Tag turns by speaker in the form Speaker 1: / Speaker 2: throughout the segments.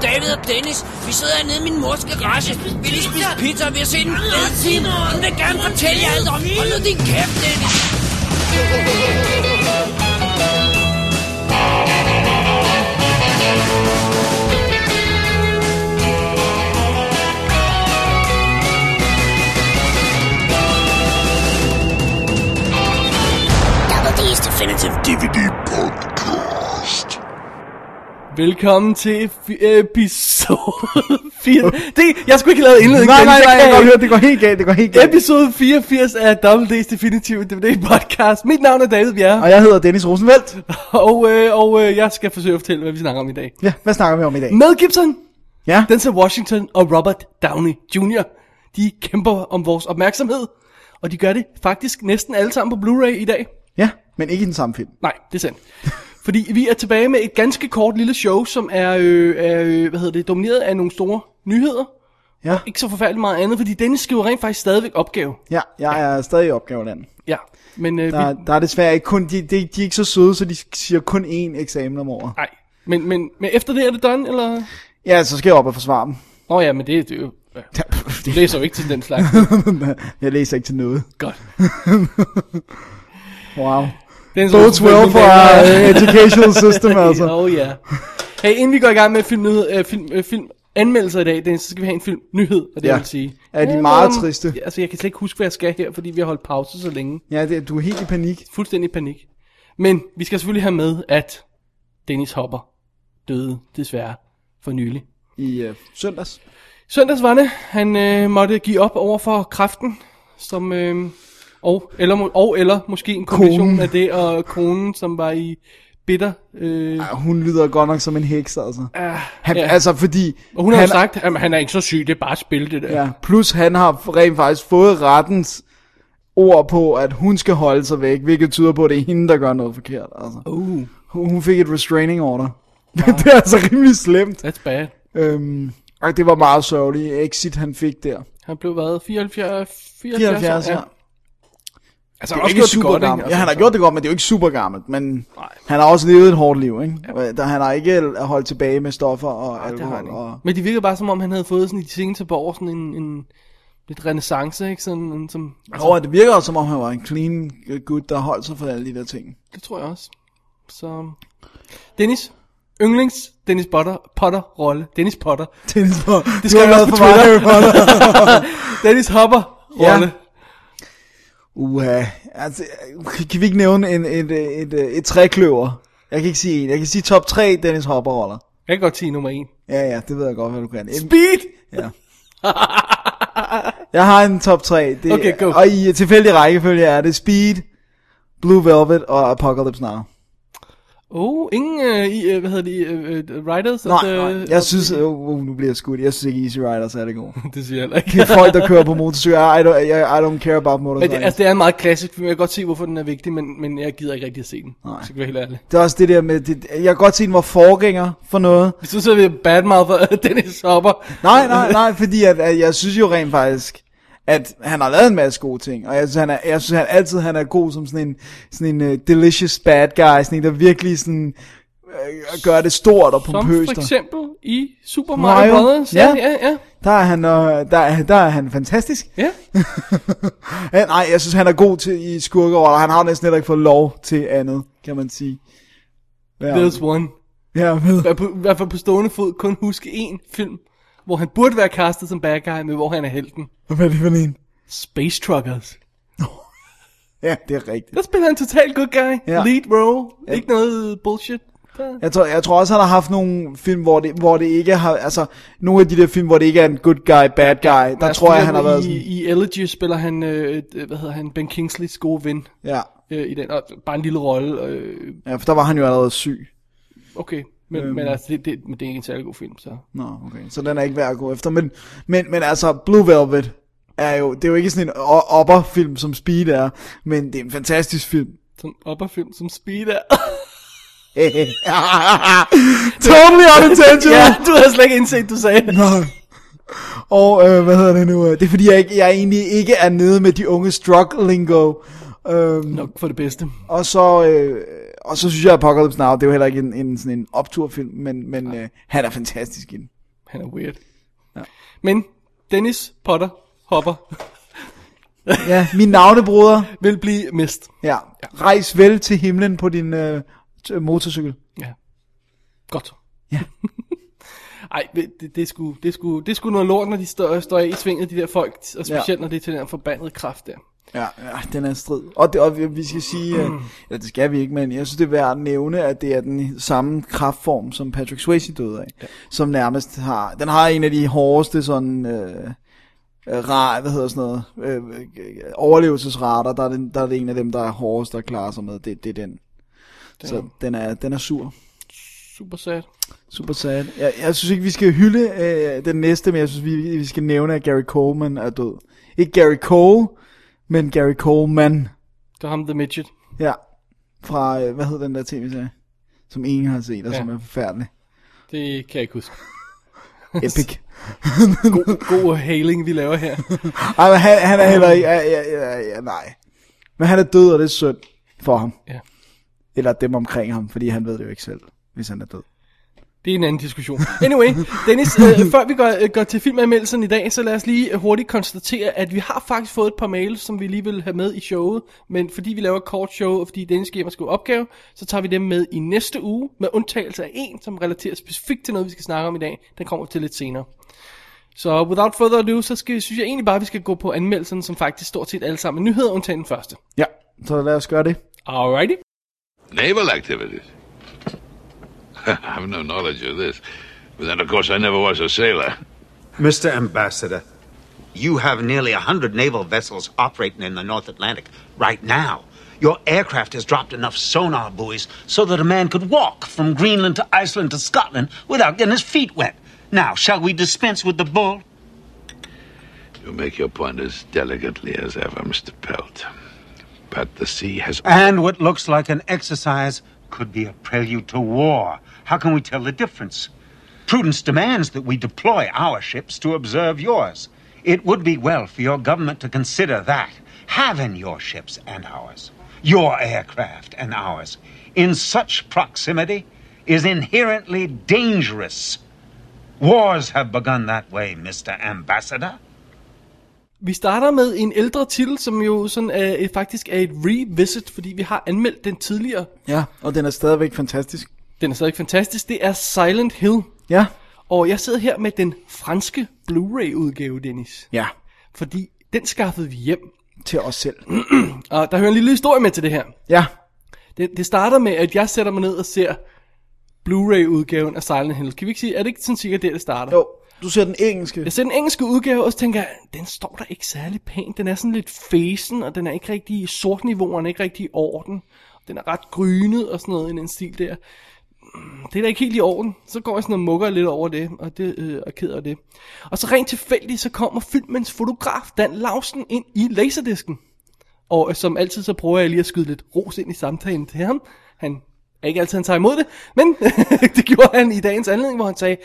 Speaker 1: Dennis. Vi sidder hernede i min mors garage. Vi lige spise pizza, og vi har set en fed film. Hun vil gerne fortælle jer alt om. Hold nu din kæft, Dennis.
Speaker 2: Double D's Definitive DVD Podcast.
Speaker 3: Velkommen til fi- episode 4. Det, jeg skulle ikke have lavet indledning.
Speaker 4: Nej,
Speaker 3: Dennis, jeg
Speaker 4: nej,
Speaker 3: kan
Speaker 4: nej, jeg kan godt
Speaker 3: ikke.
Speaker 4: høre, det går helt galt, det går helt galt.
Speaker 3: Episode 84 af Double D's Definitive DVD podcast. Mit navn er David Bjerre,
Speaker 4: Og jeg hedder Dennis Rosenfeldt.
Speaker 3: og, øh, og øh, jeg skal forsøge at fortælle, hvad vi snakker om i dag.
Speaker 4: Ja, hvad snakker vi om i dag?
Speaker 3: Mel Gibson,
Speaker 4: Ja,
Speaker 3: Denzel Washington og Robert Downey Jr. De kæmper om vores opmærksomhed, og de gør det faktisk næsten alle sammen på Blu-ray i dag.
Speaker 4: ja, men ikke i den samme film.
Speaker 3: Nej, det er sandt. Fordi vi er tilbage med et ganske kort lille show, som er, øh, er øh, hvad hedder det, domineret af nogle store nyheder.
Speaker 4: Ja,
Speaker 3: Ikke så forfærdeligt meget andet, fordi Dennis skriver rent faktisk stadigvæk opgave.
Speaker 4: ja jeg er stadig i opgaveland.
Speaker 3: Ja, men, øh,
Speaker 4: Der,
Speaker 3: vi,
Speaker 4: der er desværre ikke kun, de, de, de er ikke så søde, så de siger kun én eksamen om året.
Speaker 3: nej. Men, men, men efter det er det done, eller?
Speaker 4: Ja, så skal jeg op og forsvare dem.
Speaker 3: Nå ja, men det, det er jo... ja,
Speaker 4: Ja,
Speaker 3: Du læser jo ikke til den slags.
Speaker 4: jeg læser ikke til noget.
Speaker 3: Godt.
Speaker 4: Wow.
Speaker 3: Den
Speaker 4: Bodes well for our uh, educational system, altså.
Speaker 3: Oh ja. Hey, inden vi går i gang med film, nyhed, øh, film, øh, film anmeldelser i dag, Dennis, så skal vi have en film nyhed, og det
Speaker 4: Ja.
Speaker 3: vil sige.
Speaker 4: Ja, de er
Speaker 3: Ja,
Speaker 4: meget
Speaker 3: um,
Speaker 4: triste.
Speaker 3: ja, Altså, jeg kan slet ikke huske, hvad jeg skal her, fordi vi har holdt pause så længe.
Speaker 4: Ja, det, du er helt i panik.
Speaker 3: Fuldstændig panik. Men vi skal selvfølgelig have med, at Dennis Hopper døde desværre for nylig.
Speaker 4: I øh, søndags.
Speaker 3: Søndags var det, han øh, måtte give op over for kræften, som, øh, og, eller, må- og eller måske en kombination
Speaker 4: Konen.
Speaker 3: af det og konen, som var i bitter. Øh,
Speaker 4: Ej, Hun lyder godt nok som en heks, altså. Han,
Speaker 3: ja.
Speaker 4: Altså, fordi...
Speaker 3: og hun har jo
Speaker 4: han,
Speaker 3: sagt, at han er ikke så syg, det er bare spil det der.
Speaker 4: Ja, plus han har rent faktisk fået rettens ord på, at hun skal holde sig væk, hvilket tyder på, at det er hende, der gør noget forkert. Altså.
Speaker 3: Uh,
Speaker 4: Hun hun fik et restraining order. det er altså rimelig slemt.
Speaker 3: that's bad.
Speaker 4: Øhm, og det var meget sørgeligt exit, han fik der.
Speaker 3: Han blev været 74, 74,
Speaker 4: 74, ja.
Speaker 3: Altså,
Speaker 4: Det
Speaker 3: det også
Speaker 4: er ikke
Speaker 3: gjort det
Speaker 4: super
Speaker 3: godt,
Speaker 4: gammelt. Altså.
Speaker 3: ikke?
Speaker 4: Ja, han har gjort det godt, men det er jo ikke super gammelt. Men
Speaker 3: Nej.
Speaker 4: han har også levet et hårdt liv, ikke? Ja. Der, han har ikke holdt tilbage med stoffer og
Speaker 3: det har han
Speaker 4: alkohol.
Speaker 3: ikke.
Speaker 4: Og...
Speaker 3: Men det virkede bare, som om han havde fået sådan i de seneste par år sådan en, en lidt renaissance, ikke? Sådan en, som,
Speaker 4: Og det virker også, som om han var en clean gut, der holdt sig for alle de der ting.
Speaker 3: det tror jeg også. Så, Dennis, yndlings Dennis Potter, Potter rolle, Dennis Potter,
Speaker 4: Dennis Potter. Det
Speaker 3: skal jeg også på Twitter.
Speaker 4: Potter.
Speaker 3: Dennis Hopper rolle.
Speaker 4: Ja. Uha. Altså, kan vi ikke nævne en, et, et, et, øh, et trækløver? Jeg kan ikke sige en. Jeg kan sige top 3 Dennis Hopper-roller.
Speaker 3: Jeg kan godt sige nummer en.
Speaker 4: Ja, ja, det ved jeg godt, hvad du kan. En-
Speaker 3: Speed!
Speaker 4: Ja. Jeg har en top 3. Det,
Speaker 3: Okay, go.
Speaker 4: Og i tilfældig rækkefølge er det Speed, Blue Velvet og Apocalypse Now.
Speaker 3: Oh, ingen, øh, i, øh, hvad hedder de, øh, øh, writers?
Speaker 4: Nej,
Speaker 3: at, øh,
Speaker 4: nej. Jeg synes, uh, uh, nu bliver jeg skudt. Jeg synes ikke Easy Riders er det gode.
Speaker 3: det siger jeg heller ikke.
Speaker 4: Det er folk, der kører på motorcykler. I don't, I, I don't care about
Speaker 3: Men det,
Speaker 4: motorcycles.
Speaker 3: altså, det er en meget klassisk film. Jeg kan godt se, hvorfor den er vigtig, men, men jeg gider ikke rigtig at se den.
Speaker 4: Nej.
Speaker 3: Så kan jeg være helt ærlig.
Speaker 4: Det er også det der med, det, jeg kan godt se, den var forgænger for noget.
Speaker 3: Hvis du så vil badmouth Dennis Hopper,
Speaker 4: Nej, nej, nej, fordi at, at jeg synes jo rent faktisk, at han har lavet en masse gode ting, og jeg synes, han, er, jeg synes han altid han er god som sådan en, sådan en uh, delicious bad guy, sådan en, der virkelig sådan, uh, gør det stort og
Speaker 3: Som
Speaker 4: pompøst.
Speaker 3: for
Speaker 4: og-
Speaker 3: eksempel i Super Mario,
Speaker 4: Mario.
Speaker 3: Brothers. Ja,
Speaker 4: Ja.
Speaker 3: ja, ja.
Speaker 4: Der er han, uh, der, er- der er han fantastisk.
Speaker 3: ja.
Speaker 4: Ja, nej, jeg synes, han er god til i skurkeroller, han har næsten heller ikke fået lov til andet, kan man sige. Ja,
Speaker 3: There's one.
Speaker 4: ja med.
Speaker 3: Jeg på- I hvert fald på stående fod kun huske én film, hvor han burde være castet som bad guy, men hvor han er helten.
Speaker 4: Hvad er det for en?
Speaker 3: Space Truckers.
Speaker 4: Ja, det er rigtigt.
Speaker 3: Der spiller han totalt good guy. Ja.
Speaker 4: Ja.
Speaker 3: Lead role. Ja. Ikke noget bullshit. Der-
Speaker 4: Jeg tror, jeg tror også, han har haft nogle film, hvor det, hvor det ikke har... Altså, nogle af de der film, hvor det ikke er en good guy, bad guy. Der
Speaker 3: Der
Speaker 4: tror jeg,
Speaker 3: spiller
Speaker 4: han har
Speaker 3: Altså, i,
Speaker 4: været sådan...
Speaker 3: I Elegy spiller han, øh, øh, hvad hedder han, Ben Kingsleys gode ven
Speaker 4: Ja.
Speaker 3: øh, i den. Og bare en lille rolle. Øh,
Speaker 4: ja, for der var han jo allerede syg.
Speaker 3: okay. Men, øhm. men altså, det, det, men det er ikke en særlig god film, så...
Speaker 4: Nå, okay. Så den er ikke værd at gå efter. Men, men, men altså, Blue Velvet er jo... Det er jo ikke sådan en opperfilm, som Speed er. Men det er en fantastisk film.
Speaker 3: Som opperfilm, som Speed er.
Speaker 4: totally unintentional!
Speaker 3: ja, du har slet ikke indset, du sagde det.
Speaker 4: Nå. Og øh, hvad hedder det nu? Det er fordi, jeg, ikke, jeg egentlig ikke er nede med de unge drug lingo. Øhm,
Speaker 3: Nok for det bedste.
Speaker 4: Og så, øh, og så synes jeg, at Apocalypse Now, det er jo heller ikke en, en, sådan en opturfilm, men, men øh, han er fantastisk i den.
Speaker 3: Han er weird. Ja. Men Dennis Potter Hopper
Speaker 4: Ja, min navnebroder.
Speaker 3: vil blive mist.
Speaker 4: Ja. Rejs vel til himlen på din øh, t- motorcykel.
Speaker 3: Ja. Godt. Ja. Ej, det, det, det, er sgu, det, er sgu, det er sgu noget lort, når de står, står af i svinget, de der folk. Og specielt, ja. når det er til den her forbandede kraft der.
Speaker 4: Ja, ja, den er strid. Og, det, og vi- vi skal sige, øh, eller det skal vi ikke, men jeg synes, det er værd at nævne, at det er den samme kraftform, som Patrick Swayze døde af. Ja. Som nærmest har, den har en af de hårdeste sådan, øh, øh, ra, hvad hedder sådan noget, øh, øh, overlevelsesrater, der er, det, der er det en af dem, der er hårdest at klare sig med. Det, det er den. Så den er, den er sur.
Speaker 3: Super sad.
Speaker 4: Super sad. Jeg, jeg synes ikke, vi skal hylde øh, den næste, men jeg synes, vi, vi skal nævne, at Gary Coleman er død. Ikke Gary Cole, men Gary Coleman.
Speaker 3: Det var ham, The Midget.
Speaker 4: Ja, fra, øh, hvad hed den der tv-serie? Som ingen har set, og
Speaker 3: Ja.
Speaker 4: ja. som er forfærdelig.
Speaker 3: Det kan jeg ikke huske.
Speaker 4: Epic.
Speaker 3: God, god hailing, vi laver her.
Speaker 4: Ej, men han, han er heller ikke, ja, ja, ja, ja, nej. Men han er død, og det er synd for ham.
Speaker 3: Ja.
Speaker 4: Eller dem omkring ham, fordi han ved det jo ikke selv, hvis han er død.
Speaker 3: Det er en anden diskussion. Anyway, Dennis, øh, før vi går, øh, går til filmanmeldelsen i dag, så lad os lige øh, hurtigt konstatere, at vi har faktisk fået et par mails, som vi lige vil have med i showet. Men fordi vi laver et kort show, og fordi Dennis giver mig skrive opgave, så tager vi dem med i næste uge, med undtagelse af en, som relaterer specifikt til noget, vi skal snakke om i dag. Den kommer til lidt senere. Så without further ado, så skal, synes jeg egentlig bare, at vi skal gå på anmeldelsen, som faktisk stort set alle sammen er nyheder, undtagen den første.
Speaker 4: Ja, så lad os gøre det.
Speaker 3: Alrighty.
Speaker 5: Naval activities. I've no knowledge of this. But then, of course, I never was a sailor.
Speaker 6: Mr. Ambassador, you have nearly 100 naval vessels operating in the North Atlantic right now. Your aircraft has dropped enough sonar buoys so that a man could walk from Greenland to Iceland to Scotland without getting his feet wet. Now, shall we dispense with the bull?
Speaker 5: You make your point as delicately as ever, Mr. Pelt. But the sea has.
Speaker 6: And what looks like an exercise could be a prelude to war. How can we tell the difference? Prudence demands that we deploy our ships to observe yours. It would be well for your government to consider that, having your ships and ours, your aircraft and ours, in such proximity is inherently dangerous. Wars have begun that way, Mr. Ambassador.
Speaker 3: Vi starter med en ældre titel, som jo sådan er, øh, faktisk er et revisit, fordi vi har anmeldt den tidligere.
Speaker 4: Ja, og den er stadigvæk fantastisk.
Speaker 3: Den er stadig fantastisk. Det er Silent Hill.
Speaker 4: Ja.
Speaker 3: Og jeg sidder her med den franske Blu-ray-udgave, Dennis.
Speaker 4: Ja,
Speaker 3: Fordi den skaffede vi hjem.
Speaker 4: til os selv.
Speaker 3: Og der hører en lille historie med til det her.
Speaker 4: Ja,
Speaker 3: Det, det starter med, at jeg sætter mig ned og ser Blu-ray-udgaven af Silent Hill. Kan vi ikke sige, er det ikke sådan cirka der, det starter?
Speaker 4: jo, du ser den engelske.
Speaker 3: Jeg ser den engelske udgave, og så tænker jeg, den står der ikke særlig pænt. Den er sådan lidt fesen, og den er ikke rigtig i sort niveau, og den er ikke rigtig i orden. Den er ret grynet og sådan noget i den stil der. Mm, Det er da ikke helt i orden. Så går jeg sådan og mukker lidt over det, og det øh, er ked af det. Og så rent tilfældigt, så kommer filmens fotograf Dan Lausen ind i laserdisken. Og øh, som altid, så prøver jeg lige at skyde lidt ros ind i samtalen til ham. Han er ikke altid, han tager imod det, men det gjorde han i dagens anledning, hvor han sagde,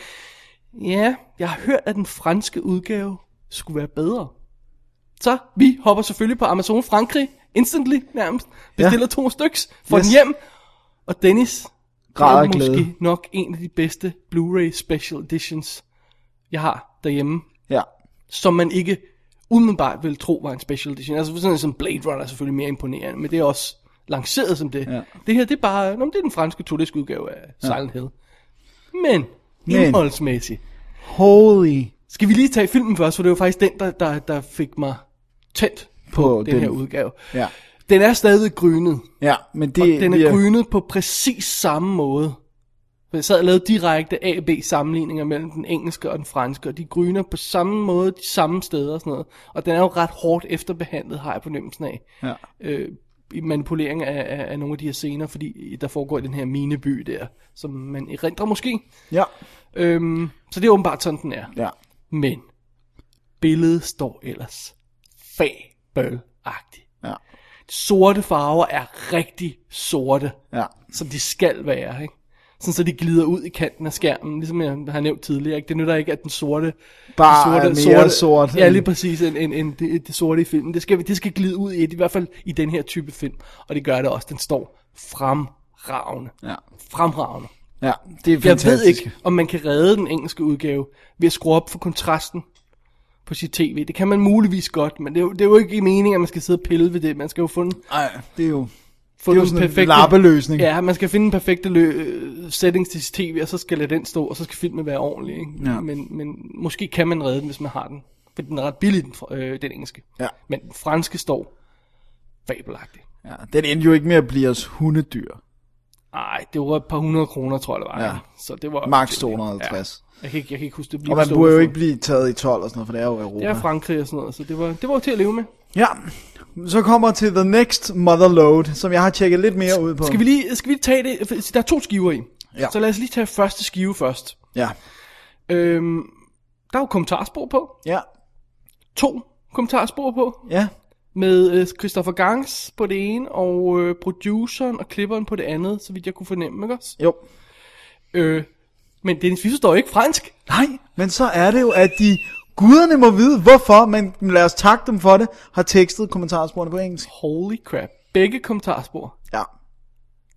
Speaker 3: Ja, jeg har hørt, at den franske udgave skulle være bedre. Så vi hopper selvfølgelig på Amazon Frankrig, instantly nærmest, bestiller ja. to styks, får yes.
Speaker 4: Yes.
Speaker 3: den hjem, og Dennis
Speaker 4: Græder
Speaker 3: er
Speaker 4: af glæde.
Speaker 3: måske nok en af de bedste Blu-ray special editions, jeg har derhjemme,
Speaker 4: Ja,
Speaker 3: som man ikke umiddelbart vil tro var en special edition. Altså sådan en som Blade Runner er selvfølgelig mere imponerende, men det er også lanceret som det. Ja. Det her, det er bare, nå, men det er den franske turistiske udgave af Silent Hill. Men,
Speaker 4: Men.
Speaker 3: indholdsmæssigt,
Speaker 4: holy
Speaker 3: skal vi lige tage filmen først, for det var faktisk den, der, der, der fik mig tændt på, på
Speaker 4: På
Speaker 3: den, den
Speaker 4: den.
Speaker 3: her udgave.
Speaker 4: Ja.
Speaker 3: Den er stadig grynet,
Speaker 4: Ja, men det
Speaker 3: og den er
Speaker 4: vi
Speaker 3: grynet på præcis samme måde. For jeg sad og lavede direkte A-B sammenligninger mellem den engelske og den franske, og de gryner på samme måde, de samme steder og sådan noget. Og den er jo ret hårdt efterbehandlet, har jeg fornemmelsen af.
Speaker 4: Ja.
Speaker 3: Øh, i manipulering af, af, af nogle af de her scener, fordi der foregår i den her mineby der, som man erindrer måske.
Speaker 4: Ja,
Speaker 3: Øhm, så det er åbenbart sådan, den er.
Speaker 4: ja.
Speaker 3: Men billedet står ellers fabelagtigt.
Speaker 4: Ja.
Speaker 3: Sorte farver er rigtig sorte,
Speaker 4: Ja.
Speaker 3: som de skal være, ikke? Sådan så de glider ud i kanten af skærmen, ligesom jeg har nævnt tidligere. Ikke? Det nytter ikke, at den sorte...
Speaker 4: Bare er mere sort
Speaker 3: Ja,
Speaker 4: end-
Speaker 3: lige præcis, end, end, end det, det, sorte i filmen. Det skal, det skal glide ud i et, i hvert fald i den her type film. Og det gør det også. Den står fremragende.
Speaker 4: Ja.
Speaker 3: Fremragende.
Speaker 4: Ja, det er
Speaker 3: Jeg
Speaker 4: fantastisk.
Speaker 3: ved ikke, om man kan redde den engelske udgave ved at skrue op for kontrasten på sit tv. Det kan man muligvis godt, men det er jo, det er jo ikke i meningen, at man skal sidde og pille ved det. Man skal jo finde,
Speaker 4: Nej, det er jo...
Speaker 3: finde
Speaker 4: jo sådan en lappeløsning.
Speaker 3: Ja, man skal finde en perfekte lø- øh, settings til sit tv, og så skal lade den stå, og så skal filmen være ordentlig. Ikke?
Speaker 4: Ja.
Speaker 3: Men, men måske kan man redde den, hvis man har den. For den er ret billig, den, fr- øh, den engelske.
Speaker 4: Ja.
Speaker 3: Men den franske står fabelagtigt.
Speaker 4: ja. Den endte jo ikke med at blive os hundedyr.
Speaker 3: Ej, det var et par hundrede kroner, tror jeg, det var.
Speaker 4: Ja.
Speaker 3: Så det var...
Speaker 4: Max 250.
Speaker 3: Ja. Jeg, kan ikke, jeg kan ikke huske det.
Speaker 4: Og
Speaker 3: Lige
Speaker 4: man
Speaker 3: på
Speaker 4: burde jo
Speaker 3: stående
Speaker 4: ikke
Speaker 3: fod.
Speaker 4: blive taget i 12 og sådan noget, for det er jo
Speaker 3: Det
Speaker 4: Europa.
Speaker 3: er Frankrig og sådan noget, så det var, det var til at leve med.
Speaker 4: Ja, så kommer til The Next Motherload, som jeg har tjekket lidt mere ud på.
Speaker 3: Skal vi lige, skal vi lige tage det? For Der er to skiver i.
Speaker 4: Mm. Ja.
Speaker 3: Så lad os lige tage første skive først.
Speaker 4: Ja,
Speaker 3: Øhm, der er jo kommentarspor på.
Speaker 4: ja,
Speaker 3: To kommentarspor på.
Speaker 4: ja.
Speaker 3: Med øh, Christopher Gangs på det ene, og øh, produceren og klipperen på det andet, så vidt jeg kunne fornemme, ikke også?
Speaker 4: Jo.
Speaker 3: Øh, men Dennis Fischer står jo ikke fransk.
Speaker 4: Nej, men så er det jo, at de... Guderne må vide, hvorfor, men lad os takke dem for det, har tekstet kommentarsporene på engelsk.
Speaker 3: Holy crap. Begge kommentarspor.
Speaker 4: Ja,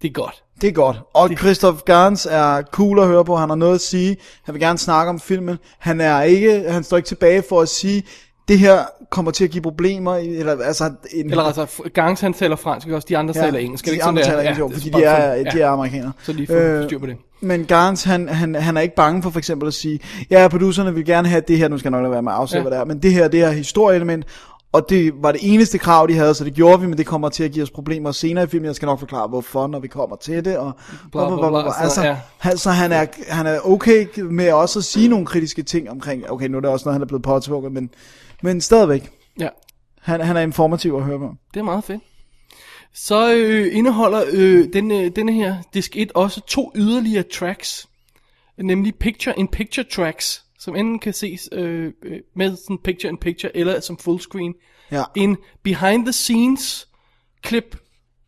Speaker 3: Det er godt.
Speaker 4: det er godt. Og Christoph Gans er cool at høre på, han har noget at sige. Han vil gerne snakke om filmen. Han, er ikke, han står ikke tilbage for at sige, det her kommer til at give problemer. i- Eller, altså, en,
Speaker 3: Eller altså, Gangs han taler fransk, ikke også? De andre taler engelsk. er det
Speaker 4: De
Speaker 3: ikke sådan,
Speaker 4: andre
Speaker 3: det er?
Speaker 4: taler engelsk,
Speaker 3: Ja,
Speaker 4: jo,
Speaker 3: det
Speaker 4: fordi
Speaker 3: bare
Speaker 4: de er,
Speaker 3: sådan.
Speaker 4: de er Øh, amerikanere.
Speaker 3: Så lige få styr på det.
Speaker 4: Men Garns, han, han, han er ikke bange for for eksempel at sige, ja, producerne vil gerne have det her, nu skal jeg nok lade være med at afsløre,
Speaker 3: Ja.
Speaker 4: ja. hvad det er, men det her, det er historieelement, og det var det eneste krav, de havde, så det gjorde vi, men det kommer til at give os problemer senere i filmen. Jeg skal nok forklare, hvorfor, når vi kommer til det. Og
Speaker 3: Bla, bla, bla, sådan,
Speaker 4: Altså,
Speaker 3: ja.
Speaker 4: han, så han er, han er okay med også at sige nogle kritiske ting omkring, okay, nu er det også noget, han er blevet påtvunget, men, men stadigvæk.
Speaker 3: Ja,
Speaker 4: Han, han er informativ at høre på.
Speaker 3: det er meget fedt. Så øh, indeholder øh, den, øh, denne her disk 1 også to yderligere tracks, nemlig picture-in-picture tracks, som enten kan ses øh, øh, med sådan picture-in-picture eller som fullscreen.
Speaker 4: Ja.
Speaker 3: En behind-the-scenes klip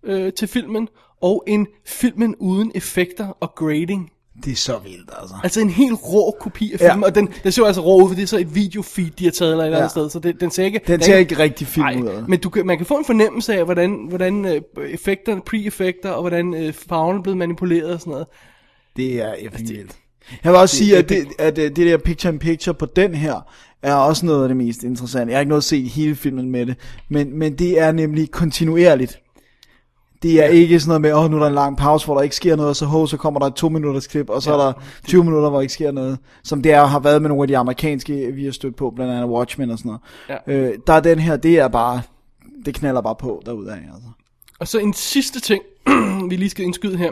Speaker 3: øh, til filmen, og en filmen uden effekter og grading.
Speaker 4: Det er så vildt, altså.
Speaker 3: Altså en helt rå kopi af
Speaker 4: Ja.
Speaker 3: filmen, ja. og den, den ser jo altså rå ud, for det er så et videofeed, de har taget eller et eller andet
Speaker 4: Ja.
Speaker 3: sted, så det, den ser ikke...
Speaker 4: Den
Speaker 3: der
Speaker 4: ser
Speaker 3: er
Speaker 4: ikke rigtig film ud af
Speaker 3: Nej,
Speaker 4: det.
Speaker 3: men du kan, man kan få en fornemmelse af, hvordan, hvordan øh, effekterne, pre-effekter, og hvordan øh, farven er blevet manipuleret og sådan noget.
Speaker 4: Altså, Det er effing vildt. Jeg vil også sige, at, det, at øh, det der picture-in-picture på den her, er også noget af det mest interessante. Jeg har ikke noget set hele filmen med det, men, men det er nemlig kontinuerligt. Det er ikke sådan noget med, åh, oh, nu er der en lang pause, hvor der ikke sker noget, og så, ho, så kommer der et to minutters klip, og så ja, er der 20 minutter, hvor der ikke sker noget, som det er, har været med nogle af de amerikanske, vi har stødt på, blandt andet Watchmen og sådan noget.
Speaker 3: Ja.
Speaker 4: Øh, der er den her, det er bare, det knaller bare på derudad, altså.
Speaker 3: Og så en sidste ting, vi lige skal indskyde her.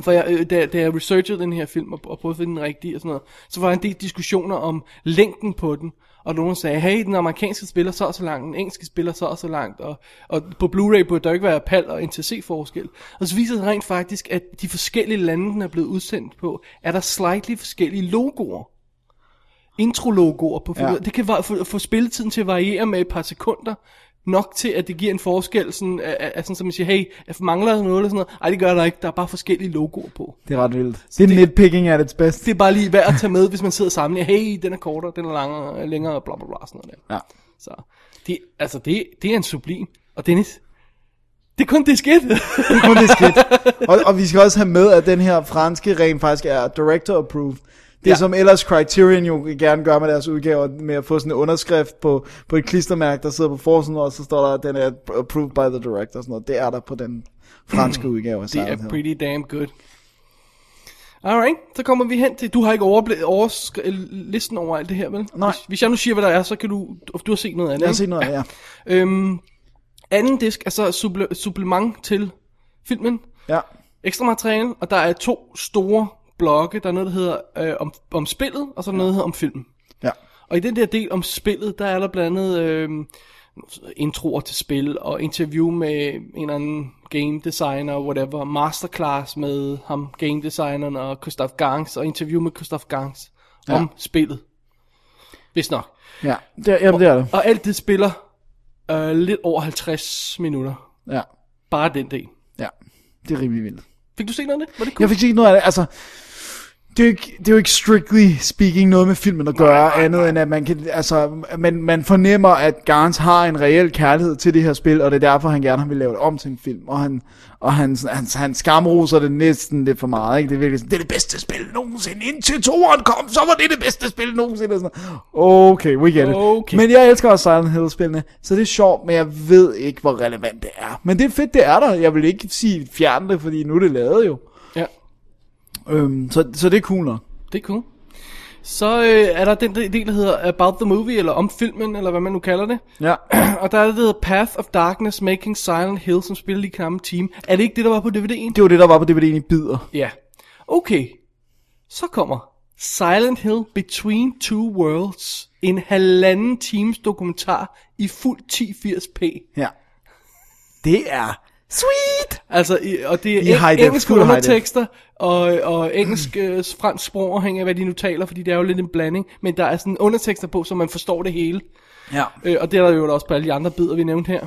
Speaker 3: For jeg, øh, da, da jeg researchede den her film og, og prøvede at finde den rigtige og sådan noget, så var der en del diskussioner om længden på den. Og nogen sagde, hey, den amerikanske spiller så og så langt, den engelske spiller så og så langt, og, og på Blu-ray burde der ikke være PAL og NTC-forskel. Og så viser det sig rent faktisk, at de forskellige lande, den er blevet udsendt på, er der slightly forskellige logoer. Intro-logoer på
Speaker 4: Ja.
Speaker 3: ja. Det kan var, få, få spilletiden til at variere med et par sekunder, nok til, at det giver en forskel, sådan, at, at, at, sådan, som man siger, hey, mangler der noget eller sådan noget? Ej, det gør der ikke, der er bare forskellige logoer på.
Speaker 4: Det er ret vildt. Det er nitpicking at its best.
Speaker 3: Det er bare lige værd at tage med, hvis man sidder og sammenligner, hey, den er kortere, den er langere, længere, bla bla bla, sådan noget der.
Speaker 4: Ja.
Speaker 3: Så det, altså, det, det er en sublim. Og Dennis, det er kun det skidt.
Speaker 4: kun det skidt. Og, og vi skal også have med, at den her franske rent faktisk er director approved.
Speaker 3: Ja.
Speaker 4: Det ja. som ellers Criterion jo gerne gør med deres udgaver, med at få sådan en underskrift på, på et klistermærke, der sidder på forsiden, og så står der, at den er approved by the director og sådan noget. Det er der på den franske udgave. af
Speaker 3: det
Speaker 4: sejlet
Speaker 3: er
Speaker 4: her.
Speaker 3: pretty damn good. Alright, så kommer vi hen til, du har ikke overblik, oversk- øh, listen over alt det her, vel?
Speaker 4: Nej.
Speaker 3: Hvis, hvis jeg nu siger, hvad der er, så kan du, du har set noget af det,
Speaker 4: Jeg har
Speaker 3: ikke?
Speaker 4: set noget af ja.
Speaker 3: Øhm, anden disk er så supple- supplement til filmen.
Speaker 4: ja.
Speaker 3: Ekstra materiale, og der er to store blokke. Der er noget, der hedder øh, om, om spillet, og så er der noget, der hedder om filmen.
Speaker 4: Ja.
Speaker 3: Og i den der del om spillet, der er der blandt andet øh, introer til spil, og interview med en eller anden game designer, whatever, masterclass med ham, game designeren og Christoph Gangs, og interview med Christoph Gangs om
Speaker 4: Ja.
Speaker 3: spillet. Hvis nok.
Speaker 4: Ja, det er, jamen, det er det.
Speaker 3: Og alt det spiller øh, lidt over 50 minutter.
Speaker 4: Ja.
Speaker 3: Bare den del.
Speaker 4: ja. Det er rimelig vildt.
Speaker 3: Fik du set noget af det? Var det cool?
Speaker 4: Jeg fik set noget af det, altså... det er, jo ikke, det er jo ikke strictly speaking noget med filmen at gøre, andet end at man kan, altså, man, man fornemmer, at Garns har en reel kærlighed til det her spil, og det er derfor, han gerne vil lave det om til en film, og han, og han, han, han skamroser det næsten lidt for meget, ikke? Det er virkelig sådan, det er det bedste spil nogensinde, indtil toeren kom, så var det det bedste spil nogensinde, og sådan noget. Okay, we get it.
Speaker 3: Okay.
Speaker 4: Men jeg elsker også Silent Hill-spillene, så det er sjovt, men jeg ved ikke, hvor relevant det er. Men det er fedt, det er der. Jeg vil ikke sige fjern det, fordi nu er det lavet jo.
Speaker 3: Ja.
Speaker 4: Øhm, så, så det er cool nok.
Speaker 3: Det er cool. Så øh, er der den der del, der hedder About the Movie, eller om filmen, eller hvad man nu kalder det.
Speaker 4: Ja.
Speaker 3: og der er det, der hedder Path of Darkness Making Silent Hill, som spiller lige samme team. Er det ikke det, der var på DVD'en?
Speaker 4: Det var det, der var på DVD'en i bidder.
Speaker 3: Ja. Okay. Så kommer Silent Hill Between Two Worlds. En halvanden times dokumentar i fuld 1080p.
Speaker 4: Ja. Det er sweet!
Speaker 3: Altså, i- og det er
Speaker 4: I high
Speaker 3: eng-
Speaker 4: def,
Speaker 3: engelske
Speaker 4: fuld high def.
Speaker 3: undertekster, og, og engelsk, øh, fransk sprog, afhængig af hvad de nu taler, fordi det er jo lidt en blanding, men der er sådan undertekster på, så man forstår det hele.
Speaker 4: Ja.
Speaker 3: Øh, og det er der jo også på alle de andre bidder, vi nævnte her.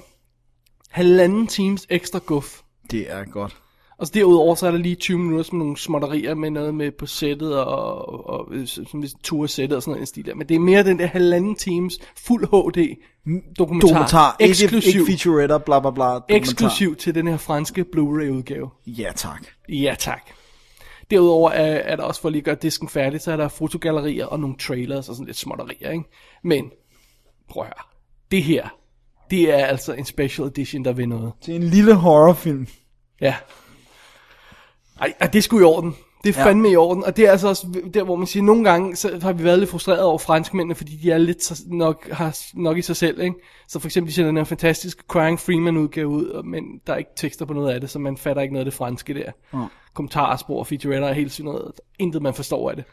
Speaker 3: Halvanden times ekstra guf.
Speaker 4: Det er godt.
Speaker 3: Og så Altså, derudover, så er der lige 20 minutter som nogle småtterier med noget med på sættet og, og, og øh, som hvis tur sættet og sådan noget i den stil der. Men det er mere den der halvanden times fuld HD dokumentar.
Speaker 4: Dokumentar. Ikke,
Speaker 3: eksklusiv,
Speaker 4: ikke featuretter, bla bla bla. Dokumentar.
Speaker 3: eksklusiv til den her franske Blu-ray udgave.
Speaker 4: Ja, tak.
Speaker 3: Ja tak. Derudover er, er der også for lige at gøre disken færdig, så er der fotogallerier og nogle trailers og sådan lidt småtterier, ikke? Men prøv at høre. Det her, det er altså en special edition, der vil noget.
Speaker 4: Det er en lille horrorfilm.
Speaker 3: Ja. Ej, ej, det er sgu i orden. Det er
Speaker 4: Ja.
Speaker 3: fandme i orden, og det er altså også der, hvor man siger, nogle gange så har vi været lidt frustreret over franskmændene, fordi de er lidt så, nok, har s- nok i sig selv, ikke? Så for eksempel, de sender den her fantastiske Crying Freeman udgave ud, og- men der er ikke tekster på noget af det, så man fatter ikke noget af det franske der. Mm. Kommentarer, spor, featuretter og hele sådan noget. Intet man forstår af det.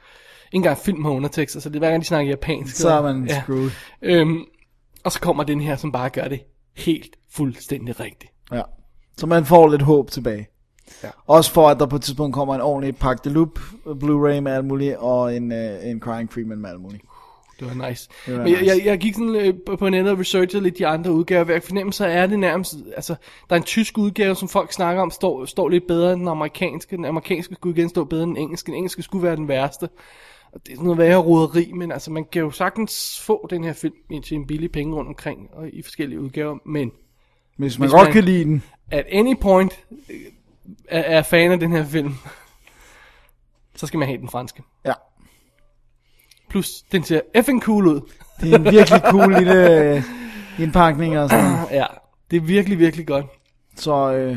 Speaker 3: Ikke engang film har undertekster, så det er hver gang de snakker japansk.
Speaker 4: Så er man
Speaker 3: ja.
Speaker 4: screwed.
Speaker 3: Øhm, og så kommer den her, som bare gør det helt fuldstændig rigtigt.
Speaker 4: Ja. Så man får lidt håb tilbage.
Speaker 3: Ja.
Speaker 4: Også for, at der på et tidspunkt kommer en ordentlig pakke de loop, Blu-ray med alt muligt, og en, øh, en Crying Freeman med alt muligt.
Speaker 3: Det var nice.
Speaker 4: var
Speaker 3: Men jeg,
Speaker 4: nice.
Speaker 3: jeg, jeg gik sådan øh, på- på nettet og researchede lidt de andre udgaver. Hvad jeg fornemmer, så er det nærmest... Altså, der er en tysk udgave, som folk snakker om, står, står lidt bedre end den amerikanske. Den amerikanske skulle igen stå bedre end den engelske. Den engelske skulle være den værste. Og det er sådan noget værre roderi, men altså, man kan jo sagtens få den her film ind til en billig penge rundt omkring og i forskellige udgaver, men
Speaker 4: Hvis man
Speaker 3: Hvis
Speaker 4: Hvis godt
Speaker 3: man-
Speaker 4: man... kan lide den.
Speaker 3: at any point øh, er, er fan af den her film, så skal man have den franske.
Speaker 4: Ja.
Speaker 3: Plus, den ser effing cool ud.
Speaker 4: Det er en virkelig cool lille øh, indpakning og sådan.
Speaker 3: Ja, det er virkelig, virkelig godt.
Speaker 4: Så øh,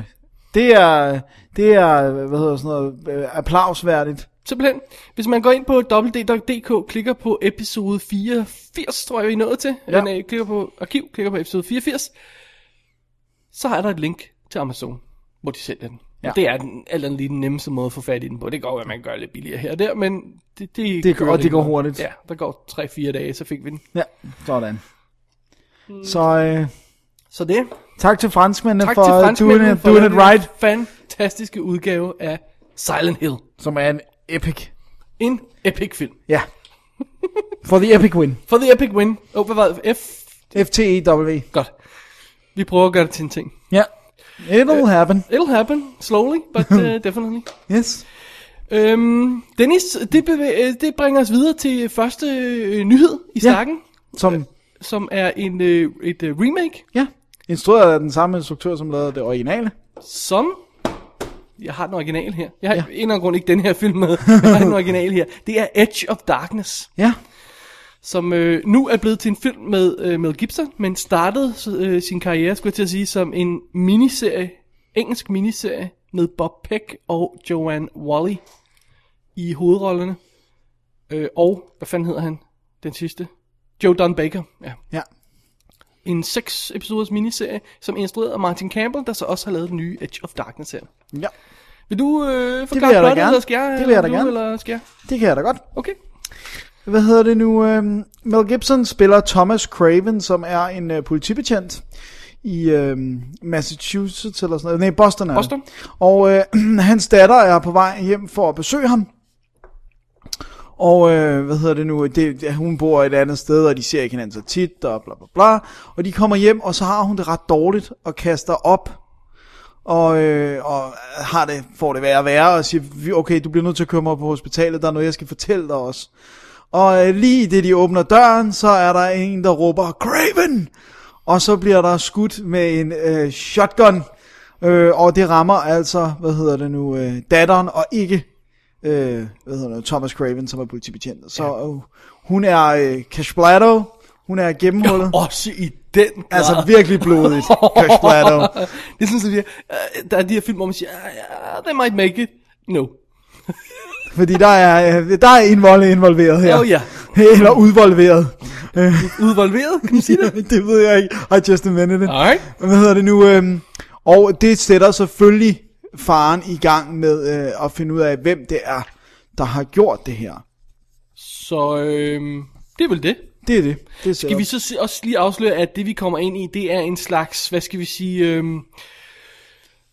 Speaker 4: det er, det er, hvad hedder sådan noget, øh, applausværdigt.
Speaker 3: Simpelthen, hvis man går ind på www.dk, klikker på episode 84, tror jeg, vi er nået til. Ja.
Speaker 4: Ja.
Speaker 3: Nej, klikker på arkiv, klikker på episode 84. Så er der et link til Amazon, hvor de sælger den. Ja.
Speaker 4: Ja.
Speaker 3: Det er den, alt andet lige den nemmeste måde at få fat i den på. Det går at man gør det lidt billigere her og der, men det, det,
Speaker 4: Det- og det
Speaker 3: rimelig
Speaker 4: går
Speaker 3: godt.
Speaker 4: hurtigt.
Speaker 3: Ja, der går 3-4 dage, så fik vi den.
Speaker 4: Ja, sådan. Så øh,
Speaker 3: Så det.
Speaker 4: tak til franskmændene
Speaker 3: Mm. Tak
Speaker 4: for
Speaker 3: til franskmændene
Speaker 4: doing, it,
Speaker 3: for
Speaker 4: doing
Speaker 3: den
Speaker 4: it right,
Speaker 3: fantastiske udgave af Silent Hill.
Speaker 4: som er en epic.
Speaker 3: En epic film.
Speaker 4: Ja. For the epic win. E
Speaker 3: For the epic win. Åh, oh, hvad var det? F?
Speaker 4: FTEW.
Speaker 3: Godt. Vi prøver at gøre det til en ting.
Speaker 4: Ja. It'll happen.
Speaker 3: It'll happen, slowly, but uh, definitely.
Speaker 4: Yes.
Speaker 3: Øhm, Dennis, det, bevæ- øh, det bringer os videre til første øh, nyhed i
Speaker 4: Ja.
Speaker 3: snakken,
Speaker 4: Som,
Speaker 3: som er en, øh, et øh, remake,
Speaker 4: ja, instrueret af den samme instruktør, som lavede det originale.
Speaker 3: som... Jeg har den original her. Jeg har ja. en eller anden grund ikke den her film med. Jeg har den original her. Det er Edge of Darkness,
Speaker 4: Ja.
Speaker 3: som øh, nu er blevet til en film med øh, Mel Gibson, men startede øh, sin karriere, skulle jeg til at sige, som en miniserie, engelsk miniserie, med Bob Peck og Joanne Wally i hovedrollerne. Øh, og, hvad fanden hedder han, den sidste? Joe Don Baker, ja.
Speaker 4: Ja.
Speaker 3: En seks episoders miniserie, som er instrueret af Martin Campbell, der så også har lavet den nye Edge of Darkness her.
Speaker 4: Ja.
Speaker 3: Vil du øh,
Speaker 4: vil jeg
Speaker 3: forklare
Speaker 4: da
Speaker 3: plottet,
Speaker 4: gerne.
Speaker 3: eller skal jeg?
Speaker 4: Det vil jeg da
Speaker 3: eller du,
Speaker 4: gerne.
Speaker 3: Eller skal jeg?
Speaker 4: Det kan jeg da godt.
Speaker 3: Okay.
Speaker 4: Hvad hedder det nu? øhm, Mel Gibson spiller Thomas Craven, som er en øh, politibetjent i øhm, Massachusetts eller sådan noget. Nej, Boston er han.
Speaker 3: Boston.
Speaker 4: Og øh, hans datter er på vej hjem for at besøge ham. Og øh, hvad hedder det nu? Det, det- hun bor et andet sted, og de ser ikke hinanden så tit, og bla bla bla. Og de kommer hjem, og så har hun det ret dårligt, og kaster op. og, øh, og har det, får det værre og værre, og siger, "Vi- okay, du bliver nødt til at køre mig på hospitalet, der er noget, jeg skal fortælle dig også. Og øh, lige i det, de åbner døren, så er der en, der råber, Craven! Og så bliver der skudt med en øh, shotgun, øh, og det rammer altså, hvad hedder det nu, øh, datteren, og ikke øh, hvad hedder det, Thomas Craven, som er politibetjent. Så øh, hun er øh, Cashblatto, hun er gennemhullet.
Speaker 3: Også i den grad.
Speaker 4: Altså virkelig blodigt, Cash Blatto.
Speaker 3: det er sådan, at de, øh, der er de her film, hvor man siger, "Ah, ja, they might make it. No.
Speaker 4: Fordi der er, øh, der er en vold involveret her.
Speaker 3: Åh, Oh, ja.
Speaker 4: Eller udvolveret. Øh,
Speaker 3: Udvolveret, kan man sige det?
Speaker 4: det ved jeg ikke. I just invented it.
Speaker 3: Alright.
Speaker 4: Hvad hedder det nu? øhm, Og det sætter selvfølgelig faren i gang med øh, at finde ud af, hvem det er, der har gjort det her.
Speaker 3: Så øhm, det er vel det.
Speaker 4: Det er det. det
Speaker 3: Skal vi så se- også lige afsløre, at det vi kommer ind i, det er en slags, hvad skal vi sige, øhm,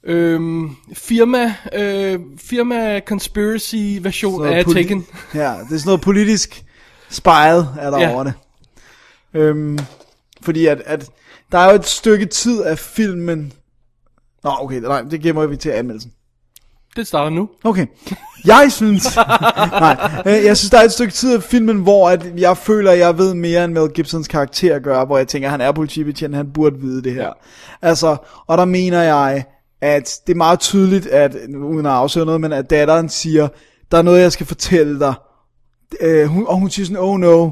Speaker 3: øhm, firma, øh, firma conspiracy version af Taken.
Speaker 4: Ja, det er sådan noget politisk spejet er der
Speaker 3: Ja.
Speaker 4: ja. over det. Øhm, fordi at, at der er jo et stykke tid af filmen... Nå, okay, nej, det gemmer vi til anmeldelsen.
Speaker 3: Det starter nu.
Speaker 4: Okay. Jeg synes... nej, øh, jeg synes, der er et stykke tid af filmen, hvor at jeg føler, at jeg ved mere, end Mel Gibsons karakter gør, hvor jeg tænker, at han er politibetjent, han burde vide det her.
Speaker 3: Ja.
Speaker 4: Ja. Altså, og der mener jeg, at det er meget tydeligt, at, uden at afsløre noget, men at datteren siger, der er noget, jeg skal fortælle dig. Øh, hun, og hun siger sådan, oh no.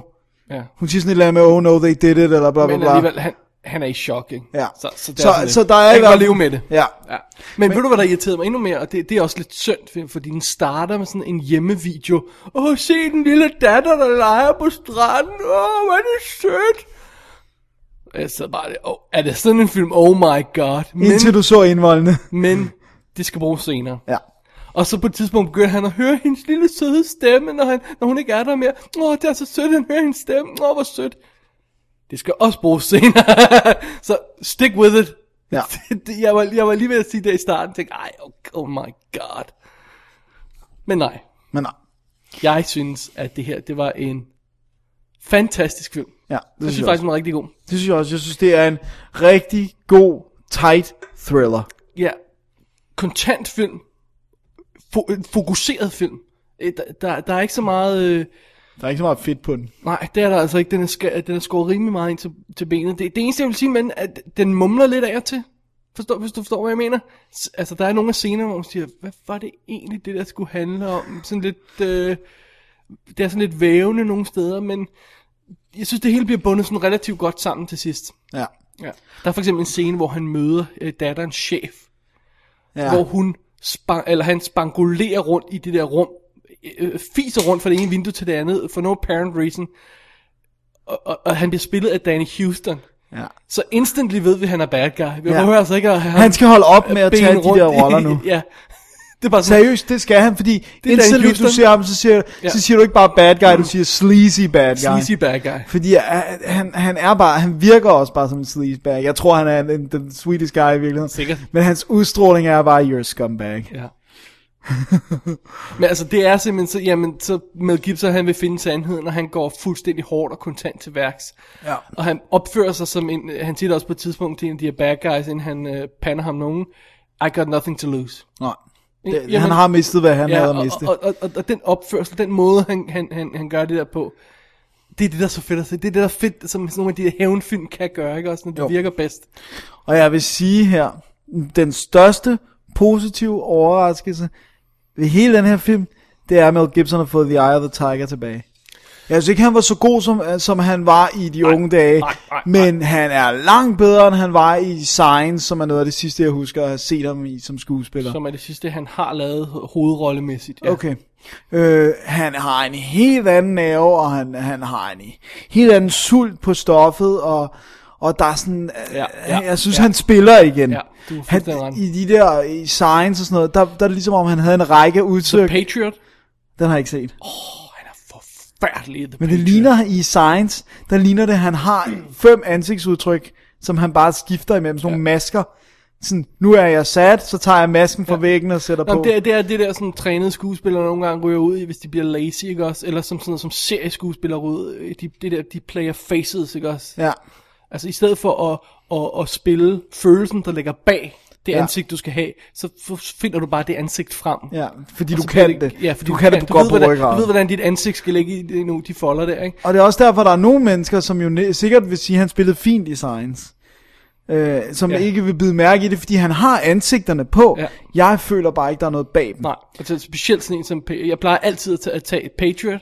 Speaker 3: Ja.
Speaker 4: Hun siger sådan et eller andet med, oh no, they did it, eller bla bla
Speaker 3: Men
Speaker 4: bla.
Speaker 3: alligevel, han, han er i chok, ikke?
Speaker 4: Ja.
Speaker 3: Så, så, det er
Speaker 4: Så-
Speaker 3: sådan lidt-
Speaker 4: så der er i
Speaker 3: han kan
Speaker 4: hvert
Speaker 3: godt
Speaker 4: fald-
Speaker 3: leve med det.
Speaker 4: Ja.
Speaker 3: Ja. Men, Men ved du, hvad der irriterede mig endnu mere? Og det, det er også lidt synd, for- fordi den starter med sådan en hjemmevideo. Åh, se den lille datter, der leger på stranden. Åh, hvor er det sødt. Jeg sad bare, oh, er det sådan en film? Oh my god. Men,
Speaker 4: Indtil du så indvoldene.
Speaker 3: men det skal bruges senere.
Speaker 4: Ja.
Speaker 3: Og så på et tidspunkt begynder han at høre hendes lille søde stemme, når, han, når hun ikke er der mere. Åh, det er så sødt, han hører hendes stemme. Åh, hvor sødt. Det skal også bruges senere. så stick with it.
Speaker 4: Ja.
Speaker 3: Det- det- jeg, var, jeg var lige ved at sige det i starten. Tænkte, ej, oh, oh my god. Men nej,
Speaker 4: Men nej.
Speaker 3: jeg synes, at det her, det var en fantastisk film.
Speaker 4: Ja,
Speaker 3: Jeg
Speaker 4: det
Speaker 3: synes
Speaker 4: synes jeg
Speaker 3: faktisk,
Speaker 4: også.
Speaker 3: den var rigtig god.
Speaker 4: Det synes jeg også. Jeg synes, det er en rigtig god, tight thriller.
Speaker 3: Ja, kontant film. Fo- en fokuseret film. Øh, Der, der, der er ikke så meget... Øh,
Speaker 4: Der er ikke så meget fedt på den.
Speaker 3: Nej, det er der altså ikke. Den er, skæ- den er skåret rimelig meget ind til, til benet. Det, det eneste, jeg vil sige, men at den mumler lidt af og til. Forstår, hvis du forstår, hvad jeg mener. S- altså, der er nogle af scener, hvor man siger, hvad var det egentlig, det der skulle handle om? Sådan lidt... Øh, det er sådan lidt vævende nogle steder, men jeg synes, det hele bliver bundet sådan relativt godt sammen til sidst.
Speaker 4: Ja.
Speaker 3: Ja. Der er for eksempel en scene, hvor han møder øh, datterens chef,
Speaker 4: ja.
Speaker 3: ja. hvor hun spang, eller han spangulerer rundt i det der rum, øh, øh, fiser rundt fra det ene vindue til det andet, for no apparent reason. Og, og, og han bliver spillet af Danny Houston.
Speaker 4: Ja.
Speaker 3: Så instantly ved vi, at han er bad guy. Vi
Speaker 4: Ja.
Speaker 3: behøver altså ikke at have
Speaker 4: Han skal holde op med at
Speaker 3: ben
Speaker 4: tage de
Speaker 3: rundt
Speaker 4: der
Speaker 3: i-
Speaker 4: roller nu.
Speaker 3: ja. Det er bare sådan,
Speaker 4: Seriøst, det skal han, fordi
Speaker 3: er
Speaker 4: det indtil
Speaker 3: Danny
Speaker 4: lige du
Speaker 3: Houston.
Speaker 4: ser ham, så siger,
Speaker 3: Ja.
Speaker 4: ja. så siger du ikke bare bad guy, du siger sleazy bad guy.
Speaker 3: sleazy bad guy.
Speaker 4: Fordi øh, han, han er bare, han virker også bare som en sleazy bag. Jeg tror, han er den, den sweetest guy i virkeligheden.
Speaker 3: Sikkert.
Speaker 4: Men hans udstråling er bare, you're a scumbag.
Speaker 3: Ja. Men altså, det er simpelthen så, jamen, så Mel Gibson, han vil finde sandheden, og han går fuldstændig hårdt og kontant til værks.
Speaker 4: Ja.
Speaker 3: Og han opfører sig som en, han siger det også på et tidspunkt til en af de her bad guys, inden han øh, pander ham nogen. I got nothing to lose.
Speaker 4: Nej.
Speaker 3: Ja,
Speaker 4: Det,
Speaker 3: jamen-
Speaker 4: han har mistet, hvad han havde
Speaker 3: og,
Speaker 4: at miste.
Speaker 3: og, og, og, og, den opførsel, den måde, han, han, han, han gør det der på, det er det, der er så fedt at se. Det er det, der er fedt, som sådan nogle af de her hævnfilm kan gøre, ikke også, når det
Speaker 4: Jo.
Speaker 3: virker bedst.
Speaker 4: Og jeg vil sige her, den største positive overraskelse ved hele den her film, det er, at Mel Gibson har fået The Eye of the Tiger tilbage. Jeg synes ikke, han var så god, som, som han var i de unge dage,
Speaker 3: nej, nej,
Speaker 4: men han er langt bedre, end han var i Science, som er noget af det sidste, jeg husker at have set ham i som skuespiller.
Speaker 3: Som er det sidste, han har lavet hovedrollemæssigt. Ja.
Speaker 4: Okay. Øh, han har en helt anden nerve, og han, han har en helt anden sult på stoffet, og, og der er sådan...
Speaker 3: Ja,
Speaker 4: Ja,
Speaker 3: ja,
Speaker 4: ja, jeg synes, ja. han spiller igen.
Speaker 3: Ja, du er
Speaker 4: han,
Speaker 3: fuldstændig ret.
Speaker 4: I de der i science og sådan noget, der, der er det ligesom om, han havde en række
Speaker 3: The
Speaker 4: udtryk.
Speaker 3: Patriot.
Speaker 4: Den har jeg ikke set.
Speaker 3: Han er forfærdelig i The
Speaker 4: Men det
Speaker 3: Patriot.
Speaker 4: ligner i science, der ligner det, at han har fem ansigtsudtryk, som han bare skifter imellem, sådan nogle masker. Sådan, nu er jeg sat, så tager jeg masken fra væggen og sætter
Speaker 3: Nå,
Speaker 4: på.
Speaker 3: men det, er, det er det der sådan trænede skuespillere nogle gange ryger ud i, hvis de bliver lazy, ikke også? Eller som sådan noget, som serieskuespillere ryger ud i, de, det der, de player faces, ikke også?
Speaker 4: Ja,
Speaker 3: Altså i stedet for at, at, at spille følelsen, der ligger bag, det
Speaker 4: Ja.
Speaker 3: ansigt, du skal have, så f- finder du bare det ansigt frem.
Speaker 4: Ja, fordi
Speaker 3: Og
Speaker 4: du
Speaker 3: så
Speaker 4: kan
Speaker 3: bliver
Speaker 4: det.
Speaker 3: Ja, fordi
Speaker 4: du kan det
Speaker 3: du
Speaker 4: på
Speaker 3: ved,
Speaker 4: godt på
Speaker 3: hvordan, Du ved,
Speaker 4: ryggraden.
Speaker 3: hvordan dit ansigt skal ligge i de, nu, de folder der, ikke?
Speaker 4: Og det er også derfor, der er nogle mennesker, som jo ne- sikkert vil sige, at han spillede fint i Science. Øh, som
Speaker 3: Ja.
Speaker 4: ja. ikke vil bide mærke i det, fordi han har ansigterne på.
Speaker 3: Ja.
Speaker 4: Ja. Jeg føler bare ikke, der er noget bag dem.
Speaker 3: Nej, og så specielt sådan en som... Pa- Jeg plejer altid at, ta- at tage et Patriot.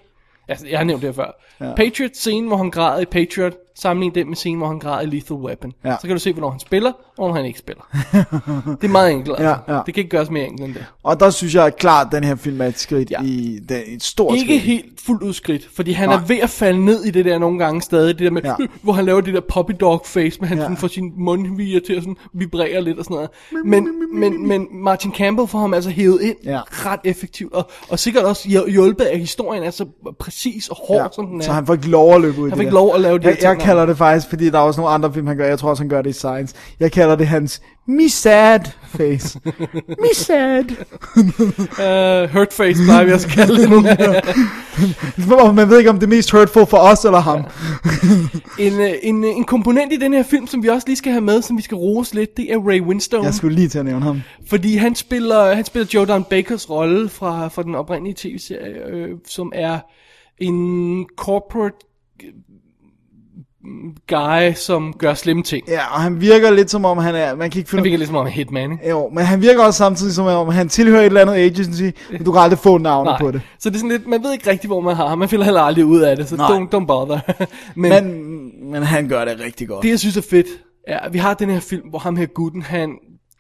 Speaker 3: Altså, jeg har nævnt det her før. Ja. Patriot, scenen, hvor han græder i Patriot, sammenlign den med scenen, hvor han græder i Lethal Weapon.
Speaker 4: Ja.
Speaker 3: Så kan du se, hvornår han spiller, og hvornår han ikke spiller. det er meget enkelt, altså.
Speaker 4: Ja, ja.
Speaker 3: Det kan ikke gøres mere enkelt end det.
Speaker 4: Og der synes jeg klart, at den her film er et skridt
Speaker 3: Ja.
Speaker 4: ja. i det er et stort
Speaker 3: Ikke
Speaker 4: skridt.
Speaker 3: helt fuldt udskridt, fordi han
Speaker 4: Nej.
Speaker 3: er ved at falde ned i det der nogle gange stadig, det der med, ja.
Speaker 4: Ja.
Speaker 3: hvor han laver det der puppy dog face, men han ja.
Speaker 4: Ja.
Speaker 3: sådan får sin mundviger til at sådan vibrere lidt og sådan noget. Men, men, men Martin Campbell får ham altså hævet ind ja.
Speaker 4: Ja.
Speaker 3: ret effektivt, og, og sikkert også hjæl- hjulpet af at historien er så præcis og hård, ja. som den er.
Speaker 4: Så han får ikke lov at løbe ud i
Speaker 3: får
Speaker 4: det
Speaker 3: ikke
Speaker 4: der.
Speaker 3: lov at lave de her
Speaker 4: jeg, jeg
Speaker 3: ting,
Speaker 4: kalder det faktisk, fordi der er også nogle andre film, han gør. Jeg tror også, han gør det i Science. Jeg kalder det hans me sad face. me sad.
Speaker 3: Uh, hurt face plejer vi også at kalde det nu.
Speaker 4: Hvor Man ved ikke, om det er mest hurtful for os eller ham.
Speaker 3: en, øh, en, øh, en komponent i den her film, som vi også lige skal have med, som vi skal rose lidt, det er Ray Winstone.
Speaker 4: Jeg skulle lige til at nævne ham.
Speaker 3: Fordi han spiller, han spiller Joe Don Bakers rolle fra, fra den oprindelige tv-serie, øh, som er en corporate øh, guy, som gør slemme ting.
Speaker 4: Ja, og han virker lidt som om, han er... Man kan ikke finde
Speaker 3: Han virker lidt som om en hitman, ikke?
Speaker 4: Jo, men han virker også samtidig som om, han tilhører et eller andet agency, men du kan aldrig få navnet på det.
Speaker 3: Så det er sådan lidt, man ved ikke rigtigt, hvor man har ham. Man finder heller aldrig ud af det, så
Speaker 4: Nej.
Speaker 3: don't, don't bother. Men,
Speaker 4: Men, men han gør det rigtig godt.
Speaker 3: Det jeg synes er fedt er, at vi har den her film, hvor ham her gutten, han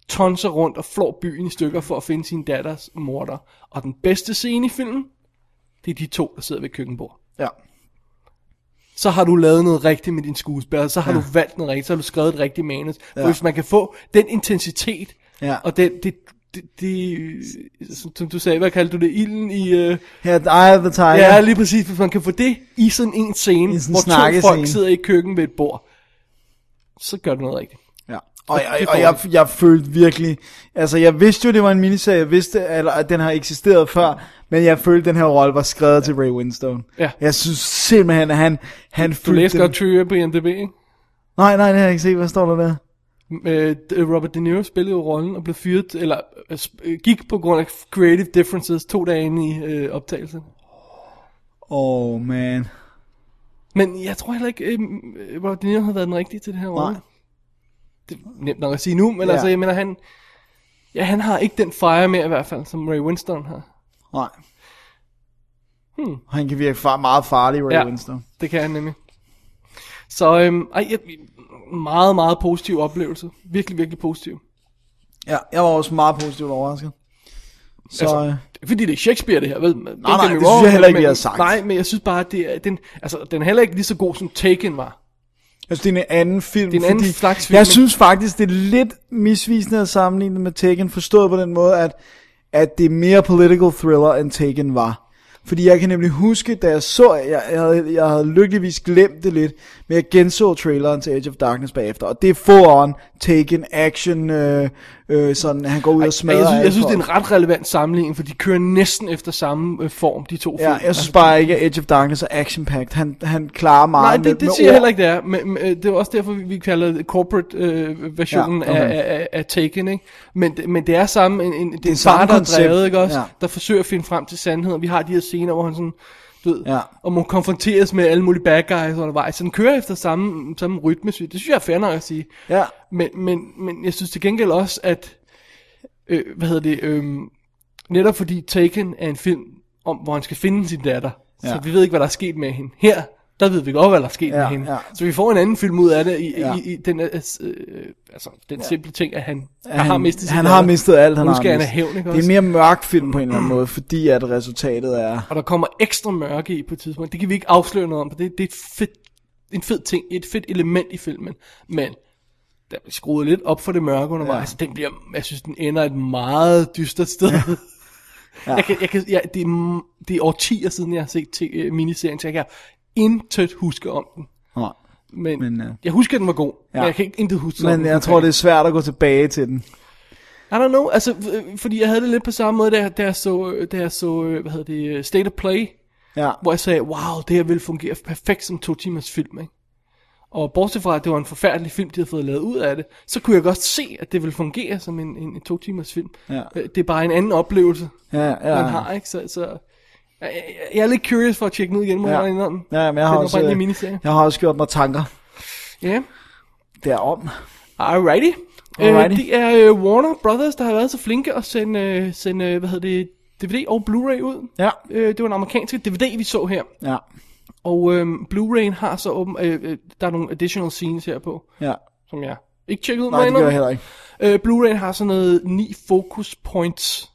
Speaker 3: tonser rundt og flår byen i stykker for at finde sin datters morter. Og den bedste scene i filmen, det er de to, der sidder ved køkkenbordet.
Speaker 4: Ja.
Speaker 3: Så har du lavet noget rigtigt med din skuespiller, så har ja. du valgt noget rigtigt, så har du skrevet et rigtigt manus. Ja. For
Speaker 4: Ja.
Speaker 3: hvis man kan få den intensitet,
Speaker 4: Ja.
Speaker 3: og den, det, det, det, som- som du sagde, hvad kaldte du det, ilden i... Øh,
Speaker 4: Her er Eye of the Tiger.
Speaker 3: Ja, lige præcis. Hvis man kan få det i sådan en scene,
Speaker 4: I sådan en
Speaker 3: hvor to
Speaker 4: snakkescene.
Speaker 3: folk sidder i køkken ved et bord, så gør du noget rigtigt.
Speaker 4: Ja. Og,
Speaker 3: Det- det
Speaker 4: jeg,
Speaker 3: får
Speaker 4: og jeg, jeg følte virkelig, altså jeg vidste jo, det var en miniserie, jeg vidste, at, at den har eksisteret før, men jeg følte, at den her rolle var skrevet til Ray Winstone.
Speaker 3: Ja.
Speaker 4: Jeg synes simpelthen, at han, han
Speaker 3: Du læste
Speaker 4: den-
Speaker 3: godt Trivia på IMDb, ikke?
Speaker 4: Nej, nej, det har jeg ikke set. Hvad står der der?
Speaker 3: Øh, d- Robert De Niro spillede jo rollen og blev fyret, eller øh, sp- øh, gik på grund af creative differences to dage inde i øh, optagelsen.
Speaker 4: Oh man.
Speaker 3: Men jeg tror heller ikke, øh, øh, Robert De Niro havde været den rigtige til det her rolle.
Speaker 4: Nej.
Speaker 3: Det er nemt nok at sige nu, men ja.
Speaker 4: Ja.
Speaker 3: altså, jeg mener, han, ja, han har ikke den fire mere i hvert fald, som Ray Winston har.
Speaker 4: Nej. Hmm. Han kan virke far, meget farlig, Ray
Speaker 3: Ja.
Speaker 4: ja. Winstone.
Speaker 3: Det kan han nemlig. Så øhm, ej, jeg, meget, meget positiv oplevelse. Virkelig, virkelig positiv.
Speaker 4: Ja, jeg var også meget positivt overrasket. Så
Speaker 3: Altså,
Speaker 4: altså,
Speaker 3: Det er Fordi det er Shakespeare, det her, ved man.
Speaker 4: nej, det synes jeg heller ikke, vi har sagt.
Speaker 3: Nej, men jeg synes bare, at det er, den, altså, den er heller ikke lige så god, som Taken var.
Speaker 4: jeg synes, det er en anden film.
Speaker 3: Det er en anden slags film,
Speaker 4: Jeg
Speaker 3: ikke?
Speaker 4: synes faktisk, det er lidt misvisende at sammenligne det med Taken, forstået på den måde, at, at det er mere political thriller, end Taken var. Fordi jeg kan nemlig huske, da jeg så, jeg, jeg, havde, jeg havde lykkeligvis glemt det lidt, men jeg genså traileren til Edge of Darkness bagefter, og det er full on, taken, action, øh, øh, sådan, han går ud og
Speaker 3: Men
Speaker 4: smadrer
Speaker 3: Altså, jeg synes, jeg
Speaker 4: alle
Speaker 3: synes, det er
Speaker 4: folk.
Speaker 3: en ret relevant sammenligning, for de kører næsten efter samme øh, form, de to
Speaker 4: Ja,
Speaker 3: film. Altså,
Speaker 4: jeg synes bare ikke, at Edge of Darkness er action-packed. Han, han klarer meget
Speaker 3: Nej,
Speaker 4: med,
Speaker 3: det,
Speaker 4: med
Speaker 3: det siger jeg
Speaker 4: ord.
Speaker 3: heller ikke, det er. Men, men øh, det er også derfor, vi, vi kalder det corporate-versionen
Speaker 4: Ja,
Speaker 3: øh, ja,
Speaker 4: okay.
Speaker 3: okay. af, af, af Taken, ikke? Men, det- men det er samme, en, en, det er en
Speaker 4: samme
Speaker 3: far, der er
Speaker 4: koncept,
Speaker 3: drevet, ikke også? Ja.
Speaker 4: ja.
Speaker 3: Der forsøger at finde frem til sandheden. Vi har de her scener, hvor han sådan, du ved, ja.
Speaker 4: Ja.
Speaker 3: og må konfronteres med alle mulige bad guys undervejs. Så den kører efter samme, samme rytme, synes jeg. det synes jeg er fair nok at sige.
Speaker 4: Ja.
Speaker 3: Men, men, men jeg synes til gengæld også, at, øh, hvad hedder det, øh, netop fordi Taken er en film, om hvor han skal finde sin datter, ja. så
Speaker 4: Ja.
Speaker 3: vi ved ikke, hvad der er sket med hende. Her, der ved vi godt, hvad der er sket ja,
Speaker 4: Ja,
Speaker 3: med hende. Ja.
Speaker 4: ja.
Speaker 3: Så vi får en anden film ud af det, i, ja.
Speaker 4: Ja.
Speaker 3: i, i den, øh, øh, altså, den ja. simple ting, at han, at han
Speaker 4: han,
Speaker 3: har mistet sin
Speaker 4: han
Speaker 3: datter.
Speaker 4: har mistet alt, han
Speaker 3: nu
Speaker 4: har
Speaker 3: skal han
Speaker 4: mistet.
Speaker 3: have hævn, ikke
Speaker 4: Det er
Speaker 3: også?
Speaker 4: en mere mørk film på en eller anden måde, fordi at resultatet er...
Speaker 3: Og der kommer ekstra mørke i på et tidspunkt. Det kan vi ikke afsløre noget om, for det, det er et fedt, en fed ting, et fedt element i filmen. Men der bliver skruet lidt op for det mørke undervejs. Ja. Altså, den bliver, jeg synes, den ender et meget dystert sted. Ja. Ja. Jeg kan, jeg kan, jeg, det, er, m- det er årtier siden, jeg har set t- øh, miniserien, så jeg kan intet huske om den.
Speaker 4: Nej.
Speaker 3: Men, men
Speaker 4: Men,
Speaker 3: uh...
Speaker 4: øh, jeg,
Speaker 3: jeg husker, at den var god, ja. men
Speaker 4: Ja.
Speaker 3: jeg kan ikke intet huske om
Speaker 4: men
Speaker 3: den.
Speaker 4: jeg tror, det er svært at gå tilbage til den.
Speaker 3: I don't know, altså, øh, fordi jeg havde det lidt på samme måde, da, jeg- da jeg så, øh, da jeg så øh, hvad hedder det, øh, State of Play.
Speaker 4: Ja.
Speaker 3: hvor jeg sagde, wow, det her vil fungere perfekt som to timers film, ikke? Og bortset fra, at det var en forfærdelig film, de havde fået lavet ud af det, så kunne jeg godt se, at det ville fungere som en, en, en to timers film.
Speaker 4: Ja.
Speaker 3: Øh, Det er bare en anden oplevelse,
Speaker 4: Ja, ja.
Speaker 3: man har, ikke? Så, så jeg, jeg- jeg er lidt curious for at tjekke den ud igen, må
Speaker 4: Ja.
Speaker 3: jeg indrømme.
Speaker 4: Ja, men jeg har,
Speaker 3: den
Speaker 4: også, øh,
Speaker 3: oprindelige miniserie.
Speaker 4: jeg har også gjort mig tanker
Speaker 3: Ja.
Speaker 4: derom.
Speaker 3: Alrighty.
Speaker 4: Alrighty.
Speaker 3: Alrighty. Øh, det er øh, Warner Brothers, der har været så flinke at sende, øh, sende øh, hvad hedder det, DVD og Blu-ray ud.
Speaker 4: Ja.
Speaker 3: Øh, det var den amerikanske DVD, vi så her.
Speaker 4: Ja,
Speaker 3: Og øh, Blu-rayen har så åben, øh, øh, der er nogle additional scenes her på,
Speaker 4: ja.
Speaker 3: som jeg ikke tjekkede ud
Speaker 4: Nej, det
Speaker 3: med
Speaker 4: gør jeg heller ikke.
Speaker 3: Øh, Blu-rayen har sådan noget ni focus points.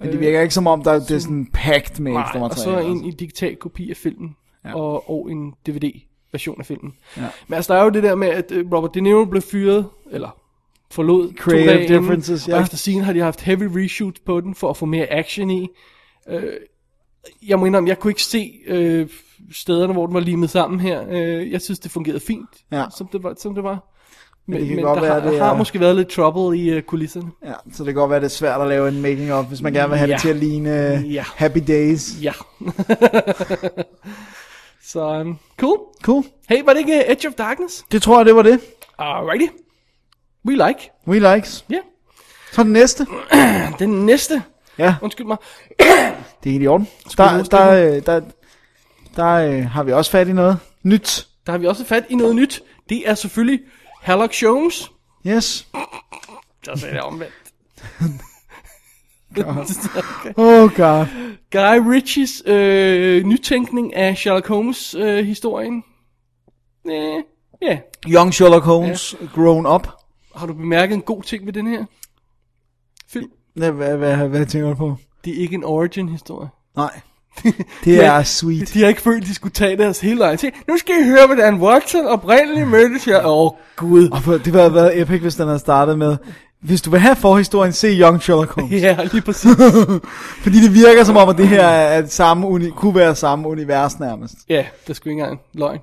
Speaker 4: Men det virker ikke som om, der det er sådan packed med altså. ekstra
Speaker 3: Øh, og så
Speaker 4: materiale.
Speaker 3: en, en digital kopi af filmen, ja. og, og en DVD version af filmen. Ja. Men altså, der er jo det der med, at øh, Robert De Niro blev fyret, eller forlod to
Speaker 4: Creative
Speaker 3: dage inden,
Speaker 4: differences, ja.
Speaker 3: Og efter scene har de haft heavy reshoots på den, for at få mere action i. Øh, jeg må indrømme, jeg kunne ikke se øh, stederne, hvor den var limet sammen her. Øh, jeg synes, det fungerede fint,
Speaker 4: Ja.
Speaker 3: som, det var, som det var. Men,
Speaker 4: det kan
Speaker 3: men
Speaker 4: godt
Speaker 3: der
Speaker 4: være,
Speaker 3: har,
Speaker 4: det
Speaker 3: har
Speaker 4: er-
Speaker 3: måske været lidt trouble i øh, kulisserne.
Speaker 4: Ja, så det kan godt være, det er svært at lave en making of, hvis man gerne vil have det
Speaker 3: Ja.
Speaker 4: til at ligne øh,
Speaker 3: Ja.
Speaker 4: Happy Days.
Speaker 3: Ja. Så um, cool.
Speaker 4: Cool.
Speaker 3: Hey, var det ikke øh, Edge of Darkness?
Speaker 4: Det tror jeg, det var det.
Speaker 3: Alrighty. We like.
Speaker 4: We likes.
Speaker 3: Ja.
Speaker 4: Så den næste.
Speaker 3: Den næste.
Speaker 4: Ja,
Speaker 3: Undskyld mig.
Speaker 4: det er helt i orden. Der,
Speaker 3: vi hoste
Speaker 4: der, øh, der, der øh, har vi også fat i noget nyt.
Speaker 3: Der har vi også fat i noget nyt. Det er selvfølgelig Sherlock Holmes.
Speaker 4: Yes.
Speaker 3: Der sagde jeg omvendt.
Speaker 4: Oh god.
Speaker 3: Guy Ritchies øh, nytænkning af Sherlock Holmes-historien. øh, ja. Yeah.
Speaker 4: Young Sherlock Holmes, grown up.
Speaker 3: Har du bemærket en god ting ved den her? Film.
Speaker 4: Hvad, hvad, hvad, hvad tænker du på?
Speaker 3: Det er ikke en origin-historie.
Speaker 4: Nej. Det er sweet.
Speaker 3: De har ikke følt, de skulle tage deres hele vejen til. Nu skal I høre, hvordan Watson oprindeligt mødtes jeg. Åh, oh, gud.
Speaker 4: Og prøv, det havde været epic, hvis den havde startet med, hvis du vil have forhistorien, se Young Sherlock Holmes.
Speaker 3: Ja, lige præcis.
Speaker 4: Fordi det virker som om, at det her er et samme uni- kunne være samme univers nærmest.
Speaker 3: Ja, det er sgu ikke engang en løgn.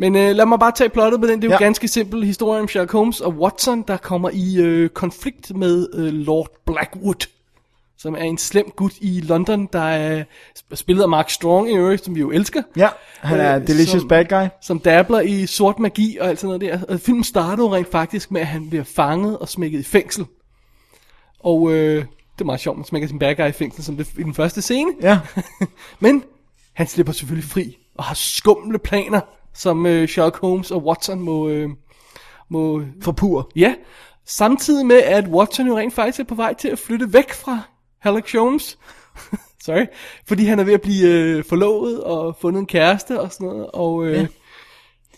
Speaker 3: Men øh, lad mig bare tage plottet med den. Det er jo
Speaker 4: Ja.
Speaker 3: ja. ganske simpel historie om Sherlock Holmes og Watson, der kommer i øh, konflikt med øh, Lord Blackwood, som er en slem gut i London, der er spillet af Mark Strong i øvrigt, som vi jo elsker.
Speaker 4: Ja, han er
Speaker 3: Øh,
Speaker 4: delicious
Speaker 3: som-
Speaker 4: bad guy.
Speaker 3: som dabler i sort magi og alt sådan noget der. Og filmen starter jo rent faktisk med, at han bliver fanget og smækket i fængsel. Og øh, det er meget sjovt, man smækker sin bad guy i fængsel, som det i den første scene.
Speaker 4: Ja,
Speaker 3: Men han slipper selvfølgelig fri og har skumle planer, som øh, Sherlock Holmes og Watson må, øh, må...
Speaker 4: for pur.
Speaker 3: Ja, samtidig med, at Watson jo rent faktisk er på vej til at flytte væk fra Sherlock Holmes. Sorry. Fordi han er ved at blive øh, forlovet og fundet en kæreste og sådan noget. Og øh, ja.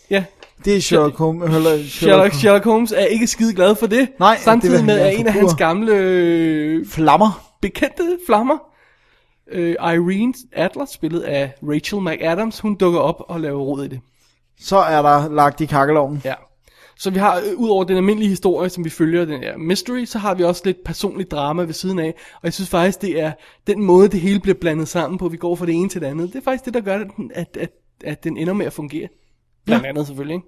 Speaker 3: ja,
Speaker 4: Det er Sherlock Holmes. Eller Sherlock,
Speaker 3: Sherlock, Sherlock Holmes er ikke skide glad for det.
Speaker 4: Nej, det vil
Speaker 3: samtidig
Speaker 4: han
Speaker 3: med
Speaker 4: gerne
Speaker 3: at en af
Speaker 4: forpurre.
Speaker 3: hans gamle øh,
Speaker 4: Flammer.
Speaker 3: bekendte flammer, øh, Irene Adler, spillet af Rachel McAdams, hun dukker op og laver rod i det.
Speaker 4: Så er der lagt i kakkeloven.
Speaker 3: Ja. Så vi har, øh, ud over den almindelige historie, som vi følger, den her mystery, så har vi også lidt personligt drama ved siden af. Og jeg synes faktisk, det er den måde, det hele bliver blandet sammen på. Vi går fra det ene til det andet. Det er faktisk det, der gør, at, den- at, at, at den ender med at fungere. Blandt ja. andet selvfølgelig, ikke?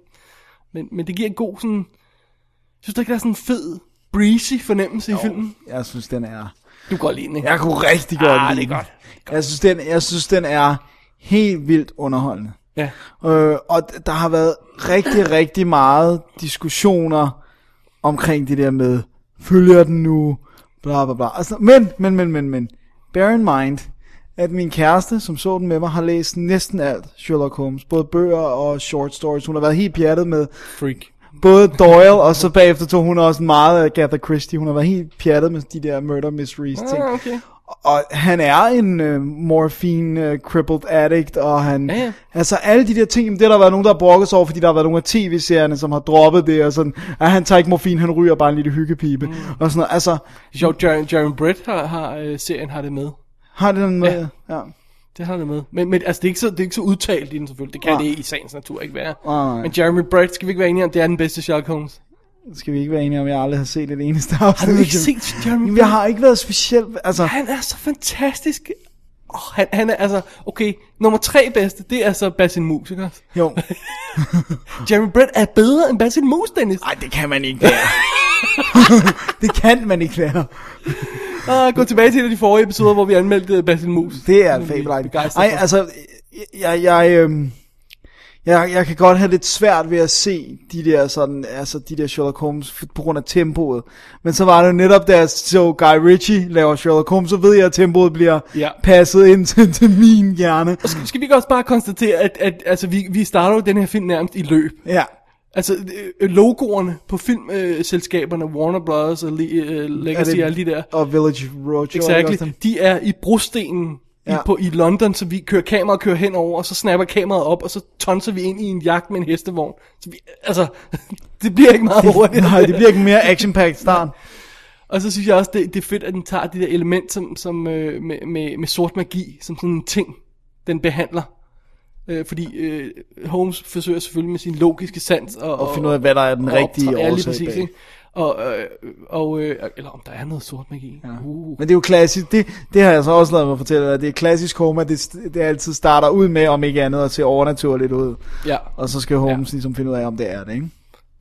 Speaker 3: Men, men det giver en god sådan... Jeg synes du ikke, der er sådan en fed, breezy fornemmelse jo. i filmen?
Speaker 4: Jeg synes, den er...
Speaker 3: Du går lige ind, ikke?
Speaker 4: Jeg kunne rigtig godt
Speaker 3: Ah, det er
Speaker 4: lide den.
Speaker 3: godt.
Speaker 4: Jeg synes, den, jeg synes, den er helt vildt underholdende.
Speaker 3: Ja.
Speaker 4: Øh, og d- der har været rigtig, rigtig meget diskussioner omkring det der med, følger den nu, bla bla bla. Altså, men, men, men, men, men, bear in mind, at min kæreste, som så den med mig, har læst næsten alt Sherlock Holmes. Både bøger og short stories. Hun har været helt pjattet med
Speaker 3: Freak.
Speaker 4: både Doyle, og så bagefter tog hun også meget af Agatha Christie. Hun har været helt pjattet med de der murder mysteries ting.
Speaker 3: Ah, okay.
Speaker 4: Og han er en øh, morphine øh, crippled addict, og han...
Speaker 3: Ja, ja.
Speaker 4: Altså alle de der ting, jamen, det har der været nogen, der har brokket sig over, fordi der har været nogle af tv-serierne, som har droppet det, og sådan, at han tager ikke morfin, han ryger bare en lille hyggepipe, mm. og sådan noget. Altså,
Speaker 3: Sjovt, Jeremy, Jeremy Brett har, har øh, serien har det med.
Speaker 4: har det den med... Ja. ja.
Speaker 3: Det har det med. Men, men altså, det, er ikke så, det er ikke så udtalt i den selvfølgelig. Det kan
Speaker 4: Nej.
Speaker 3: det i sagens natur ikke være.
Speaker 4: Nej.
Speaker 3: Men Jeremy Brett, skal vi ikke være enige om, det er den bedste Sherlock Holmes?
Speaker 4: Det skal vi ikke være enige om, jeg aldrig har set et eneste afsnit.
Speaker 3: Har du ikke set Jeremy
Speaker 4: Jamen,
Speaker 3: Brett?
Speaker 4: jeg har ikke været specielt... Altså,
Speaker 3: Han er så fantastisk. Oh, han, han er altså, okay, nummer tre bedste, det er så Basil Mus, ikke også?
Speaker 4: jo.
Speaker 3: Jeremy Brett er bedre end Basil Mus, Dennis.
Speaker 4: Nej, det kan man ikke lære. det kan man ikke lære.
Speaker 3: Ah, gå tilbage til en af de forrige episoder, hvor vi anmeldte Basil Mus.
Speaker 4: Det er
Speaker 3: Som vi
Speaker 4: fabelagt.
Speaker 3: begejstrede
Speaker 4: Nej,
Speaker 3: for.
Speaker 4: altså, jeg, jeg, øh, Jeg, jeg kan godt have lidt svært ved at se de der, sådan, altså de der Sherlock Holmes f- på grund af tempoet. Men så var det jo netop, da jeg så Guy Ritchie laver Sherlock Holmes, så ved jeg, at tempoet bliver
Speaker 3: Ja.
Speaker 4: ja. passet ind til, til min hjerne.
Speaker 3: Skal vi ikke også bare konstatere, at, at altså, vi, vi starter jo den her film nærmest i løb.
Speaker 4: Ja.
Speaker 3: Altså, øh, logoerne på filmselskaberne, Warner Brothers og Le- øh,
Speaker 4: Er
Speaker 3: Legacy
Speaker 4: det-
Speaker 3: og alle de der,
Speaker 4: Og Village Roadshow.
Speaker 3: exactly, de er i brostenen ja. i,
Speaker 4: Ja.
Speaker 3: på, i London, så vi kører kameraet kører henover, og så snapper kameraet op, og så tonser vi ind i en jagt med en hestevogn. Så vi, altså, det bliver ikke meget hurtigt.
Speaker 4: Nej, det bliver ikke mere action-packed start.
Speaker 3: Og så synes jeg også, det, det er fedt, at den tager de der element som, som, øh, med, med, med sort magi, som sådan en ting, den behandler. Øh, fordi øh, Holmes forsøger selvfølgelig med sin logiske sans og,
Speaker 4: Og finde ud af, hvad der er den rigtige
Speaker 3: optræ-
Speaker 4: årsag bag.
Speaker 3: ikke? Og, øh, og øh, eller om der er noget sort magi. Ja. Uh.
Speaker 4: Men det er jo klassisk, det, det har jeg så også lavet mig fortælle dig, det er klassisk Homer, det, det altid starter ud med, om ikke andet, at se overnaturligt ud.
Speaker 3: ja,
Speaker 4: Og så skal Holmes ja. ligesom finde ud af, om det er det, ikke?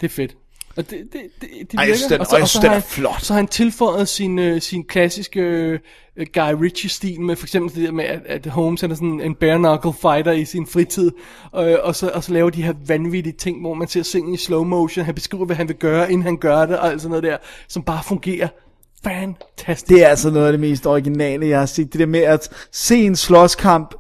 Speaker 3: det er fedt. Og det, det, det, det
Speaker 2: Ej, jeg synes, den-
Speaker 3: og så,
Speaker 2: og jeg
Speaker 3: og så,
Speaker 2: synes, den
Speaker 3: har
Speaker 2: er
Speaker 3: han-
Speaker 2: flot.
Speaker 3: så har han tilføjet sin, øh, sin klassiske øh, Guy Ritchie-stil med for eksempel det der med, at, at Holmes han er sådan en bare-knuckle fighter i sin fritid, øh, og, så, og så laver de her vanvittige ting, hvor man ser scenen i slow motion, han beskriver, hvad han vil gøre, inden han gør det, og alt sådan noget der, som bare fungerer fantastisk.
Speaker 4: Det er altså noget af det mest originale, jeg har set. Det der med at se en slåskamp,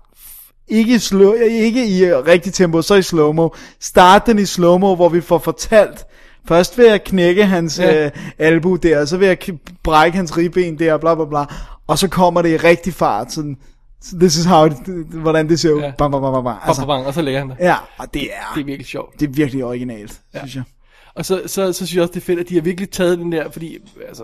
Speaker 4: ikke i, slow, ikke i øh, rigtig tempo, så i slow-mo. Start den i slow-mo, hvor vi får fortalt, først vil jeg knække hans
Speaker 3: Ja.
Speaker 4: ja. øh, albu der, og så vil jeg k- brække hans ribben der, bla bla bla. Og så kommer det i rigtig fart, sådan, this is how, it, hvordan det ser ud.
Speaker 3: Ja.
Speaker 4: Ja. Bam, bam, bam, bam, bam.
Speaker 3: Altså,
Speaker 4: Altså,
Speaker 3: bang, og så lægger han det.
Speaker 4: ja, og det er,
Speaker 3: Det er virkelig sjovt.
Speaker 4: det er virkelig originalt, ja. synes jeg.
Speaker 3: Og så, så, så synes jeg også, det er fedt, at de har virkelig taget den der, fordi altså,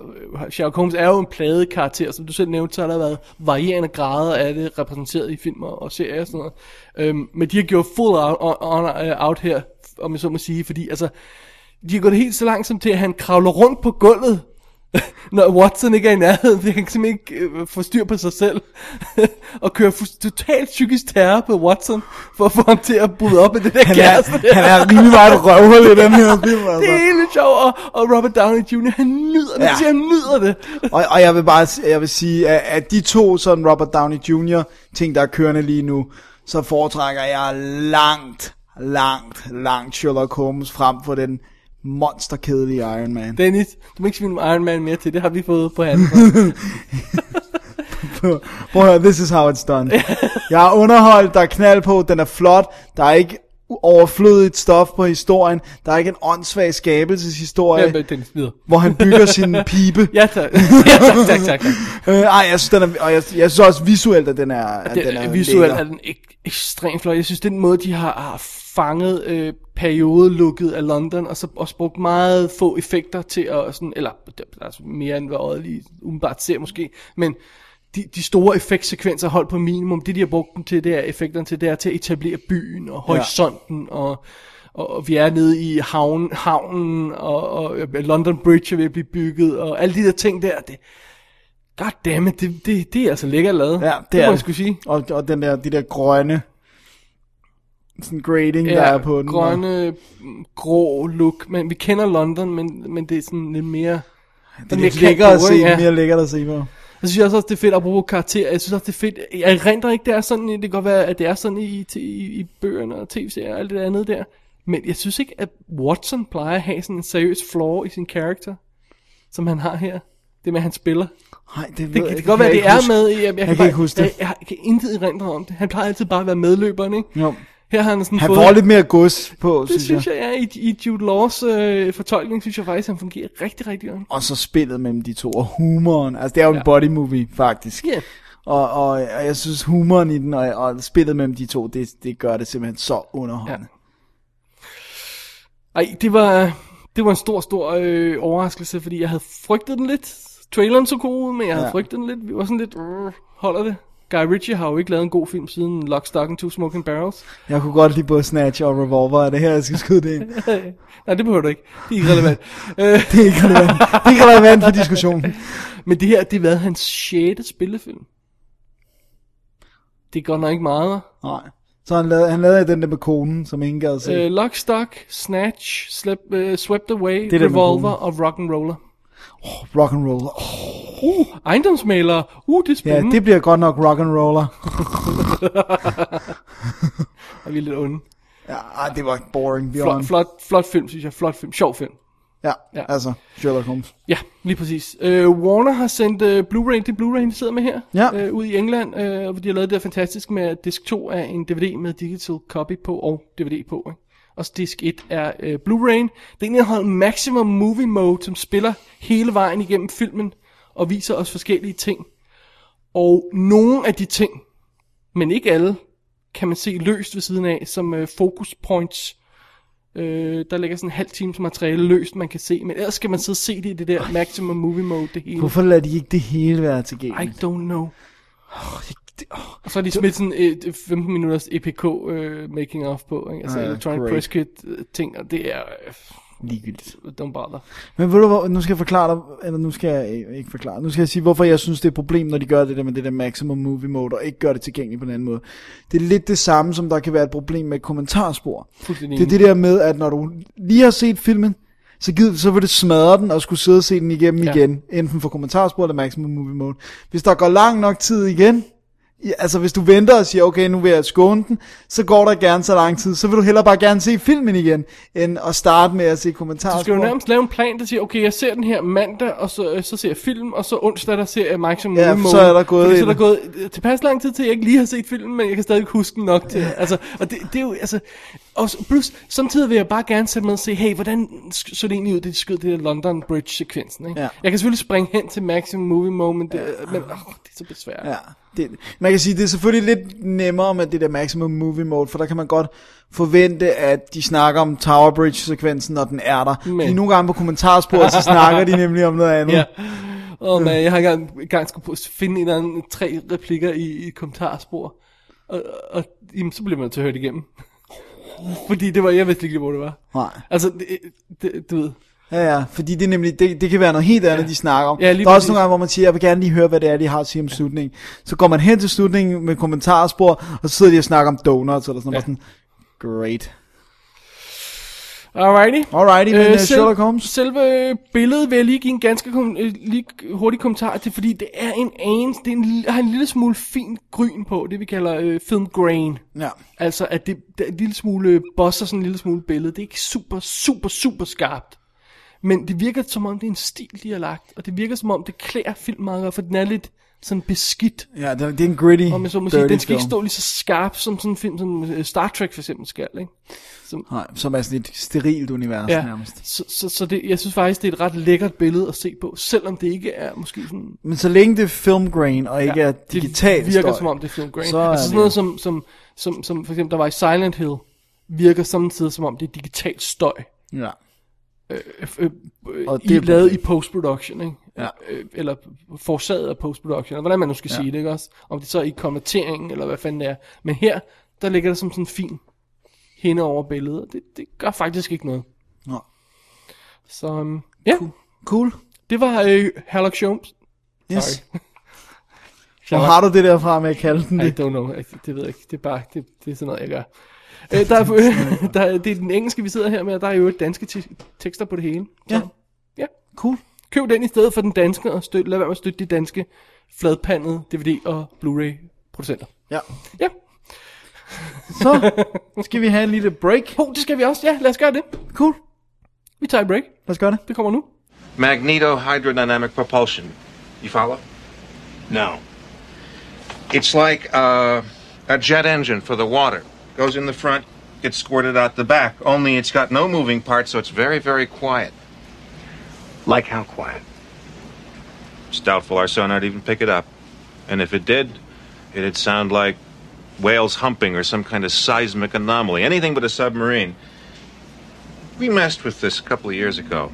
Speaker 3: Sherlock Holmes er jo en pladet karakter, som du selv nævnte, så har der været varierende grader af det repræsenteret i film og, og serier og sådan noget. Øhm, men de har gjort full out, on, on, øh, out her, om jeg så må sige, fordi altså, de har gået helt så langt som til, at han kravler rundt på gulvet, når Watson ikke er i nærheden, fordi han kan simpelthen ikke øh, få styr på sig selv, og kører fu- totalt psykisk terror på Watson, for at få ham til at bryde op med det der
Speaker 4: Han
Speaker 3: kæreste der.
Speaker 4: er, han er rimelig meget et røvhul i den her film,
Speaker 3: Det
Speaker 4: altså.
Speaker 3: er helt sjovt, og, og Robert Downey Jr., han nyder det,
Speaker 4: Ja.
Speaker 3: ja. han nyder det.
Speaker 4: og, og jeg vil bare s- jeg vil sige, at, at de to sådan Robert Downey Jr. ting, der er kørende lige nu, så foretrækker jeg langt, langt, langt Sherlock Holmes frem for den monsterkedelige Iron Man. Det,
Speaker 3: Dennis, du må ikke svine om Iron Man mere til, det har vi fået på handen.
Speaker 4: Prøv at høre, this is how it's done. jeg har underholdt, der er knald på, den er flot, der er ikke u- overflødigt stof på historien, der er ikke en åndssvag skabelseshistorie,
Speaker 3: Ja, men Dennis, videre.
Speaker 4: hvor han bygger sin pibe.
Speaker 3: Ja, tak. Ja, tak, tak, tak. tak.
Speaker 4: Øh, ej, jeg synes, den er, og jeg, jeg synes også visuelt, at den er, at
Speaker 3: Den,
Speaker 4: den er
Speaker 3: visuelt
Speaker 4: lækker.
Speaker 3: er den ek- ekstremt flot. Jeg synes, den måde, de har, har fanget øh, periodelukket af London, og så også brugt meget få effekter til at, sådan, eller der er altså mere end hvad øjet lige umiddelbart ser måske, men de, de store effektsekvenser holdt på minimum. Det, de har brugt dem til, det er effekterne til, det er til at etablere byen og horisonten ja. og og og vi er nede i havn, havnen, og, og øh, London Bridge er ved at blive bygget, og alle de der ting der, det, goddammit, det, det, det er altså lækkert lavet.
Speaker 4: Ja, det,
Speaker 3: det
Speaker 4: er
Speaker 3: må jeg
Speaker 4: det.
Speaker 3: skulle sige.
Speaker 4: Og, og den der, de der grønne sådan grading, ja, der er på den.
Speaker 3: grønne, mm, grå look. Men vi kender London, men, men det er sådan lidt mere...
Speaker 4: Og, det er lidt lækkere at se,
Speaker 3: ja.
Speaker 4: ja. mere lækkert at se på.
Speaker 3: Jeg synes også, det er fedt, apropos karakter, jeg synes også, det er fedt, jeg erindrer ikke, det er sådan, i- det kan godt være, at det er sådan i, i, i bøgerne og tv-serier og alt det andet der, men jeg synes ikke, at Watson plejer at have sådan en seriøs flaw i sin karakter, som han har her, det med, at han spiller.
Speaker 4: Nej,
Speaker 3: Det,
Speaker 4: det, ved jeg
Speaker 3: det kan
Speaker 4: ikke,
Speaker 3: godt være,
Speaker 4: jeg
Speaker 3: det
Speaker 4: ikke
Speaker 3: er
Speaker 4: huske.
Speaker 3: med i, jeg, jeg, jeg
Speaker 4: kan
Speaker 3: bare,
Speaker 4: ikke huske det.
Speaker 3: Jeg, jeg, jeg kan intet erindre om det. Han plejer altid bare at være medløberen, ikke?
Speaker 4: Jo.
Speaker 3: Her har han sådan
Speaker 4: Mm. Han
Speaker 3: fået...
Speaker 4: får lidt mere gods på,
Speaker 3: Det
Speaker 4: synes,
Speaker 3: synes
Speaker 4: jeg.
Speaker 3: jeg, ja, i, i Jude Laws øh, fortolkning, synes jeg faktisk, han fungerer rigtig, rigtig godt.
Speaker 4: Og så spillet mellem de to, og humoren. Altså, det er jo en body movie, faktisk.
Speaker 3: Ja.
Speaker 4: Og, og, og jeg synes, humoren i den, og, og spillet mellem de to, det, det gør det simpelthen så underholdende.
Speaker 3: Ej, det var, det var en stor, stor øh, overraskelse, fordi jeg havde frygtet den lidt. Traileren så god ud, men jeg havde ja.
Speaker 4: Ja.
Speaker 3: frygtet den lidt. Vi var sådan lidt, øh, holder det? Guy Ritchie har jo ikke lavet en god film siden Lock, Stock and Two Smoking Barrels.
Speaker 4: Jeg kunne godt lide både Snatch og Revolver, og det her, jeg skal skyde det ind.
Speaker 3: Nej, det behøver du ikke. Det er ikke relevant. øh,
Speaker 4: Det er ikke relevant. Det er ikke relevant for diskussionen.
Speaker 3: men det her, det har været hans sjette spillefilm. Det går nok ikke meget. hva'?
Speaker 4: Nej. Så han lavede, han lavede den der med konen, som ingen gad se.
Speaker 3: Øh, Lock, Stock, Snatch, slap, øh, Swept Away,
Speaker 4: der med
Speaker 3: Revolver og Rock'n'Roller.
Speaker 4: rock and roll. Oh,
Speaker 3: Uh, ejendomsmalere. Uh, det er
Speaker 4: ja,
Speaker 3: spændende.
Speaker 4: det bliver godt nok rock and roller.
Speaker 3: Og vi er lidt onde.
Speaker 4: Ja, ej, det var boring
Speaker 3: Flot,
Speaker 4: beyond.
Speaker 3: flot, flot film, synes jeg. Flot film. Sjov film.
Speaker 4: Ja,
Speaker 3: Ja.
Speaker 4: ja, altså Sherlock Holmes.
Speaker 3: Ja, lige præcis. Øh, Warner har sendt øh, Blu-ray, det Blu-ray, vi sidder med her,
Speaker 4: Ja.
Speaker 3: øh, ud i England, øh, hvor de har lavet det der fantastisk med, at disk 2 er en DVD med digital copy på og DVD på. Ikke? Og så disk 1 er øh, Blu-ray. Den indeholder Maximum Movie Mode, som spiller hele vejen igennem filmen og viser os forskellige ting. Og nogle af de ting, men ikke alle, kan man se løst ved siden af, som øh, focus points. Øh, der ligger sådan en halv times materiale løst, man kan se. Men ellers skal man sidde og se det i det der maximum movie mode, det hele.
Speaker 4: Hvorfor lader de ikke det hele være
Speaker 3: I
Speaker 4: tilgængeligt?
Speaker 3: don't know. Og så har de smidt sådan et 15 minutters EPK øh, making of på, ikke? altså
Speaker 4: Ah,
Speaker 3: uh, electronic
Speaker 4: great.
Speaker 3: press kit øh, ting, og det er øh,
Speaker 4: Ligegyldigt.
Speaker 3: don't bother.
Speaker 4: Men ved du hvor, nu skal jeg forklare dig, eller nu skal jeg øh, ikke forklare, nu skal jeg sige, hvorfor jeg synes, det er et problem, når de gør det der med det der maximum movie mode, og ikke gør det tilgængeligt på en anden måde. Det er lidt det samme, som der kan være et problem med kommentarspor.
Speaker 3: Fuldstændig
Speaker 4: Det er det der med, at når du lige har set filmen, så, gider, så vil det smadre den og skulle sidde og se den igennem
Speaker 3: Ja.
Speaker 4: ja. igen, enten for kommentarspor eller maximum movie mode. Hvis der går lang nok tid igen, i- altså hvis du venter og siger, okay, nu vil jeg skåne den, så går der gerne så lang tid, så vil du hellere bare gerne se filmen igen, end at starte med at se kommentarspor.
Speaker 3: Du skal jo nærmest lave en plan, der siger, okay, jeg ser den her mandag, og så, øh, så ser jeg film, og så onsdag, der ser jeg Maximum
Speaker 4: Ja,
Speaker 3: Movie
Speaker 4: så
Speaker 3: Mode.
Speaker 4: er der gået
Speaker 3: Fordi så er
Speaker 4: en-
Speaker 3: der gået øh, tilpas lang tid til, at jeg ikke lige har set filmen, men jeg kan stadig huske den nok til. Altså, og det, det er jo, altså... Og s- plus, samtidig vil jeg bare gerne sætte mig og se, hey, hvordan sk- så det egentlig ud, det skød det der London Bridge-sekvensen, ikke?
Speaker 4: Ja.
Speaker 3: Jeg kan selvfølgelig springe hen til Maximum Movie Mode, men det, øh, men, åh, det er så besværligt.
Speaker 4: Ja, det, man kan sige, det er selvfølgelig lidt nemmere med det der maximum movie mode, for der kan man godt forvente, at de snakker om Tower Bridge-sekvensen, når den er der.
Speaker 3: Men-
Speaker 4: Men. De nogle gange på kommentarsporet, så snakker de nemlig om noget andet.
Speaker 3: Ja. Åh oh, man, jeg har engang, engang skulle på- finde en eller anden tre replikker i, i et kommentarspor. Og, og jamen, så blev man til at høre det igennem. Fordi det var, jeg vidste ikke lige, hvor det var.
Speaker 4: Nej.
Speaker 3: Altså, det, det, du ved.
Speaker 4: Ja, ja, fordi det, er nemlig, det, det kan være noget helt andet, de snakker om.
Speaker 3: Ja, lige
Speaker 4: der
Speaker 3: præcis.
Speaker 4: er også nogle gange, hvor man siger, jeg vil gerne lige høre, hvad det er, de har at sige om slutningen. Så går man hen til slutningen med kommentarspor, og så sidder de og snakker om donuts, eller sådan noget. Ja. Sådan, great.
Speaker 3: Alrighty.
Speaker 4: Alrighty, men øh, Sherlock Holmes,
Speaker 3: Selve billedet vil jeg lige give en ganske kom, øh, lige hurtig kommentar til, fordi det er en anelse, det er en, lille- har en lille smule fin gryn på, det vi kalder øh, film grain.
Speaker 4: ja.
Speaker 3: Altså, at det, det er en lille smule øh, bosser sådan en lille smule billede. Det er ikke super, super, super skarpt. Men det virker som om, det er en stil, de har lagt. Og det virker som om, det klæder film meget godt, for den er lidt sådan beskidt.
Speaker 4: ja det, er- det er en gritty,
Speaker 3: Om jeg så må sige,
Speaker 4: dirty
Speaker 3: den skal ikke
Speaker 4: film.
Speaker 3: stå lige så skarp som sådan en film, som øh, Star Trek for eksempel skal, ikke?
Speaker 4: Nej, som er sådan et sterilt univers ja. nærmest.
Speaker 3: så, så, så det, jeg synes faktisk, det er et ret lækkert billede at se på, selvom det ikke er måske sådan
Speaker 4: Men så længe det er filmgrain og ikke ja, er digital
Speaker 3: det virker
Speaker 4: støj,
Speaker 3: som om det er film grain.
Speaker 4: så
Speaker 3: Så
Speaker 4: er
Speaker 3: altså sådan
Speaker 4: det-
Speaker 3: noget som, som, som, som for eksempel der var i Silent Hill, virker samtidig som om det er digital støj.
Speaker 4: Ja.
Speaker 3: øh, øh, øh,
Speaker 4: Og
Speaker 3: i,
Speaker 4: det er
Speaker 3: lavet i
Speaker 4: problem.
Speaker 3: post-production, ikke?
Speaker 4: Ja.
Speaker 3: Øh, eller forårsaget af post-production, eller hvordan man nu skal ja.
Speaker 4: Ja.
Speaker 3: sige det, ikke også? Om det så er i konverteringen, eller hvad fanden det er. Men her, der ligger der som sådan en fin hende over billedet, og det, det gør faktisk ikke noget.
Speaker 4: Nå.
Speaker 3: Så um, ja, cool.
Speaker 4: Cool.
Speaker 3: det var øh, Herlock Holmes.
Speaker 4: Yes.
Speaker 3: Sorry.
Speaker 4: Hvor har du det derfra med at kalde den
Speaker 3: I
Speaker 4: det?
Speaker 3: don't know, Altså, det, det ved jeg ikke, det er bare, det, det er sådan noget, jeg gør. Øh, der, er, der, er- det er den engelske, vi sidder her med, og der er jo et danske te- tekster på det hele. Så,
Speaker 4: Ja.
Speaker 3: Ja.
Speaker 4: Cool.
Speaker 3: Køb den i stedet for den danske, og støt, lad være med at støtte de danske fladpandede DVD- og Blu-ray-producenter.
Speaker 4: Ja.
Speaker 3: Ja,
Speaker 4: Så skal vi have en lille break.
Speaker 3: ho, det skal vi også. Ja, lad os gøre det.
Speaker 4: Cool.
Speaker 3: Vi tager et break.
Speaker 4: Lad os gøre det.
Speaker 3: Det kommer nu.
Speaker 7: Magnetohydrodynamic propulsion. You follow? No. It's like uh, a jet engine for the water. Goes in the front, gets squirted out the back, only it's got no moving parts, so it's very, very quiet.
Speaker 6: Like how quiet?
Speaker 7: It's doubtful our sonar'd even pick it up. And if it did, it'd sound like whales humping or some kind of seismic anomaly, anything but a submarine. We messed with this a couple of years ago.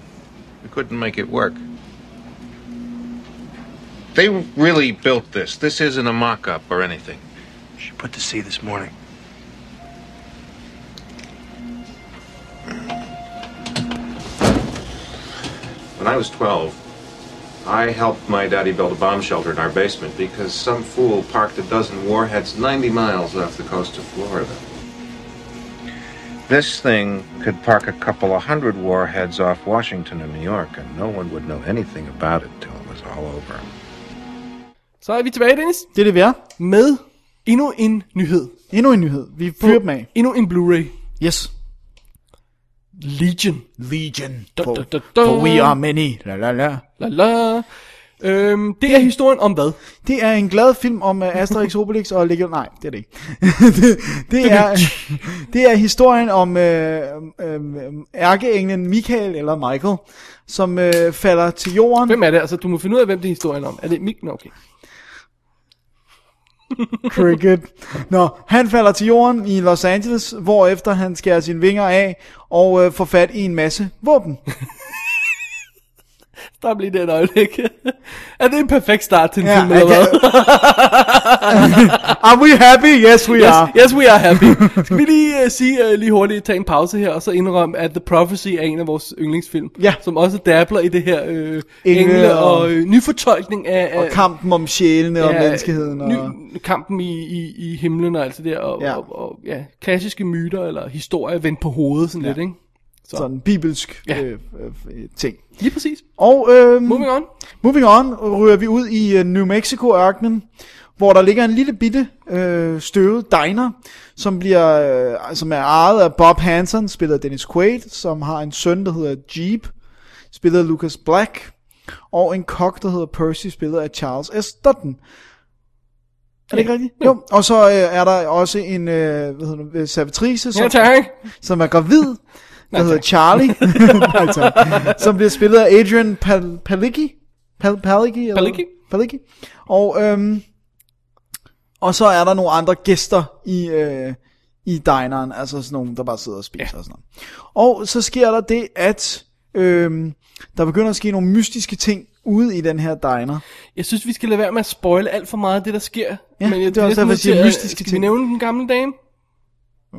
Speaker 7: We couldn't make it work. They really built this. This isn't a mock up or anything.
Speaker 6: She put to sea this morning.
Speaker 7: When I was 12, I helped my daddy build a bomb shelter in our basement because some fool parked a dozen warheads 90 miles off the coast of Florida. This thing could park a couple of hundred warheads off Washington and New York, and no one would know anything about it till it was all over.
Speaker 3: Så er vi tilbage, Dennis,
Speaker 4: Det er det, vi er.
Speaker 3: med endnu en nyhed.
Speaker 4: Endnu en nyhed. Vi fyrer dem af.
Speaker 3: Endnu en Blu-ray.
Speaker 4: Yes.
Speaker 3: Legion.
Speaker 4: Legion.
Speaker 3: Da,
Speaker 4: For,
Speaker 3: da, da, da.
Speaker 4: for we are many. La, la, la.
Speaker 3: La la. Øhm, det er historien om hvad?
Speaker 4: Det er en glad film om uh, Asterix, Obelix og Legion. Nej, det er det ikke. det, det, er, det er historien om øh, øh, ærkeenglen Michael, eller Michael, som øh, falder til jorden.
Speaker 3: Hvem er det? Altså, du må finde ud af, hvem det er historien om. Er det Mik? Nå, okay.
Speaker 4: Cricket. Nå, han falder til jorden i Los Angeles, hvor efter han skærer sine vinger af og øh, får fat i en masse våben.
Speaker 3: Der bliver det et øjeblik. er det en perfekt start til en
Speaker 4: Ja,
Speaker 3: film, eller
Speaker 4: jeg
Speaker 3: hvad?
Speaker 4: Are we happy? Yes, we
Speaker 3: Yes,
Speaker 4: are.
Speaker 3: yes, we are happy. Skal vi lige uh, sige uh, lige hurtigt, tage en pause her, og så indrømme, at The Prophecy er en af vores yndlingsfilm,
Speaker 4: Ja.
Speaker 3: som også dabler i det her øh,
Speaker 4: Engle
Speaker 3: engle
Speaker 4: og-
Speaker 3: og øh, nyfortolkning af,
Speaker 4: Og
Speaker 3: af
Speaker 4: kampen om sjælene og
Speaker 3: ja,
Speaker 4: menneskeheden. Og...
Speaker 3: ny, kampen i, i, i himlen og alt det der, og,
Speaker 4: Ja.
Speaker 3: ja. Og, og ja, klassiske myter eller historier vendt på hovedet sådan ja. lidt, ikke? Så.
Speaker 4: sådan bibelsk ja.
Speaker 3: Ja.
Speaker 4: øh, øh, øh, ting.
Speaker 3: Lige præcis.
Speaker 4: Og øh,
Speaker 3: Moving on.
Speaker 4: moving on ryger vi ud i øh, New Mexico-ørkenen, hvor der ligger en lille bitte øh, støvet diner, som bliver øh, som er ejet af Bob Hansen, spillet af Dennis Quaid, som har en søn, der hedder Jeep, spillet af Lucas Black, og en kok, der hedder Percy, spillet af Charles S. Dutton. Er det ikke rigtigt? Jo. Og så øh, er der også en øh, hvad hedder det, øh, servitrice, som,
Speaker 3: Ja, tak.
Speaker 4: som er gravid, der hedder Charlie, Nej, tak. som bliver spillet af Adrian Pal- Palicki. Pal- Palicki? eller-
Speaker 3: Palicki.
Speaker 4: Palicki. Og, øhm, og så er der nogle andre gæster i, øh, i dineren, altså sådan nogle, der bare sidder og spiser ja. og sådan noget. Og så sker der det, at øhm, der begynder at ske nogle mystiske ting ude i den her diner.
Speaker 3: Jeg synes, vi skal lade være med at spoile alt for meget af det, der sker.
Speaker 4: Ja,
Speaker 3: jeg
Speaker 4: det er også
Speaker 3: næsten
Speaker 4: derfor, jeg
Speaker 3: nødt til
Speaker 4: siger
Speaker 3: at-
Speaker 4: mystiske
Speaker 3: Skal vi
Speaker 4: ting.
Speaker 3: nævne den gamle dame?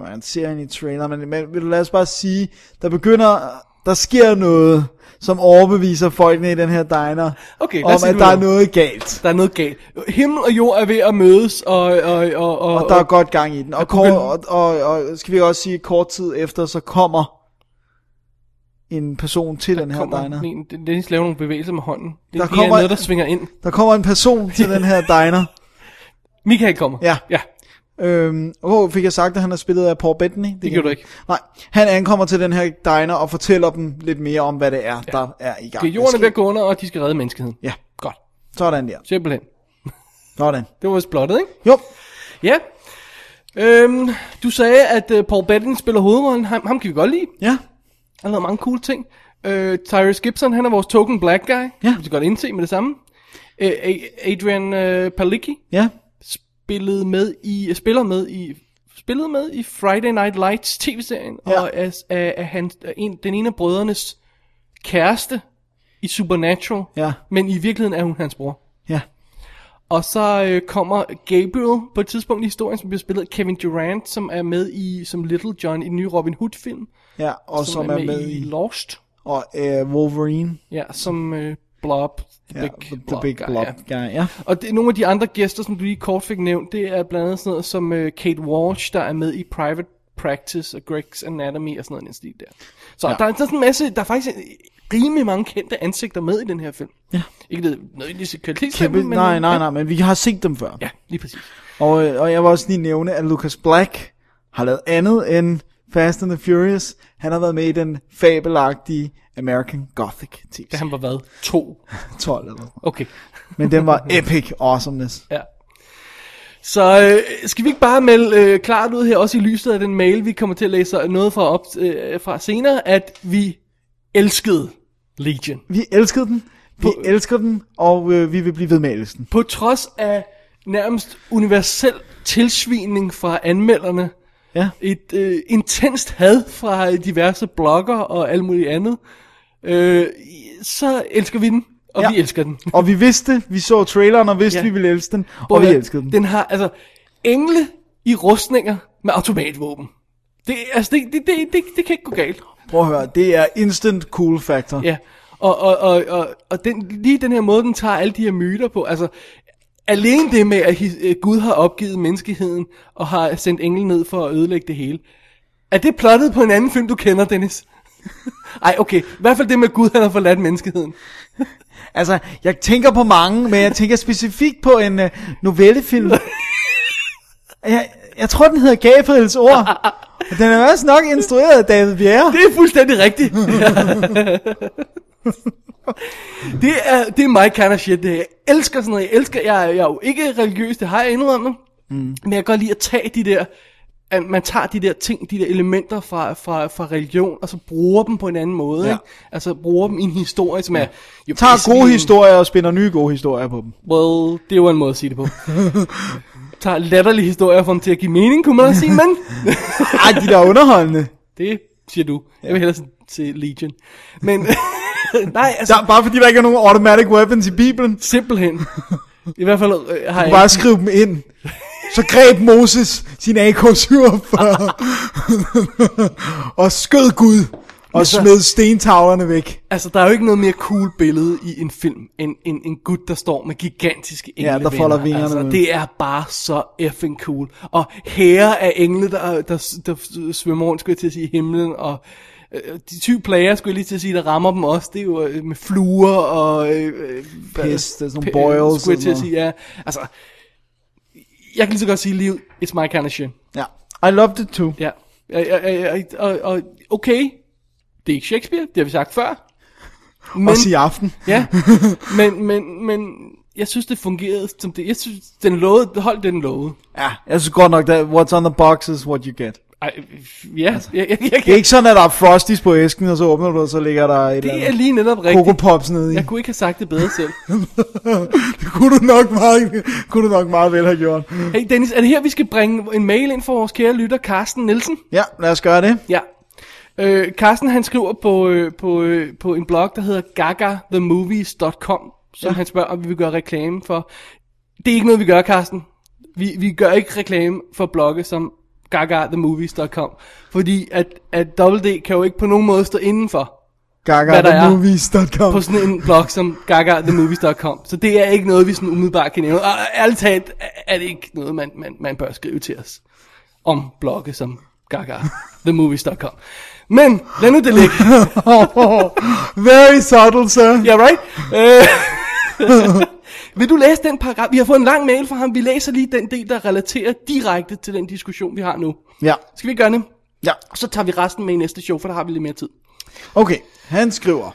Speaker 4: Man ser hende i trailer, men, men vil du lad os bare sige, der begynder, der sker noget, som overbeviser folkene i den her diner,
Speaker 3: Okay, lad
Speaker 4: om
Speaker 3: os sige,
Speaker 4: at
Speaker 3: du
Speaker 4: der
Speaker 3: ved
Speaker 4: er
Speaker 3: det.
Speaker 4: noget galt.
Speaker 3: Der er noget galt. Himmel og jord er ved at mødes, og... Og, og, og,
Speaker 4: Og der er godt gang i den. Og, kort,
Speaker 3: begynder-
Speaker 4: og, og, og skal vi også sige, kort tid efter, så kommer en person til den her
Speaker 3: kommer
Speaker 4: diner.
Speaker 3: en- Dennis laver nogle bevægelser med hånden. Det
Speaker 4: Der
Speaker 3: der
Speaker 4: kommer-
Speaker 3: kommer... er noget, der svinger ind.
Speaker 4: Der kommer en person til den her diner.
Speaker 3: Michael kommer.
Speaker 4: Ja.
Speaker 3: ja.
Speaker 4: Øhm, oh, fik jeg sagt, at han er spillet af Paul Bettany? Det,
Speaker 3: gjorde du ikke.
Speaker 4: Nej, han ankommer til den her diner og fortæller dem lidt mere om, hvad det er, ja. der er i gang.
Speaker 3: Okay, jorden er ved at gå under, og de skal redde menneskeheden.
Speaker 4: Ja,
Speaker 3: Godt.
Speaker 4: sådan der.
Speaker 3: Simpelthen.
Speaker 4: Sådan.
Speaker 3: Det var vist blottet, ikke?
Speaker 4: Jo,
Speaker 3: Ja. Øhm, du sagde, at uh, Paul Bettany spiller hovedrollen. Ham, ham kan vi godt lide.
Speaker 4: ja.
Speaker 3: Han har lavet mange cool ting. Øh, Tyrese Gibson, han er vores token black guy. Ja. Det kan vi godt indse med det samme. Øh, A- Adrian øh, Palicki
Speaker 4: Ja,
Speaker 3: spillede med i, spiller med i spillede med i Friday Night Lights tv-serien,
Speaker 4: Ja.
Speaker 3: ja. og er, er, er, han, er en, den ene af brødrenes kæreste i Supernatural,
Speaker 4: Ja.
Speaker 3: men i virkeligheden er hun hans bror.
Speaker 4: ja.
Speaker 3: Og så øh, kommer Gabriel på et tidspunkt i historien, som bliver spillet af Kevin Durant, som er med i som Little John i den nye Robin Hood-film,
Speaker 4: Ja, og som, som er, med i...
Speaker 3: Lost.
Speaker 4: Og øh, Wolverine.
Speaker 3: Ja, som øh, Blob. The
Speaker 4: Ja,
Speaker 3: Big
Speaker 4: the, the
Speaker 3: Blob
Speaker 4: Big
Speaker 3: guy,
Speaker 4: Blob
Speaker 3: Ja.
Speaker 4: guy. Ja.
Speaker 3: Og det, nogle af de andre gæster, som du lige kort fik nævnt, det er blandt andet sådan noget som øh, Kate Walsh, der er med i Private Practice og Greg's Anatomy og sådan noget i den stil der. Så ja. der er sådan en masse, der er faktisk en- rimelig mange kendte ansigter med i den her film. Ja. Ikke det nødvendigvis et
Speaker 4: Kæmpe,
Speaker 3: kvalitetsfilm, men...
Speaker 4: nej, nej, nej, men vi har set dem før.
Speaker 3: Ja, lige præcis.
Speaker 4: Og, øh, og jeg vil også lige nævne, at Lucas Black har lavet andet end Fast and the Furious. Han har været med i den fabelagtige American Gothic tv
Speaker 3: Da han var hvad? To.
Speaker 4: 12 eller noget.
Speaker 3: Okay.
Speaker 4: Men den var epic awesomeness.
Speaker 3: Ja. Så øh, skal vi ikke bare melde øh, klart ud her, også i lyset af den mail, vi kommer til at læse noget fra, op, øh, fra senere, at vi elskede Legion.
Speaker 4: Vi elskede den. Vi elsker den, og øh, vi vil blive ved med at elske den.
Speaker 3: På trods af nærmest universel tilsvining fra anmelderne,
Speaker 4: Ja.
Speaker 3: et øh, intenst had fra diverse blogger og alt muligt andet, øh, så elsker vi den, og
Speaker 4: Ja.
Speaker 3: ja. vi elsker den.
Speaker 4: Og vi vidste, vi så traileren og vidste, ja.
Speaker 3: Ja.
Speaker 4: vi ville elske den. Og vi
Speaker 3: Prøv at-
Speaker 4: elskede den.
Speaker 3: Den har, altså, engle i rustninger med automatvåben. Det, altså, det, det, det, det, det kan ikke gå galt.
Speaker 4: Prøv at høre, det er instant cool factor.
Speaker 3: Ja, og, og, og, og, og den, lige den her måde, den tager alle de her myter på, altså, alene det med, at his, øh, Gud har opgivet menneskeheden, og har sendt englen ned for at ødelægge det hele. Er det plottet på en anden film, du kender, Dennis? Ej, okay. I hvert fald det med, at Gud han har forladt menneskeheden.
Speaker 4: Altså, jeg tænker på mange, men jeg tænker specifikt på en øh, novellefilm. jeg, jeg tror, den hedder Gabriels ord. Og Den er også nok instrueret af David Bjerre.
Speaker 3: Det er fuldstændig rigtigt. det, er, det er my kind of shit, det her. Jeg elsker sådan noget. Jeg elsker, jeg, er- jeg er jo ikke religiøs, det har jeg indrømmet. Mm. Men jeg kan godt lide at tage de der, at man tager de der ting, de der elementer fra, fra, fra religion, og så bruger dem på en anden måde.
Speaker 4: Ja.
Speaker 3: Ja. Ikke? Altså bruger dem i en historie, som er... Jo,
Speaker 4: Tager gode
Speaker 3: basically-
Speaker 4: historier og spinder nye gode historier på dem.
Speaker 3: Well, det er jo en måde at sige det på. tager latterlige historier for dem til at give mening, kunne man også sige, men...
Speaker 4: Ej, de der er underholdende.
Speaker 3: det siger du. Jeg vil hellere se Legion. Men... nej, altså...
Speaker 4: Der, bare fordi der ikke er nogen automatic weapons i Bibelen.
Speaker 3: Simpelthen. I hvert fald øh, har jeg...
Speaker 4: Bare skriv dem ind. Så greb Moses sin AK-47 og skød Gud og
Speaker 3: så-
Speaker 4: smed stentavlerne væk.
Speaker 3: Altså, der er jo ikke noget mere cool billede i en film, end en, en gut, der står med gigantiske englevinger.
Speaker 4: der folder vingerne
Speaker 3: Altså,
Speaker 4: ud.
Speaker 3: det er bare så effing cool. Og hære af engle, der, der, der svømmer rundt, skulle jeg til at sige, i himlen, og øh, de tyve plager, skulle jeg lige til at sige, der rammer dem også, det er jo øh, med fluer og... Øh, øh, hvad-
Speaker 4: Pis, det er sådan nogle
Speaker 3: p-
Speaker 4: boils
Speaker 3: Skulle jeg
Speaker 4: og
Speaker 3: til at
Speaker 4: sådan
Speaker 3: sige, ja. Altså, jeg kan lige så godt sige, livet, it's my kind of shit.
Speaker 4: Ja. I loved it too.
Speaker 3: Ja. Og, og, og, og, og okay, det er ikke Shakespeare, det har vi sagt før. Men,
Speaker 4: Også i aften.
Speaker 3: ja, men, men, men jeg synes, det fungerede som det. Jeg synes, den lovede, holdt det, den lovede.
Speaker 4: Ja, jeg synes godt nok, that what's on the box is what you get.
Speaker 3: Ej, ja, altså, jeg, jeg, jeg,
Speaker 4: Det er ikke sådan, at der er frosties på æsken, og så åbner du, og så ligger der et
Speaker 3: det er
Speaker 4: eller
Speaker 3: lige netop
Speaker 4: andet Coco
Speaker 3: rigtigt.
Speaker 4: Pops nede i.
Speaker 3: Jeg kunne ikke have sagt det bedre selv.
Speaker 4: Det kunne du nok meget, kunne du nok meget vel have gjort.
Speaker 3: Hey Dennis, er det her, vi skal bringe en mail ind for vores kære lytter, Carsten Nielsen?
Speaker 4: Ja, lad os gøre det.
Speaker 3: Ja. Øh, Carsten han skriver på, øh, på, øh, på en blog, der hedder gagathemovies.com, som ja. han spørger, om vi vil gøre reklame for. Det er ikke noget, vi gør, Carsten. Vi, vi gør ikke reklame for blogge som gagathemovies.com, fordi at, at WD kan jo ikke på nogen måde stå indenfor Hvad der er.
Speaker 4: GagaTheMovies.com
Speaker 3: på sådan en blog som gagathemovies.com. Så det er ikke noget, vi sådan umiddelbart kan nævne. Og ærligt talt er det ikke noget, man, man, man bør skrive til os om blogge som gagathemovies.com. Men lad nu det ligge.
Speaker 4: Very subtle, sir.
Speaker 3: Ja, right? Øh, Vil du læse den paragraf? Vi har fået en lang mail fra ham. Vi læser lige den del, der relaterer direkte til den diskussion, vi har nu.
Speaker 4: Ja.
Speaker 3: Skal vi gøre det?
Speaker 4: Ja.
Speaker 3: Så tager vi resten med i næste show, for der har vi lidt mere tid.
Speaker 4: Okay, han skriver.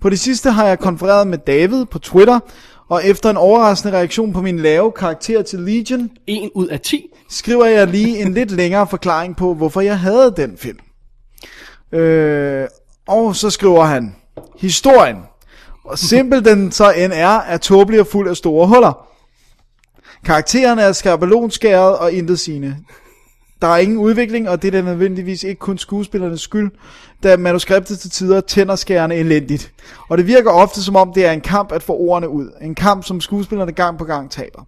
Speaker 4: På det sidste har jeg konfereret med David på Twitter, og efter en overraskende reaktion på min lave karakter til Legion,
Speaker 3: En ud af ti.
Speaker 4: skriver jeg lige en lidt længere forklaring på, hvorfor jeg havde den film. Øh, og så skriver han, historien, og simpel den så end er, er tåbelig og fuld af store huller. Karaktererne er skabelonskæret og intet sine. Der er ingen udvikling, og det er da nødvendigvis ikke kun skuespillernes skyld, da manuskriptet til tider tænder skærende elendigt. Og det virker ofte som om, det er en kamp at få ordene ud. En kamp, som skuespillerne gang på gang taber.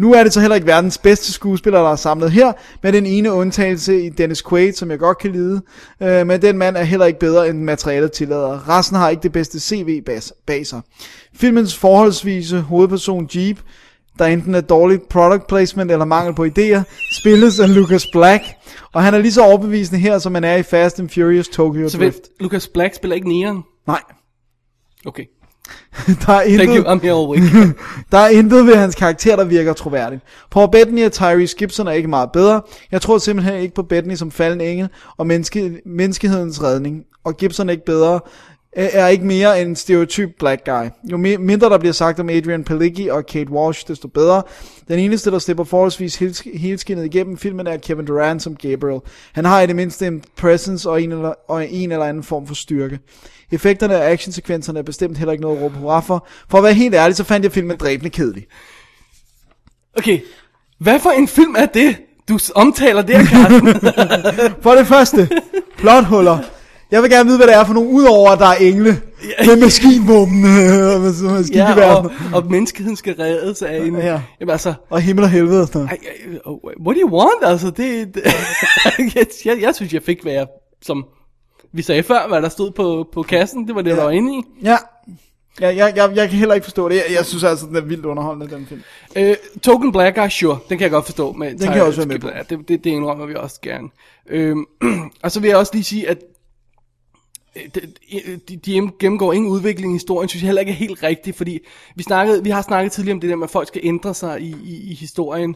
Speaker 4: Nu er det så heller ikke verdens bedste skuespiller, der er samlet her, med den ene undtagelse i Dennis Quaid, som jeg godt kan lide. Øh, men den mand er heller ikke bedre, end materialet tillader. Resten har ikke det bedste CV bas- bag sig. Filmens forholdsvise hovedperson Jeep, der enten er dårligt product placement eller mangel på idéer, spilles af Lucas Black, og han er lige så overbevisende her, som han er i Fast and Furious Tokyo
Speaker 3: Så
Speaker 4: Drift.
Speaker 3: vent, Lucas Black spiller ikke Neon.
Speaker 4: Nej,
Speaker 3: Okay.
Speaker 4: der er
Speaker 3: Thank you, Um-
Speaker 4: intet,
Speaker 3: I'm here all week.
Speaker 4: Der er intet ved hans karakter, der virker troværdigt. Paul Bettany og Tyrese Gibson er ikke meget bedre. Jeg tror simpelthen ikke på Bettany som falden engel og menneske, menneskehedens redning. Og Gibson er ikke bedre er er ikke mere end en stereotyp black guy. Jo me- mindre der bliver sagt om Adrian Palicki og Kate Walsh, desto bedre. Den eneste, der slipper forholdsvis hels- helskinnet igennem filmen, er Kevin Durant som Gabriel. Han har i det mindste en presence og en eller, og en eller anden form for styrke. Effekterne og actionsekvenserne er bestemt heller ikke noget at råbe hurra for. For at være helt ærlig, så fandt jeg filmen dræbende kedelig.
Speaker 3: Okay. Hvad for en film er det, du s- omtaler der, Carsten?
Speaker 4: For det første, plothuller. Jeg vil gerne vide, hvad det er for nogle, udover at der er engle med maskinvåben og med sådan
Speaker 3: ja,
Speaker 4: maskingeværer
Speaker 3: og, og menneskeheden skal reddes af en...
Speaker 4: Ja.
Speaker 3: Ja. Jamen altså...
Speaker 4: og himmel og helvede og sådan noget.
Speaker 3: Ej, ej, oh, what do you want? Altså, det... det jeg, jeg, jeg synes, jeg fik, hvad jeg... Som vi sagde før, hvad der stod på, på kassen. Det var det, jeg var inde i.
Speaker 4: Ja. Ja, jeg, jeg, jeg kan heller ikke forstå det. Jeg, jeg synes altså, den er vildt underholdende, den film.
Speaker 3: Øh, Token Black Eye, sure. Den kan jeg godt forstå. Men den
Speaker 4: kan jeg også være med på.
Speaker 3: Ja, det, det, det indrømmer vi også gerne. Øhm, og så vil jeg også lige sige, at øh, de, de- de gennemgår ingen udvikling i historien, synes jeg heller ikke er helt rigtigt, fordi vi, snakkede, vi har snakket tidligere om det der med, at folk skal ændre sig i, i, i historien.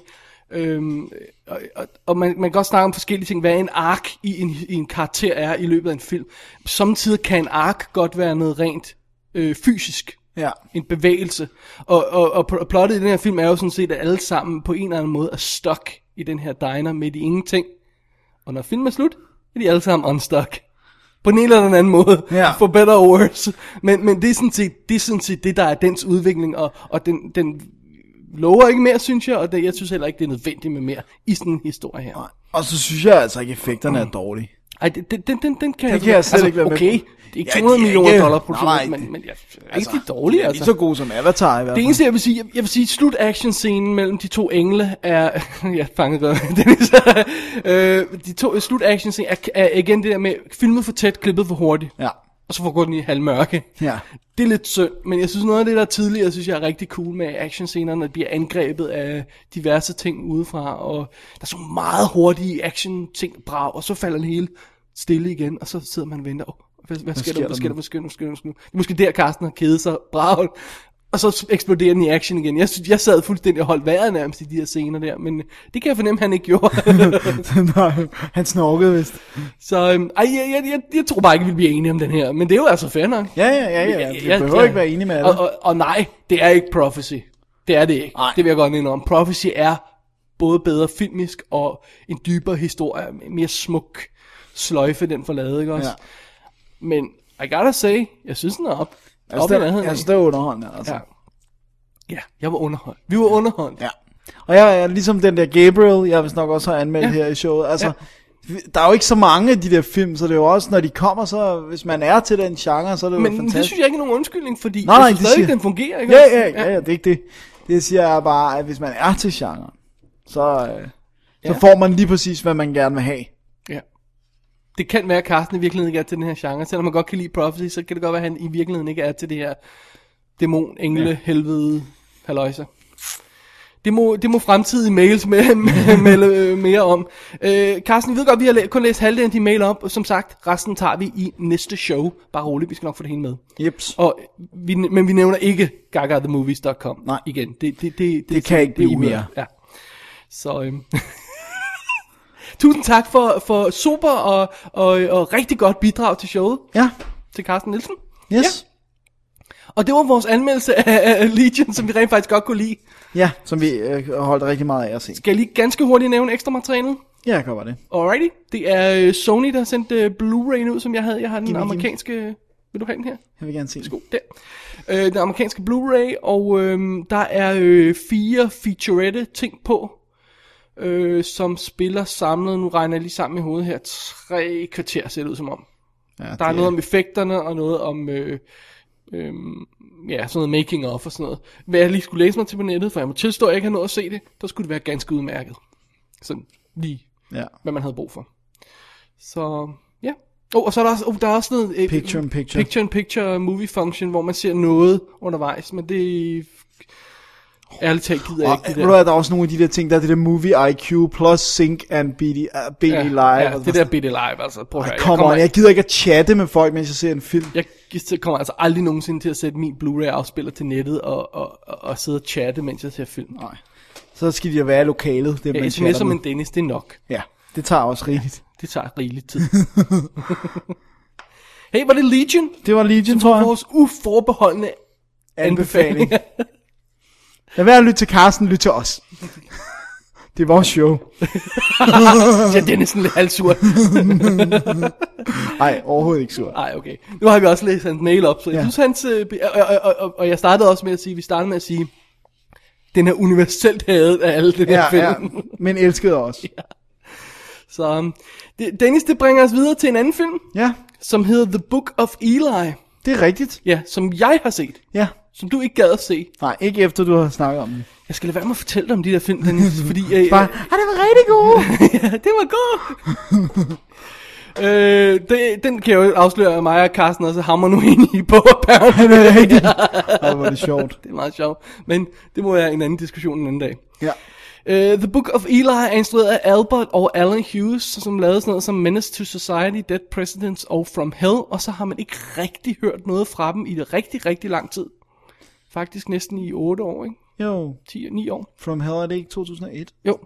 Speaker 3: Øhm, og og, og man, man kan godt snakke om forskellige ting, hvad en ark i en, i en karakter er i løbet af en film. Samtidig kan en ark godt være noget rent øh, fysisk.
Speaker 4: Ja.
Speaker 3: En bevægelse. Og, og, og pl- plottet i den her film er jo sådan set, at alle sammen på en eller anden måde er stuck i den her diner midt i ingenting. Og når filmen er slut, er de alle sammen unstuck. På den ene eller den anden måde.
Speaker 4: Ja.
Speaker 3: For better or worse. Men, men det, er sådan set, det er sådan set det, der er dens udvikling, og, og den, den lover ikke mere, synes jeg, og det, jeg synes heller ikke, det er nødvendigt med mere i sådan en historie her.
Speaker 4: Og så synes jeg altså ikke, effekterne er dårlige.
Speaker 3: Ej, det- den, den, den, den kan altså,
Speaker 4: kan jeg slet ikke være med
Speaker 3: Okay,
Speaker 4: på.
Speaker 3: det er ikke
Speaker 4: Ja,
Speaker 3: 200
Speaker 4: det er
Speaker 3: millioner
Speaker 4: ikke-
Speaker 3: dollar produktion,
Speaker 4: nej,
Speaker 3: men,
Speaker 4: det-
Speaker 3: men jeg, altså, rigtig dårlig,
Speaker 4: Altså.
Speaker 3: altså.
Speaker 4: Ikke så gode som Avatar i hvert
Speaker 3: Det
Speaker 4: fald.
Speaker 3: eneste, jeg vil sige, jeg, jeg vil sige, slut action scenen mellem de to engle er, jeg fangede godt, Dennis, øh, de to slut action scenen er, er, igen det der med, filmet for tæt, klippet for hurtigt,
Speaker 4: Ja.
Speaker 3: og så foregår den i halvmørke.
Speaker 4: Ja.
Speaker 3: Det er lidt synd, men jeg synes noget af det, der er tidligere, synes jeg er rigtig cool med actionscenerne, at bliver angrebet af diverse ting udefra, og der er så meget hurtige action ting brag, og så falder den hele stille igen, og så sidder man og venter, oh, hvad, hvad, sker der, hvad sker der, hvad sker der, hvad sker der, hvad sker der, Det er måske der, Carsten har kædet sig braget, og så eksploderer den i action igen. Jeg, synes, jeg sad fuldstændig og holdt vejret nærmest i de her scener der, men det kan jeg fornemme, han ikke gjorde.
Speaker 4: Nej, han snorkede vist.
Speaker 3: så øhm, ej, jeg, jeg, jeg, jeg, tror bare ikke, vi bliver enige om den her, men det er jo altså fair nok.
Speaker 4: Ja, ja, ja, ja. Vi behøver ikke være enige med alle.
Speaker 3: Og, og, og nej, det er ikke Prophecy. Det er det ikke.
Speaker 4: Nej.
Speaker 3: Det vil jeg godt minde om. Prophecy er både bedre filmisk og en dybere historie, en mere smuk sløjfe, den får lavet, ikke også?
Speaker 4: Ja.
Speaker 3: Ja. Men I gotta say, jeg synes den er op.
Speaker 4: Jeg
Speaker 3: op i nærheden.
Speaker 4: synes, Altså, det er underholdende, altså.
Speaker 3: ja. ja, jeg var underholdt. Vi var underholdt.
Speaker 4: Ja. Og jeg er ligesom den der Gabriel, jeg vist nok også har anmeldt ja.
Speaker 3: Ja.
Speaker 4: her i showet. Altså, ja. der er jo ikke så mange af de der film, så det er jo også, når de kommer, så hvis man er til den genre, så er det jo
Speaker 3: Men
Speaker 4: fantastisk.
Speaker 3: det synes jeg ikke er nogen undskyldning, fordi
Speaker 4: Nej, nej,
Speaker 3: jeg synes
Speaker 4: det
Speaker 3: stadig,
Speaker 4: siger-
Speaker 3: den fungerer, ikke?
Speaker 4: Ja,
Speaker 3: også?
Speaker 4: ja, ja, ja, det er ikke det. Det jeg siger jeg bare, at hvis man er til genren, så, øh, så får man lige præcis, hvad man gerne vil have.
Speaker 3: Ja. Det kan være, at Carsten i virkeligheden ikke er til den her genre. Selvom man godt kan lide Prophecy, så kan det godt være, at han i virkeligheden ikke er til det her dæmon, engle, ja. helvede, halløjser. Det må, det må fremtidige mails med, med, med, øh, mere om. Øh, Carsten, vi ved godt, vi har læ- kun læst halvdelen af de mail op, og som sagt, resten tager vi i næste show. Bare roligt, vi skal nok få det hele med.
Speaker 4: Jeps.
Speaker 3: Og vi, men vi nævner ikke gagathemovies.com
Speaker 4: Nej.
Speaker 3: igen. Det, det, det, det,
Speaker 4: Det kan ikke
Speaker 3: det er
Speaker 4: blive
Speaker 3: uhørt.
Speaker 4: mere.
Speaker 3: Ja. Så øhm. tusind tak for, for super og, og, og rigtig godt bidrag til showet,
Speaker 4: Ja,
Speaker 3: til Carsten Nielsen.
Speaker 4: yes.
Speaker 3: Og det var vores anmeldelse af af Legion, som vi rent faktisk godt kunne lide.
Speaker 4: Ja, ja som vi øh, holdt rigtig meget af at se.
Speaker 3: Skal jeg lige ganske hurtigt nævne ekstra materialet?
Speaker 4: Ja, jeg kommer det.
Speaker 3: Alrighty. Det er øh, Sony, der har sendt øh, Blu-ray'en ud, som jeg havde. Jeg har den
Speaker 4: giv.
Speaker 3: amerikanske... øh, Vil du have den her?
Speaker 4: Jeg vil gerne se det.
Speaker 3: Værsgo, der. Øh, den amerikanske Blu-ray, og øh, der er øh, fire featurette ting på, øh, som spiller samlet, nu regner jeg lige sammen i hovedet her, tre kvarter ser det ud som om.
Speaker 4: Ja,
Speaker 3: Der er noget om effekterne, og noget om, øh, øh, ja, sådan noget making of og sådan noget. Hvad jeg lige skulle læse mig til på nettet, for jeg må tilstå, at jeg ikke har nået at se det, der skulle det være ganske udmærket. Sådan lige
Speaker 4: Ja.
Speaker 3: hvad man havde brug for. Så ja. Oh, og så er der også, oh, der er også noget... eh,
Speaker 4: Picture in picture.
Speaker 3: Picture in picture movie function, hvor man ser noget undervejs, men det... Ærligt talt gider jeg
Speaker 4: Og, øh,
Speaker 3: ikke det
Speaker 4: ved
Speaker 3: der.
Speaker 4: du hvad, der er også nogle af de der ting, der er det der Movie IQ plus Sync and BD, uh, BD
Speaker 3: ja,
Speaker 4: Live.
Speaker 3: Ja,
Speaker 4: og
Speaker 3: det der bitte live, altså. Prøv at høre,
Speaker 4: Ej, come on, jeg gider ikke at chatte med folk, mens jeg ser en film.
Speaker 3: jeg, jeg kommer altså aldrig nogensinde til at sætte min Blu-ray-afspiller til nettet og, og, og, og sidde og chatte, mens jeg ser film. Nej,
Speaker 4: Så skal de jo være i lokalet, det
Speaker 3: jeg
Speaker 4: man
Speaker 3: sms'er
Speaker 4: chatter med.
Speaker 3: med Dennis, det er nok.
Speaker 4: Ja, det tager også rigeligt.
Speaker 3: Det tager rigeligt tid. hey, var det Legion?
Speaker 4: Det var Legion, tror jeg.
Speaker 3: Vores uforbeholdende
Speaker 4: Anbefaling. Lad være at lytte til Carsten, lyt til os. det er vores show.
Speaker 3: Ja, Dennis er lidt halvsur.
Speaker 4: Nej, overhovedet ikke sur.
Speaker 3: Ej, okay. Nu har vi også læst hans mail op, så jeg
Speaker 4: Ja.
Speaker 3: synes hans... øh, be- Og, og, og, og, og jeg startede også med at sige, vi startede med at sige, den er universelt hadet af alle det der
Speaker 4: Ja,
Speaker 3: film.
Speaker 4: ja, men elskede os.
Speaker 3: Så um, det, Dennis, det bringer os videre til en anden film,
Speaker 4: Ja,
Speaker 3: som hedder The Book of Eli.
Speaker 4: det er rigtigt.
Speaker 3: Ja, som jeg har set,
Speaker 4: Ja.
Speaker 3: som du ikke gad at se.
Speaker 4: Nej, ikke efter du har snakket om det.
Speaker 3: Jeg skal lade være med at fortælle dig om de der film, Dennis, fordi... Øh,
Speaker 4: Bare, ah, det var rigtig gode.
Speaker 3: ja, det var godt. øh, det, den kan jeg jo afsløre, at mig og Carsten også hammer nu ind i på, apparently.
Speaker 4: det er rigtigt. Ej, hvor er det sjovt.
Speaker 3: Det er meget sjovt, men det må være en anden diskussion en anden dag.
Speaker 4: Ja.
Speaker 3: Uh, The Book of Eli er instrueret af Albert og Alan Hughes, som lavede sådan noget som Menace to Society, Dead Presidents og From Hell, og så har man ikke rigtig hørt noget fra dem i rigtig, rigtig lang tid. Faktisk næsten i 8 år, ikke?
Speaker 4: Jo,
Speaker 3: 10 og 9 år.
Speaker 4: From Hell, er det ikke 2001?
Speaker 3: Jo.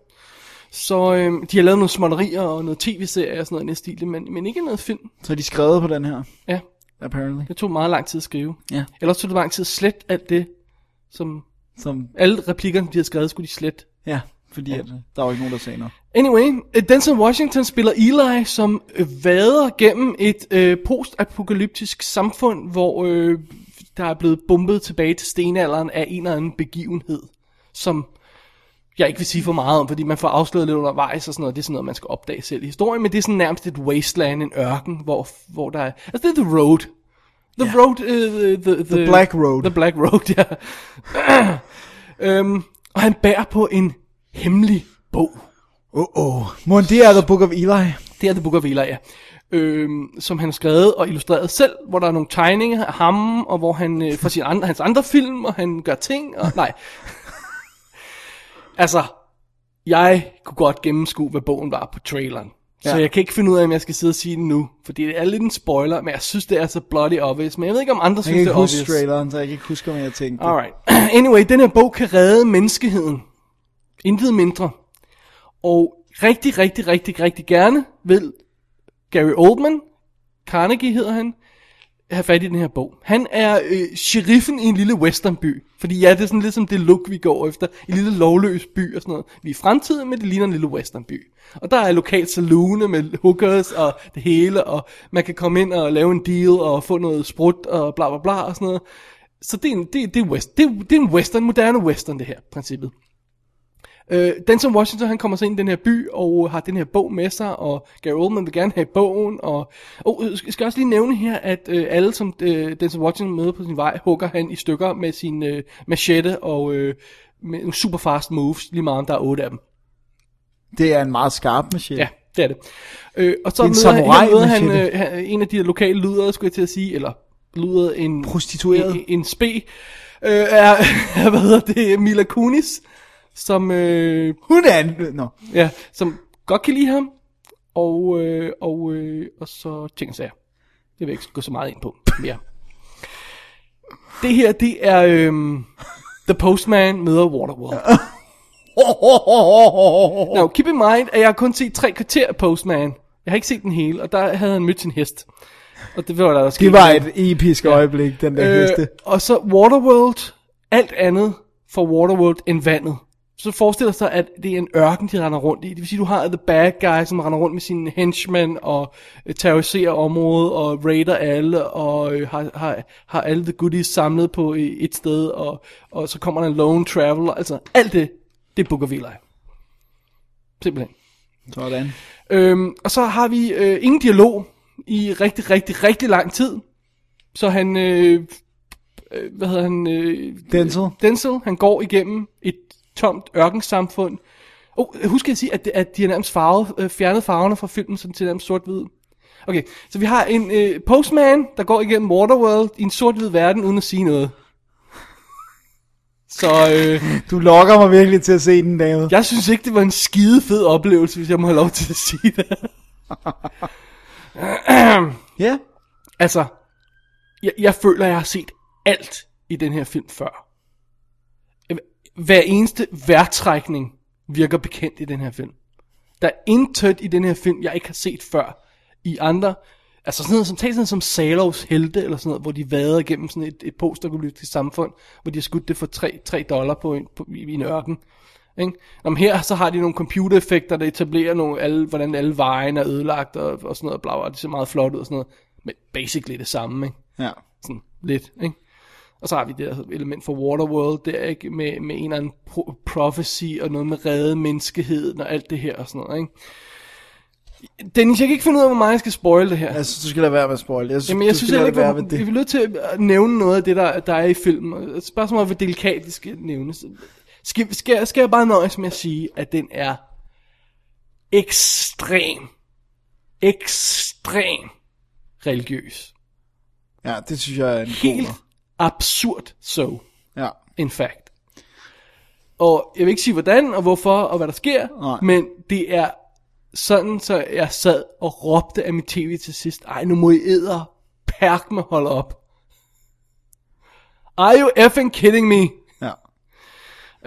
Speaker 3: Så øhm, de har lavet nogle småtterier og noget tv-serier og sådan noget i den stil, men, men ikke noget film.
Speaker 4: Så de skrevet på den her,
Speaker 3: Ja,
Speaker 4: apparently.
Speaker 3: det tog meget lang tid at skrive.
Speaker 4: Ja.
Speaker 3: Ellers tog det lang tid at slette alt det, som
Speaker 4: Som,
Speaker 3: alle replikkerne, de havde skrevet, skulle de slette.
Speaker 4: ja, fordi ja. At, øh, der var ikke nogen, der sagde noget.
Speaker 3: Anyway, øh, Denzel Washington spiller Eli, som øh, vader gennem et øh, postapokalyptisk samfund, hvor øh, der er blevet bombet tilbage til stenalderen af en eller anden begivenhed, som jeg ikke vil sige for meget om, fordi man får afsløret lidt undervejs og sådan noget. Det er sådan noget, man skal opdage selv i historien, men det er sådan nærmest et wasteland, en ørken, hvor, hvor der er... Altså, det er The Road. The yeah. Road... Uh, the, the,
Speaker 4: The Black Road.
Speaker 3: The Black Road, ja. øhm, og han bærer på en hemmelig bog.
Speaker 4: Oh, oh. Mon det er The Book of Eli?
Speaker 3: Det er The Book of Eli, ja. Øhm, som han har skrevet og illustreret selv, hvor der er nogle tegninger af ham, og hvor han øh, fra sin andre, hans andre film, og han gør ting, og nej. altså, jeg kunne godt gennemskue, hvad bogen var på traileren. Ja. Så
Speaker 4: Ja.
Speaker 3: jeg kan ikke finde ud af, om jeg skal sidde og sige den nu, fordi det er lidt en spoiler, men jeg synes, det er så bloody obvious. Men jeg ved ikke, om andre
Speaker 4: Jeg kan
Speaker 3: synes, det
Speaker 4: ikke
Speaker 3: er
Speaker 4: huske
Speaker 3: obvious.
Speaker 4: traileren, så jeg kan ikke huske, om jeg tænkte det.
Speaker 3: Alright. Anyway, den her bog kan redde menneskeheden. Intet mindre. Og rigtig, rigtig, rigtig, rigtig gerne vil Gary Oldman, Carnegie hedder han, have fat i den her bog. Han er øh, sheriffen i en lille westernby. Fordi ja, det er sådan lidt som det look, vi går efter. En lille lovløs by og sådan noget. Vi er i fremtiden, men det ligner en lille westernby. Og der er lokalt saloone med hookers og det hele, og man kan komme ind og lave en deal og få noget sprut og bla bla bla og sådan noget. Så det er en, det, det er west, det, er- det er en western, moderne western det her, i princippet. Øh, Denzel Washington, han kommer så ind i den her by, og har den her bog med sig, og Gary Oldman vil gerne have bogen, og... Oh, øh, skal skal jeg også lige nævne her, at øh, alle, som øh, Denzel Washington møder på sin vej, hugger han i stykker med sin øh, machete, og øh, med nogle super fast moves, lige meget om der er otte af dem.
Speaker 4: Det er en meget skarp machine.
Speaker 3: Ja, det er det. Øh, og så
Speaker 4: Det er
Speaker 3: møder,
Speaker 4: en
Speaker 3: han,
Speaker 4: samurai
Speaker 3: her møder han,
Speaker 4: machete.
Speaker 3: øh, han en af de lokale lydere, skulle jeg til at sige, eller lyder en...
Speaker 4: Prostitueret.
Speaker 3: En, en spe. Øh, er, er, hvad hedder det, Mila Kunis, som, øh,
Speaker 4: Hun er en... Nå.
Speaker 3: ja, som godt kan lide ham, og, øh, og, øh, og så ting og sager. Det vil jeg ikke gå så meget ind på mere. Det her, det er øh, The Postman møder Waterworld. Now, keep in mind, at jeg har kun set tre kvarter af Postman. Jeg har ikke set den hele, og der havde han mødt sin hest. Og det var der, der skete.
Speaker 4: Det var et episk øjeblik, den der øh, heste.
Speaker 3: og så Waterworld, alt andet for Waterworld end vandet. Så forestil dig så, at det er en ørken, de render rundt i. Det vil sige, du har The Bad Guy, som render rundt med sine henchmen og øh, terroriserer området og raider alle og øh, har, har, har alle the goodies samlet på øh, et sted. Og, og så kommer der en lone traveler. Altså alt det, det er Book of Eli. Simpelthen.
Speaker 4: Sådan.
Speaker 3: Øhm, og så har vi øh, ingen dialog i rigtig, rigtig, rigtig lang tid. Så han, øh, øh, hvad hedder han? Øh,
Speaker 4: Denzel.
Speaker 3: Denzel, han går igennem et tomt ørkensamfund. Oh, husk at sige, at, at de har nærmest farvet, øh, fjernet farverne fra filmen, så den til nærmest sort-hvid. Okay, så vi har en øh, postman, der går igennem Waterworld i en sort-hvid verden, uden at sige noget. Så øh,
Speaker 4: Du lokker mig virkelig til at se den, David.
Speaker 3: jeg synes ikke, det var en skide fed oplevelse, hvis jeg må have lov til at sige det.
Speaker 4: Ja.
Speaker 3: Altså, jeg, jeg føler, jeg har set alt i den her film før. Hver eneste værtrækning virker bekendt i den her film. Der er intet i den her film, jeg ikke har set før i andre. Altså sådan noget som, tag sådan noget som Salovs Helte, eller sådan noget, hvor de vader igennem sådan et, et postapokalyptisk samfund, hvor de har skudt det for 3, 3 dollar på, en, på i i en ørken. Ikke? Nå, men her så har de nogle computereffekter, der etablerer nogle, alle, hvordan alle vejene er ødelagt og, og sådan noget, bla, bla, det ser meget flot ud og sådan noget. Men basically det samme, ikke?
Speaker 4: Ja.
Speaker 3: Sådan lidt, ikke? Og så har vi det der element for Waterworld der, ikke? Med, med en eller anden pro- prophecy og noget med redde menneskeheden og alt det her og sådan noget, ikke? Dennis, jeg kan ikke finde ud af, hvor meget jeg skal spoil det her.
Speaker 4: Jeg synes, du skal lade være med at spoil. Jeg synes,
Speaker 3: Jamen, jeg
Speaker 4: du
Speaker 3: synes
Speaker 4: skal
Speaker 3: heller
Speaker 4: lade
Speaker 3: ikke,
Speaker 4: være
Speaker 3: at
Speaker 4: med
Speaker 3: vi
Speaker 4: det.
Speaker 3: er nødt til at nævne noget af det, der, der er i filmen. Og Spørgsmålet er, hvor delikat det skal nævnes. Skal, skal, jeg- skal jeg bare nøjes med at sige, at den er ekstrem, ekstrem religiøs.
Speaker 4: Ja, det synes jeg er en
Speaker 3: Helt
Speaker 4: god
Speaker 3: absurd så,
Speaker 4: Ja.
Speaker 3: in fact. Og jeg vil ikke sige, hvordan og hvorfor og hvad der sker,
Speaker 4: Nej.
Speaker 3: men det er sådan, så jeg sad og råbte af min tv til sidst, ej, nu må I æder perk med holde op. Are you effing kidding me?
Speaker 4: ja.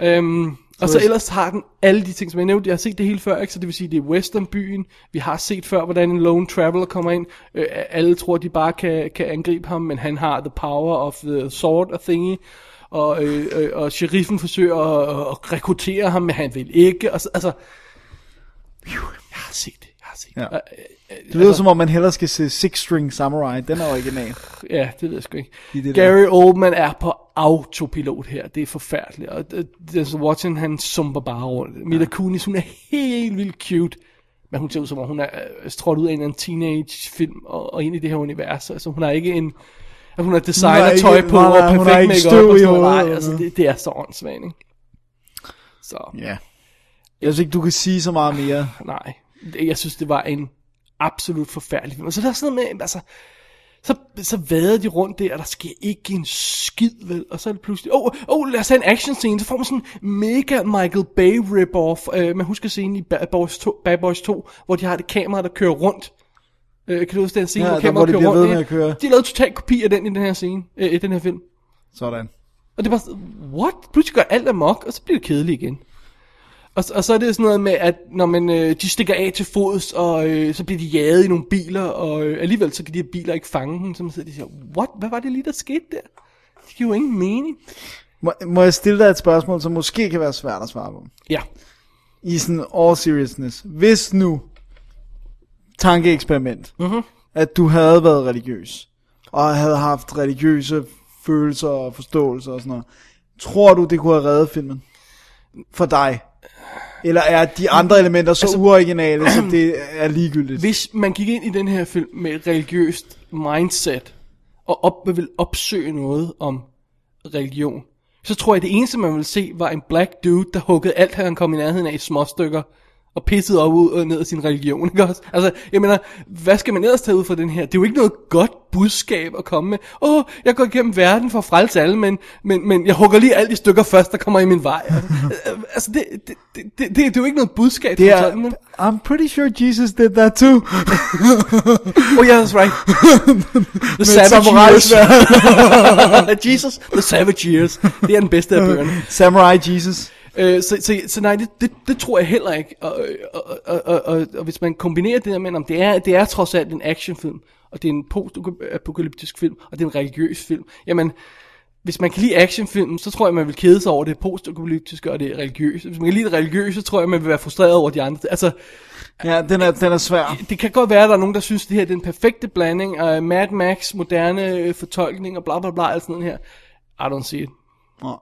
Speaker 3: Øhm, og så
Speaker 4: hvis-
Speaker 3: ellers har den alle de ting, som jeg nævnte. Jeg har set det hele før, ikke? så det vil sige, det er westernbyen. Vi har set før, hvordan en lone traveler kommer ind. Øh, alle tror, de bare kan, kan angribe ham, men han har the power of the sword og thingy. Og, øh, øh, og sheriffen forsøger at, at rekruttere ham, men han vil ikke. Og så, altså, Phew, jeg har set det. Jeg har set det.
Speaker 4: Ja.
Speaker 3: Og,
Speaker 4: Det lyder
Speaker 3: altså-
Speaker 4: som om, man hellere skal se Six String Samurai. Den er original.
Speaker 3: Ja, det ved jeg sgu ikke.
Speaker 4: I det
Speaker 3: Det Gary der. Oldman er på autopilot her. Det er forfærdeligt. Og øh, Denzel Washington, han sumper bare rundt. Mila Kunis, hun er helt vildt cute. Men hun ser ud som om, hun er øh, trådt ud af en eller anden teenage-film og, og ind i det her univers. Altså, hun har ikke en... Altså, hun har designer-tøj
Speaker 4: ikke-
Speaker 3: på
Speaker 4: nej,
Speaker 3: og
Speaker 4: nej, hun har
Speaker 3: perfekt
Speaker 4: ikke
Speaker 3: makeup
Speaker 4: støv i
Speaker 3: og sådan noget.
Speaker 4: hovedet
Speaker 3: Nej, altså,
Speaker 4: eller
Speaker 3: det, det er så åndssvagt, ikke? Så,
Speaker 4: Ja. Jeg synes ikke, du kan sige så meget mere.
Speaker 3: nej. Det- Jeg synes, det var en absolut forfærdelig film. Og så er der sådan noget med, altså, så, så vader de rundt der, og der sker ikke en skid, vel? Og så er det pludselig, åh, oh, oh, lad os have en action scene, så får man sådan en mega Michael Bay rip-off. Uh, man husker scenen i Bad Boys, 2, Bad Boys 2, hvor de har det kamera, der kører rundt. Uh, kan du huske den scene,
Speaker 4: Ja,
Speaker 3: hvor
Speaker 4: der, hvor
Speaker 3: kameraet
Speaker 4: de
Speaker 3: kører
Speaker 4: bliver
Speaker 3: rundt?
Speaker 4: ved med
Speaker 3: Ja.
Speaker 4: at køre.
Speaker 3: De lavede total kopi af den i den her scene, uh, i den her film.
Speaker 4: Sådan.
Speaker 3: Og det var sådan, what? Pludselig gør alt amok, og så bliver det kedeligt igen. Og, og så er det sådan noget med, at når man, øh, de stikker af til fods, og øh, så bliver de jaget i nogle biler, og øh, alligevel så kan de her biler ikke fange dem, så man sidder og de siger, what? Hvad var det lige, der skete der? Det giver jo ingen mening.
Speaker 4: Må, må jeg stille dig et spørgsmål, som måske kan være svært at svare på?
Speaker 3: Ja,
Speaker 4: I sådan all seriousness. Hvis nu, tankeeksperiment, mm-hmm. at du havde været religiøs, og havde haft religiøse følelser og forståelser og sådan noget, tror du, det kunne have reddet filmen? For dig? Eller er de andre elementer så altså, uoriginale, så det er ligegyldigt?
Speaker 3: hvis man gik ind i den her film med et religiøst mindset, og op, man ville opsøge noget om religion, så tror jeg, det eneste, man ville se, var en black dude, der huggede alt, han kom i nærheden af i småstykker, og pissede op ud og ned af sin religion, ikke også? Altså, jeg mener, hvad skal man ellers tage ud fra den her? Det er jo ikke noget godt budskab at komme med. Åh, oh, jeg går igennem verden for at frelse alle, men, men, men jeg hugger lige alt i stykker først, der kommer i min vej. Altså, altså det, det, det, det, det, er jo ikke noget budskab.
Speaker 4: Det
Speaker 3: som
Speaker 4: er,
Speaker 3: sådan, vel?
Speaker 4: I'm pretty sure Jesus did that too.
Speaker 3: Oh yeah, that's right. The Savage
Speaker 4: samurai
Speaker 3: Years. Jesus, The Savage Years. Det er den bedste af bøgerne.
Speaker 4: Samurai Jesus.
Speaker 3: Øh, så, så, så nej, det, det, det tror jeg heller ikke. Og, og, og, og, og, og hvis man kombinerer det der med, om det er, det er trods alt en actionfilm, og det er en postapokalyptisk film, og det er en religiøs film, jamen, hvis man kan lide actionfilmen, så tror jeg, man vil kede sig over det postapokalyptiske og det religiøse. Hvis man kan lide det religiøse, så tror jeg, man vil være frustreret over de andre. Altså,
Speaker 4: Ja, den er, den er svær.
Speaker 3: det kan godt være, at der er nogen, der synes, det her det er den perfekte blanding af Mad Max, moderne øh, fortolkning og bla bla bla, alt sådan noget her. I don't see it.
Speaker 4: Nå,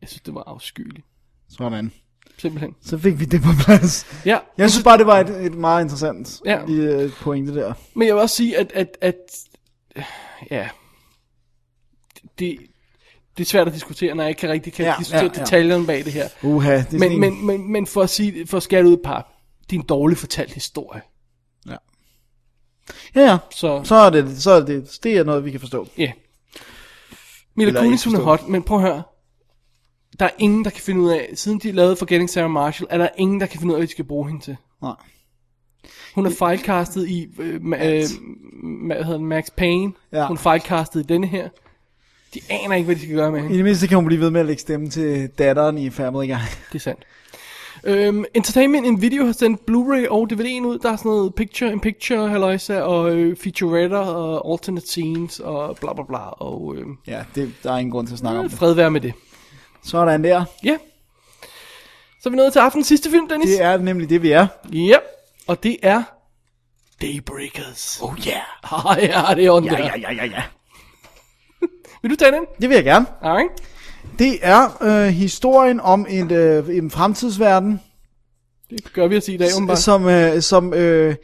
Speaker 3: Jeg synes, det var afskyeligt.
Speaker 4: sådan.
Speaker 3: Simpelthen.
Speaker 4: Så fik vi det på plads.
Speaker 3: Ja,
Speaker 4: Jeg synes bare, det var et, et meget interessant
Speaker 3: Ja.
Speaker 4: ja. lige, pointe der.
Speaker 3: men jeg vil også sige, at, at, at ja, det, det er svært at diskutere, når jeg ikke kan rigtig kan ja,
Speaker 4: Ja,
Speaker 3: diskutere ja,
Speaker 4: ja,
Speaker 3: ja.
Speaker 4: ja.
Speaker 3: detaljerne bag det her.
Speaker 4: Uha, det er
Speaker 3: Men, men, men, men for at, sige, for at skære det ud i pap, det er en dårligt fortalt historie.
Speaker 4: Ja, ja.
Speaker 3: Så-
Speaker 4: så er det, så er det, det er noget, vi kan forstå.
Speaker 3: Ja. Yeah. Mila
Speaker 4: Eller
Speaker 3: Kunis,
Speaker 4: ikke
Speaker 3: hun er
Speaker 4: forstå.
Speaker 3: hot, men prøv at høre. Der er ingen, der kan finde ud af, siden de lavede Forgetting Sarah Marshall, er der ingen, der kan finde ud af, hvad de skal bruge hende til.
Speaker 4: Nej.
Speaker 3: Hun er fejlkastet i, øh, ma- øh, ma- hvad hedder den, Max Payne.
Speaker 4: Ja.
Speaker 3: Hun er fejlkastet i denne her. De aner ikke, hvad de skal gøre med hende.
Speaker 4: I det mindste kan hun blive ved med at lægge stemme til datteren i Family Guy.
Speaker 3: Det er sandt. Øhm, Entertainment en video har sendt Blu-ray og DVD'en ud. Der er sådan noget picture in picture, halløjsa, og øh, featuretter og alternate scenes og bla bla bla. Og øh,
Speaker 4: Ja, det, der er ingen grund til at snakke om det.
Speaker 3: fred være med det.
Speaker 4: Sådan der.
Speaker 3: Ja. Så er vi nået til aftenens sidste film, Dennis.
Speaker 4: Det er nemlig det, vi er.
Speaker 3: Yep. Og det er Daybreakers. Oh yeah. Ah, ja, det er on ja, ja, ja, ja, ja. Vil du tage den?
Speaker 4: Det vil jeg gerne.
Speaker 3: Alright.
Speaker 4: Det er øh, historien om en, øh, en fremtidsverden,
Speaker 3: Det gør vi at sige i dag, åbenbart.
Speaker 4: som, øh, som øh,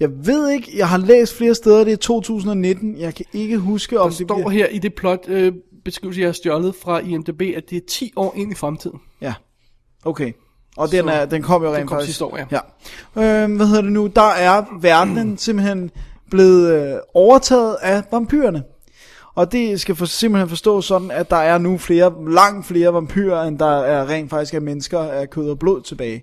Speaker 4: jeg ved ikke, jeg har læst flere steder, det er 2019, jeg kan ikke huske, om
Speaker 3: Der
Speaker 4: det
Speaker 3: står her i det plot, øh, beskrivelse, jeg har stjålet fra IMDb, at det er 10 år ind i fremtiden.
Speaker 4: Ja, okay. Og den, er, den kom jo rent
Speaker 3: kom
Speaker 4: faktisk.
Speaker 3: sidste år, ja.
Speaker 4: ja. Øhm, hvad hedder det nu? Der er verdenen simpelthen blevet øh, overtaget af vampyrerne. Og det skal for, simpelthen forstås sådan, at der er nu flere, langt flere vampyrer, end der er rent faktisk er mennesker af kød og blod tilbage.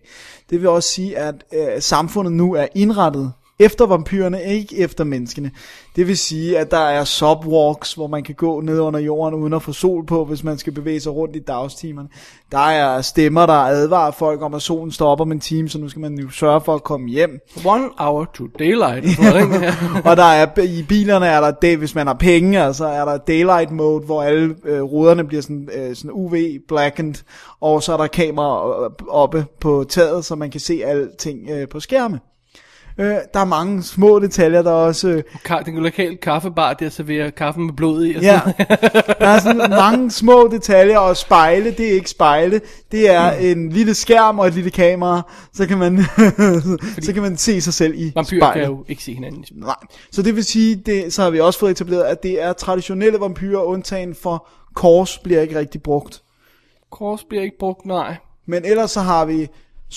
Speaker 4: Det vil også sige, at øh, samfundet nu er indrettet efter vampyrerne, ikke efter menneskene. Det vil sige, at der er subwalks, hvor man kan gå ned under jorden uden at få sol på, hvis man skal bevæge sig rundt i dagstimerne. Der er stemmer, der advarer folk om, at solen stopper om en time, så nu skal man jo sørge for at komme hjem.
Speaker 3: One hour to daylight. og sådan noget, ikke?
Speaker 4: og der er, i bilerne er der, det, hvis man har penge, altså er der daylight mode, hvor alle øh, ruderne bliver sådan, øh, sådan UV blackened, og så er der kamera øh, oppe på taget, så man kan se alting øh, på skærme. Øh, der er mange små detaljer, der er også... Øh,
Speaker 3: Ka- den lokale kaffebar, der serverer kaffen med blod i. Og
Speaker 4: ja,
Speaker 3: sådan
Speaker 4: der er sådan mange små detaljer, og spejle, det er ikke spejle, det er mm. en lille skærm og et lille kamera, så kan man, så kan man se sig selv i
Speaker 3: Vampyrer
Speaker 4: spejlet.
Speaker 3: kan jo ikke se hinanden.
Speaker 4: Nej. Så det vil sige, det, så har vi også fået etableret, at det er traditionelle vampyrer, undtagen for kors bliver ikke rigtig brugt.
Speaker 3: Kors bliver ikke brugt, nej.
Speaker 4: Men ellers så har vi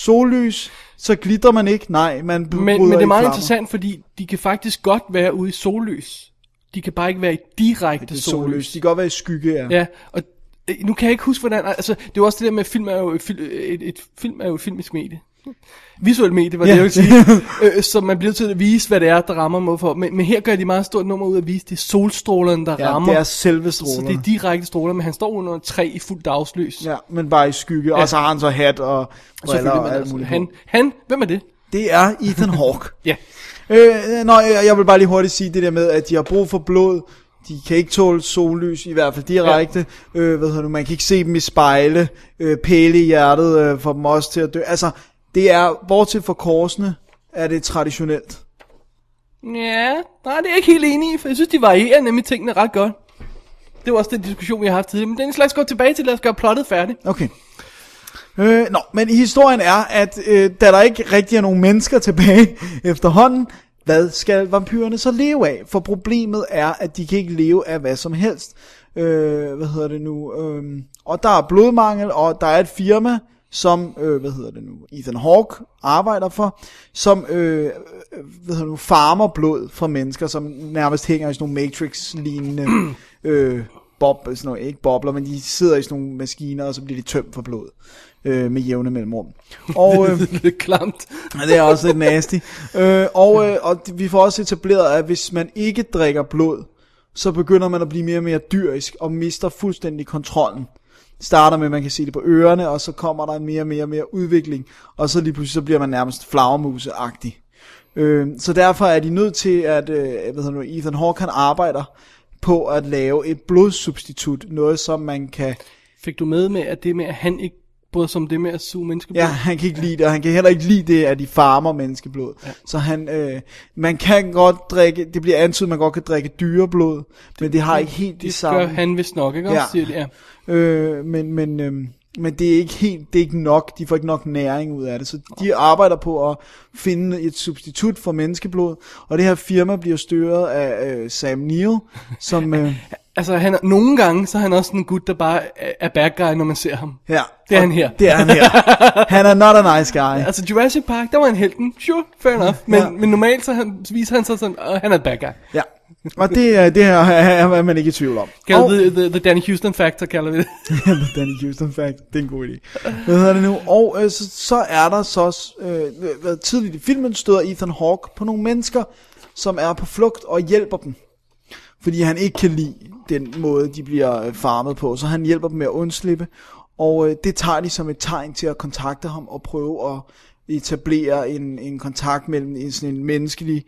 Speaker 4: sollys, så glitter man ikke. Nej, man bryder
Speaker 3: Men, men det
Speaker 4: i
Speaker 3: er meget
Speaker 4: flammer.
Speaker 3: interessant, fordi de kan faktisk godt være ude i sollys. De kan bare ikke være i direkte
Speaker 4: Det er
Speaker 3: sollys.
Speaker 4: sollys. De kan godt være i skygge, ja.
Speaker 3: Ja, og øh, nu kan jeg ikke huske, hvordan... Altså, det er jo også det der med, at film er jo et, fil- et, et, film er jo et filmisk medie. Visuelt medie, var det,
Speaker 4: Ja.
Speaker 3: jeg ville sige. øh, så man bliver nødt til at vise, hvad det er, der rammer mod for. Men, men her gør de meget stort nummer ud af at vise, det er solstrålerne, der
Speaker 4: ja
Speaker 3: rammer.
Speaker 4: det er selve
Speaker 3: så
Speaker 4: strålerne.
Speaker 3: det er direkte stråler, men han står under et træ i fuldt dagslys.
Speaker 4: Ja, men bare i skygge.
Speaker 3: Ja.
Speaker 4: Og så har han så hat og briller
Speaker 3: Selvfølgelig,
Speaker 4: og
Speaker 3: men
Speaker 4: alt
Speaker 3: altså,
Speaker 4: muligt.
Speaker 3: han, han, hvem er det?
Speaker 4: Det er Ethan Hawke.
Speaker 3: Ja.
Speaker 4: Øh, nå, jeg, jeg vil bare lige hurtigt sige det der med, at de har brug for blod. De kan ikke tåle sollys, i hvert fald direkte. Ja. Øh, hvad hedder nu, man kan ikke se dem i spejle. Øh, pæle i hjertet øh, får dem også til at dø. Altså, det er, bortset fra korsene, er det traditionelt.
Speaker 3: Ja, nej, det er jeg ikke helt enig i, for jeg synes, de varierer nemlig tingene ret godt. Det var også den diskussion, vi har haft tidligere. Men den slags går tilbage til, lad os gøre plottet færdigt.
Speaker 4: Okay. Øh, nå, men historien er, at øh, da der ikke rigtig er nogen mennesker tilbage efterhånden, hvad skal vampyrerne så leve af? For problemet er, at de kan ikke leve af hvad som helst. Øh, hvad hedder det nu? Øh, og der er blodmangel, og der er et firma, som, øh, hvad hedder det nu, Ethan Hawke arbejder for, som, øh, øh, hvad hedder det nu, farmer blod fra mennesker, som nærmest hænger i sådan nogle Matrix-lignende øh, bob, sådan noget, ikke bobler, men de sidder i sådan nogle maskiner, og så bliver de tømt for blod øh, med jævne mellemrum. Og, øh,
Speaker 3: Det er lidt klamt.
Speaker 4: Ja, det er også lidt nasty. Øh, og, øh, og vi får også etableret, at hvis man ikke drikker blod, så begynder man at blive mere og mere dyrisk og mister fuldstændig kontrollen. Starter med, at man kan se det på ørerne, og så kommer der en mere og mere og mere udvikling, og så lige pludselig så bliver man nærmest flagermuseagtig. Øh, så derfor er de nødt til, at øh, hvad hedder det nu, Ethan Hawke han arbejder på at lave et blodsubstitut, noget som man kan...
Speaker 3: Fik du med med, at det med, at han ikke bryder sig om det med at suge mennesker
Speaker 4: Ja, han kan ikke lide det, og han kan heller ikke lide det, at de farmer menneskeblod. Ja. Så han, øh, man kan godt drikke, det bliver antydet, at man godt kan drikke dyreblod, men det har ikke helt det
Speaker 3: det gør
Speaker 4: samme.
Speaker 3: han vist nok, ikke? Ja.
Speaker 4: Ja.
Speaker 3: Også, siger de, ja.
Speaker 4: Øh, men, men, øh, men det er ikke helt, det er ikke nok, de får ikke nok næring ud af det, så de arbejder på at finde et substitut for menneskeblod, og det her firma bliver styret af øh, Sam Neill, som, øh,
Speaker 3: Altså, han er, nogle gange, så er han også sådan en gut, der bare er, er bad guy, når man ser ham.
Speaker 4: ja,
Speaker 3: Det er han her.
Speaker 4: det er han her. Han er not a nice guy.
Speaker 3: Altså, Jurassic Park, der var han helten. Sure, fair enough. Men, ja.
Speaker 4: Ja.
Speaker 3: men normalt, så, han, så viser han sig sådan, at han er bad guy.
Speaker 4: Ja, og det, er- det her er, er man ikke i tvivl om.
Speaker 3: Kalder
Speaker 4: Og-
Speaker 3: oh. the, the, the Danny Houston Factor, kalder vi det.
Speaker 4: The Danny Houston fact. Det er en god idé. Hvad hedder det nu? Og øh, så, så er der så også, øh, hvad tidligt i filmen støder Ethan Hawke på nogle mennesker, som er på flugt og hjælper dem. Fordi han ikke kan lide den måde, de bliver øh, farmet på. Så han hjælper dem med at undslippe. Og øh, det tager de som et tegn til at kontakte ham og prøve at etablere en, en kontakt mellem en, sådan en menneskelig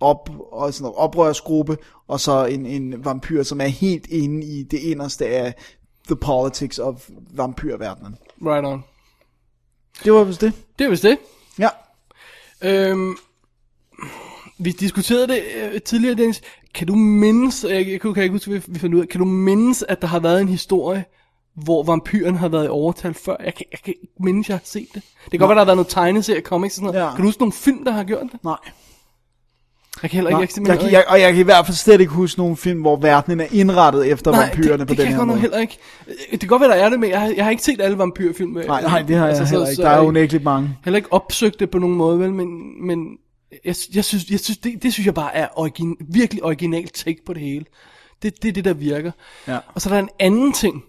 Speaker 4: op, og sådan en oprørsgruppe, og så en, en vampyr, som er helt inde i det inderste af the politics of vampyrverdenen.
Speaker 3: Right on.
Speaker 4: Det var vist det.
Speaker 3: Det er vist det.
Speaker 4: Ja.
Speaker 3: Øhm, vi diskuterede det øh, tidligere, Dennis. Kan du mindes, jeg, jeg kan kan ikke huske, hvad vi fandt ud af, kan du mindes, at der har været en historie, hvor vampyren har været i overtal før? Jeg kan, jeg kan ikke mindes, jeg har set det. Det kan godt være, der har været nogle tegneserier, comics og sådan noget. Ja.
Speaker 4: Ja.
Speaker 3: Kan du huske nogle film, der har gjort det?
Speaker 4: Nej.
Speaker 3: Jeg kan heller ikke,
Speaker 4: Nej.
Speaker 3: jeg, kan simpelthen
Speaker 4: Jeg, kan- jeg, og jeg kan i hvert fald slet ikke huske nogen film, hvor verdenen er indrettet efter
Speaker 3: Nej,
Speaker 4: vampyrerne
Speaker 3: det,
Speaker 4: på
Speaker 3: det
Speaker 4: den
Speaker 3: kan
Speaker 4: her
Speaker 3: jeg
Speaker 4: måde.
Speaker 3: nok heller ikke. Øh, Det kan godt være, der er det, men jeg har, jeg har ikke set alle vampyrfilm. øh,
Speaker 4: Nej, nej, det har jeg
Speaker 3: så-
Speaker 4: heller ikke.
Speaker 3: så
Speaker 4: Der er
Speaker 3: jeg
Speaker 4: jo unægteligt mange.
Speaker 3: heller ikke opsøgt det på nogen måde, vel, men, men jeg, jeg synes, jeg synes det, det synes jeg bare er origin, virkelig original take på det hele. Det, det er det, der virker.
Speaker 4: Ja.
Speaker 3: Og så er der en anden ting,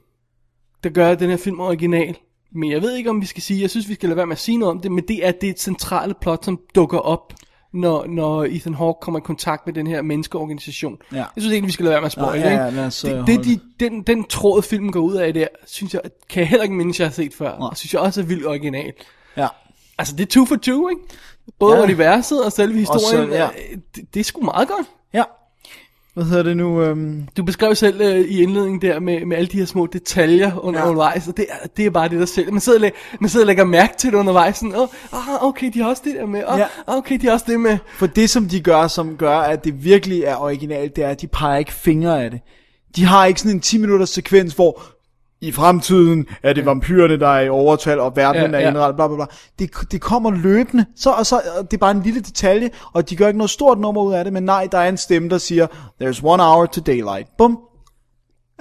Speaker 3: der gør at den her film er original. Men jeg ved ikke, om vi skal sige, jeg synes, vi skal lade være med at sige noget om det, men det er det centrale plot, som dukker op når, når Ethan Hawke kommer i kontakt med den her menneskeorganisation.
Speaker 4: Ja.
Speaker 3: Jeg synes egentlig, vi skal lade være med at spoil
Speaker 4: ja, ja,
Speaker 3: ikke?
Speaker 4: lad os, øh,
Speaker 3: det, det,
Speaker 4: holde-
Speaker 3: de, den, den tråd, filmen går ud af der, synes jeg, kan jeg heller ikke mindes, jeg har set før. Og synes jeg også er vildt original.
Speaker 4: Ja.
Speaker 3: Altså, det er two for two, ikke? Både
Speaker 4: Ja.
Speaker 3: ja. universet og selve historien.
Speaker 4: selv- ja.
Speaker 3: øh, det, det er sgu meget godt.
Speaker 4: Ja. Hvad hedder det nu? Øhm,
Speaker 3: Du beskrev selv øh, i indledningen der med, med alle de her små detaljer under,
Speaker 4: Ja.
Speaker 3: ja. undervejs, og det, er- det er bare det, der sælger. Man sidder, og læ- man sidder og lægger mærke til det undervejs, sådan, åh, oh, okay, de har også det der med, oh,
Speaker 4: Ja.
Speaker 3: ja. okay, de har også det med.
Speaker 4: For det, som de gør, som gør, at det virkelig er originalt, det er, at de peger ikke fingre af det. De har ikke sådan en 10-minutters sekvens, hvor i fremtiden er det vampyrerne, der er i overtal, og verdenen
Speaker 3: Ja,
Speaker 4: ja, er
Speaker 3: ja.
Speaker 4: indrettet, bla bla bla. Det, det kommer løbende, så, og så og det er bare en lille detalje, og de gør ikke noget stort nummer ud af det, men nej, der er en stemme, der siger, there's one hour to daylight. Bum.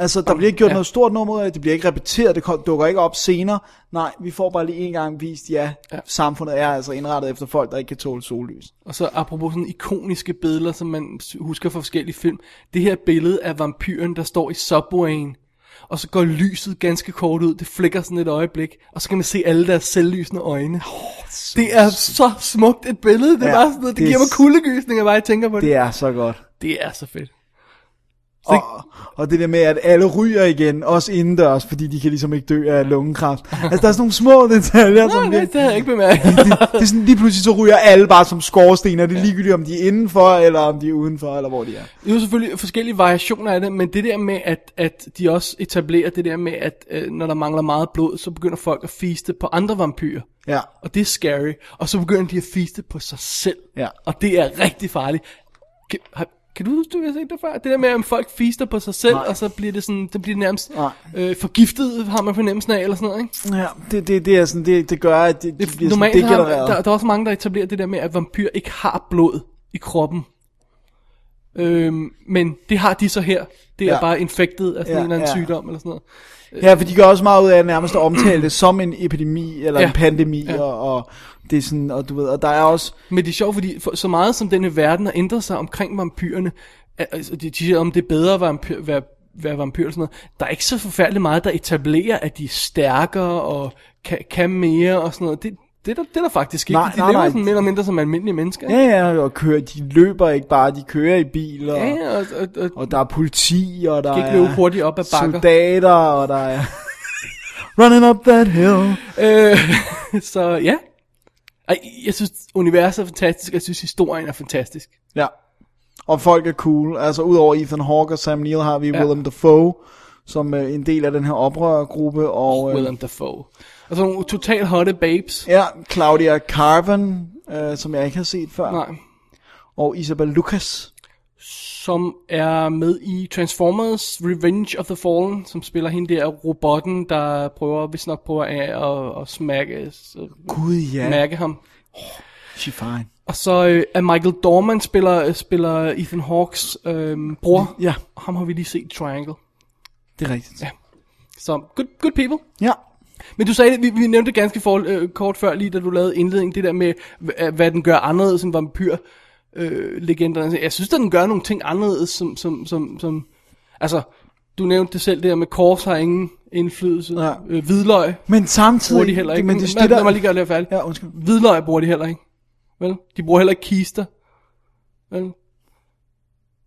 Speaker 4: Altså, der bliver ikke gjort ja. noget stort nummer ud af det, det bliver ikke repeteret, det kom- dukker ikke op senere. Nej, vi får bare lige en gang vist, ja, ja. samfundet er altså indrettet efter folk, der ikke kan tåle sollys.
Speaker 3: Og så apropos sådan ikoniske billeder, som man s- husker fra forskellige film. Det her billede af vampyren, der står i subwayen. Og så går lyset ganske kort ud, det flikker sådan et øjeblik, og så kan man se alle deres selvlysende øjne. Det er så smukt et billede, det,
Speaker 4: Ja,
Speaker 3: ja, var sådan noget, det,
Speaker 4: det
Speaker 3: det
Speaker 4: er
Speaker 3: giver mig
Speaker 4: s-
Speaker 3: kuldegysninger, bare jeg tænker på det.
Speaker 4: Det er så godt.
Speaker 3: det er så fedt.
Speaker 4: Og, og det der med, at alle ryger igen, også indendørs, fordi de kan ligesom ikke dø af lungekræft. Altså, der er sådan nogle små detaljer,
Speaker 3: Nå,
Speaker 4: som
Speaker 3: nej,
Speaker 4: det,
Speaker 3: det havde jeg ikke bemærket.
Speaker 4: det er sådan, lige pludselig så ryger alle bare som skorsten, og det er ligegyldigt, om de er indenfor, eller om de er udenfor, eller hvor de er.
Speaker 3: Det er jo selvfølgelig forskellige variationer af det, men det der med, at, at de også etablerer det der med, at øh, når der mangler meget blod, så begynder folk at feaste på andre vampyrer.
Speaker 4: Ja.
Speaker 3: Og det er scary. Og så begynder de at feaste på sig selv.
Speaker 4: Ja.
Speaker 3: Og det er rigtig farligt. Kan, har, kan du huske, du har set det før? Det der med, at folk feaster på sig selv, Nej. og så bliver det sådan, det bliver nærmest
Speaker 4: Nej.
Speaker 3: øh, forgiftet, har man fornemmelsen af, eller sådan noget, ikke?
Speaker 4: Ja, det, det, det, er sådan, det, det gør, at det, det bliver sådan
Speaker 3: Normalt har,
Speaker 4: degenereret.
Speaker 3: der, der er også mange, der etablerer det der med, at vampyr ikke har blod i kroppen. Øhm, men det har de så her. Det er
Speaker 4: Ja.
Speaker 3: ja. bare infektet af sådan
Speaker 4: Ja,
Speaker 3: en eller anden
Speaker 4: ja.
Speaker 3: sygdom eller sådan noget.
Speaker 4: Ja, for de gør også meget ud af at nærmest at omtale det som en epidemi, eller ja. en
Speaker 3: Ja.
Speaker 4: pandemi, ja. og, og, det er sådan, og du ved, og der er også,
Speaker 3: Men det er sjovt, fordi for, så meget som denne verden har ændret sig omkring vampyrerne, al- altså, de de siger, om det er bedre at være, vampyr, være, være vampyr eller sådan noget, der er ikke så forfærdeligt meget, der etablerer, at de er stærkere og kan, kan mere og sådan noget. Det, det, er der, det er der faktisk ikke.
Speaker 4: Nej,
Speaker 3: de
Speaker 4: nej,
Speaker 3: lever
Speaker 4: nej.
Speaker 3: sådan mere eller mindre som almindelige mennesker.
Speaker 4: ja, ja, og kører, de løber ikke bare, de kører i biler.
Speaker 3: ja, ja og, og, og,
Speaker 4: Og der er politi, og der
Speaker 3: kan ikke
Speaker 4: er
Speaker 3: løbe hurtigt op ad bakker.
Speaker 4: soldater, og der er running up that hill.
Speaker 3: Øh, så ja. Ej, jeg synes, universet er fantastisk, og jeg synes, historien er fantastisk.
Speaker 4: Ja. Og folk er cool. Altså, udover Ethan Hawke og Sam Neill har vi ja.
Speaker 3: Ja.
Speaker 4: Willem Dafoe, som er en del af den her oprørgruppe. Og, øh,
Speaker 3: Willem Dafoe. Og så nogle totalt hotte babes.
Speaker 4: ja, Claudia Carven, øh, som jeg ikke har set før.
Speaker 3: Nej.
Speaker 4: Og Isabel Lucas.
Speaker 3: Som er med i Transformers Revenge of the Fallen, som spiller hende der robotten, der prøver, hvis nok prøver at, at, at smække,
Speaker 4: Gud ja,
Speaker 3: mærke ham.
Speaker 4: she fine.
Speaker 3: Og så øh, er Michael Dorman spiller, spiller Ethan Hawkes øh, bror.
Speaker 4: Ja,
Speaker 3: Ham har vi lige set i Triangle.
Speaker 4: det er rigtigt. Ja.
Speaker 3: Så good, good people.
Speaker 4: ja.
Speaker 3: Men du sagde, det- vi, vi nævnte det ganske for, øh, kort før, lige da du lavede indledningen, det der med, hva- øh, hvad den gør anderledes end vampyrlegenderne. Øh, jeg synes, at den gør nogle ting anderledes, som, som, som, som altså, du nævnte det selv, det der med kors har ingen indflydelse.
Speaker 4: Nej.
Speaker 3: Øh, hvidløg
Speaker 4: Men samtidig...
Speaker 3: bruger de heller ikke.
Speaker 4: Men det,
Speaker 3: Lad-
Speaker 4: det, der,
Speaker 3: Lad mig lige gøre det her færdigt.
Speaker 4: Ja, undskyld.
Speaker 3: Hvidløg bruger de heller ikke. Vel? De bruger heller ikke kister. Vel?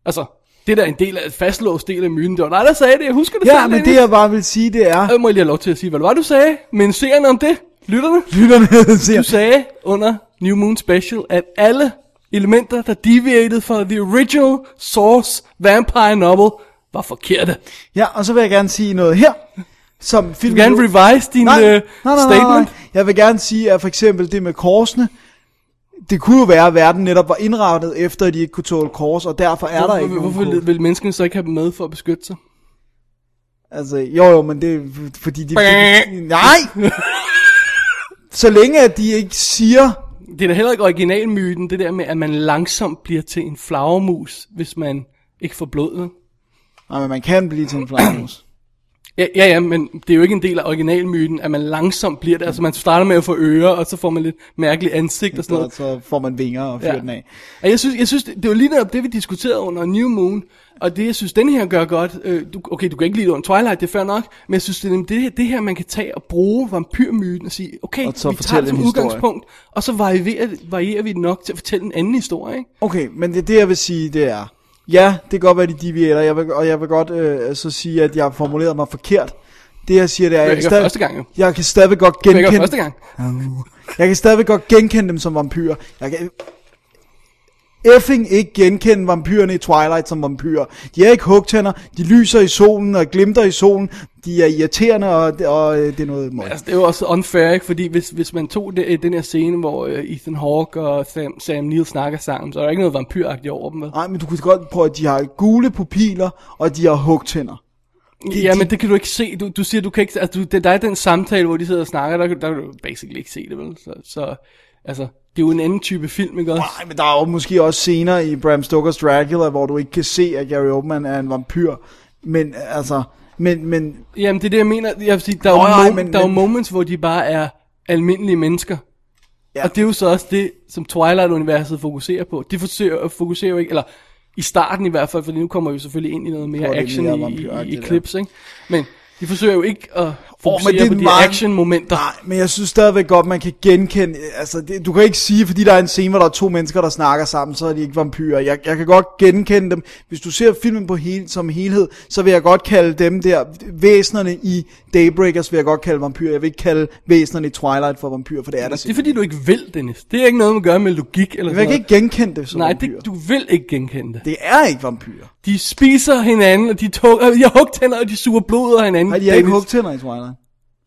Speaker 3: Altså, det der er en del af, et fastlåst del af myten. Det var dig, der sagde det. Jeg husker det Øh.
Speaker 4: Ja,
Speaker 3: selv,
Speaker 4: men
Speaker 3: Dennis.
Speaker 4: det jeg bare vil sige, det er...
Speaker 3: Jeg må jeg lige have lov til at sige, hvad det var, du sagde. Men seerne om det, lytterne.
Speaker 4: Lytterne siger...
Speaker 3: Du sagde under New Moon Special, at alle elementer, der deviated fra the original source vampire novel, var forkerte.
Speaker 4: Ja, og så vil jeg gerne sige noget her, som
Speaker 3: Du
Speaker 4: filmen...
Speaker 3: vil gerne revise din
Speaker 4: nej,
Speaker 3: øh,
Speaker 4: nej, nej, nej, nej, nej.
Speaker 3: statement.
Speaker 4: Jeg vil gerne sige, at for eksempel det med korsene, det kunne jo være, at verden netop var indrettet efter, at de ikke kunne tåle kors, og derfor er der
Speaker 3: Hvorfor,
Speaker 4: ikke nogen
Speaker 3: hvorfor
Speaker 4: kors.
Speaker 3: vil, vil menneskene så ikke have dem med for at beskytte sig?
Speaker 4: Altså, jo jo, men det er f- fordi de... Nej! Så længe at de ikke siger...
Speaker 3: Det er da heller ikke originalmyten, det der med, at man langsomt bliver til en flagermus, hvis man ikke får blod. vel?
Speaker 4: Nej, men man kan blive til en flammehus.
Speaker 3: Ja, ja, ja, men det er jo ikke en del af originalmyten, at man langsomt bliver det. Altså man starter med at få ører, og så får man lidt mærkeligt ansigt og sådan
Speaker 4: Så,
Speaker 3: noget.
Speaker 4: så får man vinger og fyrer ja. den af.
Speaker 3: Og jeg synes, jeg synes det, det var lige netop det, vi diskuterede under New Moon, og det, jeg synes, den her gør godt, øh, du, okay, du kan ikke lide det under Twilight, det er fair nok, men jeg synes, det er nemlig det her, det her man kan tage og bruge vampyrmyten og sige, okay,
Speaker 4: Og så
Speaker 3: vi tager
Speaker 4: fortælle
Speaker 3: det som
Speaker 4: en historie.
Speaker 3: udgangspunkt, og så varierer, varierer vi det nok til at fortælle en anden historie, ikke?
Speaker 4: Okay, men det, det jeg vil sige, det er, ja, det kan godt være, de deviater, jeg vil, og jeg vil godt øh, så sige, at jeg har formuleret mig forkert. Det jeg siger, det er,
Speaker 3: Det
Speaker 4: jeg,
Speaker 3: var
Speaker 4: kan
Speaker 3: ikke
Speaker 4: stadig-
Speaker 3: første gang, jo.
Speaker 4: jeg kan stadigvæk godt
Speaker 3: Det er
Speaker 4: genkende,
Speaker 3: ikke første gang.
Speaker 4: jeg kan stadigvæk godt genkende dem som vampyrer. Jeg kan effing ikke genkende vampyrerne i Twilight som vampyrer. De er ikke hugtænder, de lyser i solen og glimter i solen, de er irriterende, og, og øh, det er noget møg.
Speaker 3: Altså, det er jo også unfair, ikke? Fordi hvis, hvis man tog det, øh, den her scene, hvor øh, Ethan Hawke og Sam, Sam Neill snakker sammen, så er der ikke noget vampyragtigt over dem, vel?
Speaker 4: Nej, men du kunne godt prøve, at de har gule pupiler, og de har hugtænder.
Speaker 3: Ja, men det kan du ikke se. Du, du siger, du kan ikke... Altså, du, det, der er den samtale, hvor de sidder og snakker, der, kan- der kan du basically ikke se det, vel? Så, så altså, det er jo en anden type film, ikke også?
Speaker 4: Nej, men der er jo måske også scener i Bram Stokers Dracula, hvor du ikke kan se, at Gary Oldman er en vampyr. Men altså, men, men
Speaker 3: Jamen, det er det, jeg mener. Jeg vil sige, der er,
Speaker 4: Nå,
Speaker 3: jo,
Speaker 4: nej,
Speaker 3: mo-
Speaker 4: men-
Speaker 3: der er jo
Speaker 4: men-
Speaker 3: moments, hvor de bare er almindelige mennesker.
Speaker 4: Ja.
Speaker 3: Ja. Og det er jo så også det, som Twilight-universet fokuserer på. De forsøger, fokuserer jo ikke... Eller, i starten i hvert fald, fordi nu kommer vi jo selvfølgelig ind i noget
Speaker 4: Hvor
Speaker 3: mere
Speaker 4: det er
Speaker 3: action
Speaker 4: mere
Speaker 3: mere i, i, i
Speaker 4: vampyragtigt, ja.
Speaker 3: clips, ikke? Men de forsøger jo ikke at
Speaker 4: Åh, men
Speaker 3: fokusere
Speaker 4: det er
Speaker 3: oh, på de
Speaker 4: meget-
Speaker 3: action-momenter.
Speaker 4: Nej, men jeg synes stadigvæk godt, man kan genkende, altså det, du kan ikke sige, fordi der er en scene, hvor der er to mennesker, der snakker sammen, så er de ikke vampyrer. Jeg, jeg kan godt genkende dem. Hvis du ser filmen på hele, som helhed, så vil jeg godt kalde dem der, væsnerne i Daybreakers vil jeg godt kalde vampyrer. Jeg vil ikke kalde væsnerne i Twilight for vampyrer, for det er der
Speaker 3: Det er fordi, du ikke vil, Dennis. Det er ikke noget, man gør med logik eller
Speaker 4: Men
Speaker 3: sådan
Speaker 4: jeg kan
Speaker 3: noget.
Speaker 4: ikke genkende det som
Speaker 3: Nej,
Speaker 4: vampyrer.
Speaker 3: det, du vil ikke genkende det.
Speaker 4: Det er ikke vampyrer.
Speaker 3: De spiser hinanden, og de, tog, og de har hugtænder, og de suger blod af hinanden.
Speaker 4: Nej, de har ikke
Speaker 3: Dennis,
Speaker 4: hugtænder i Twilight.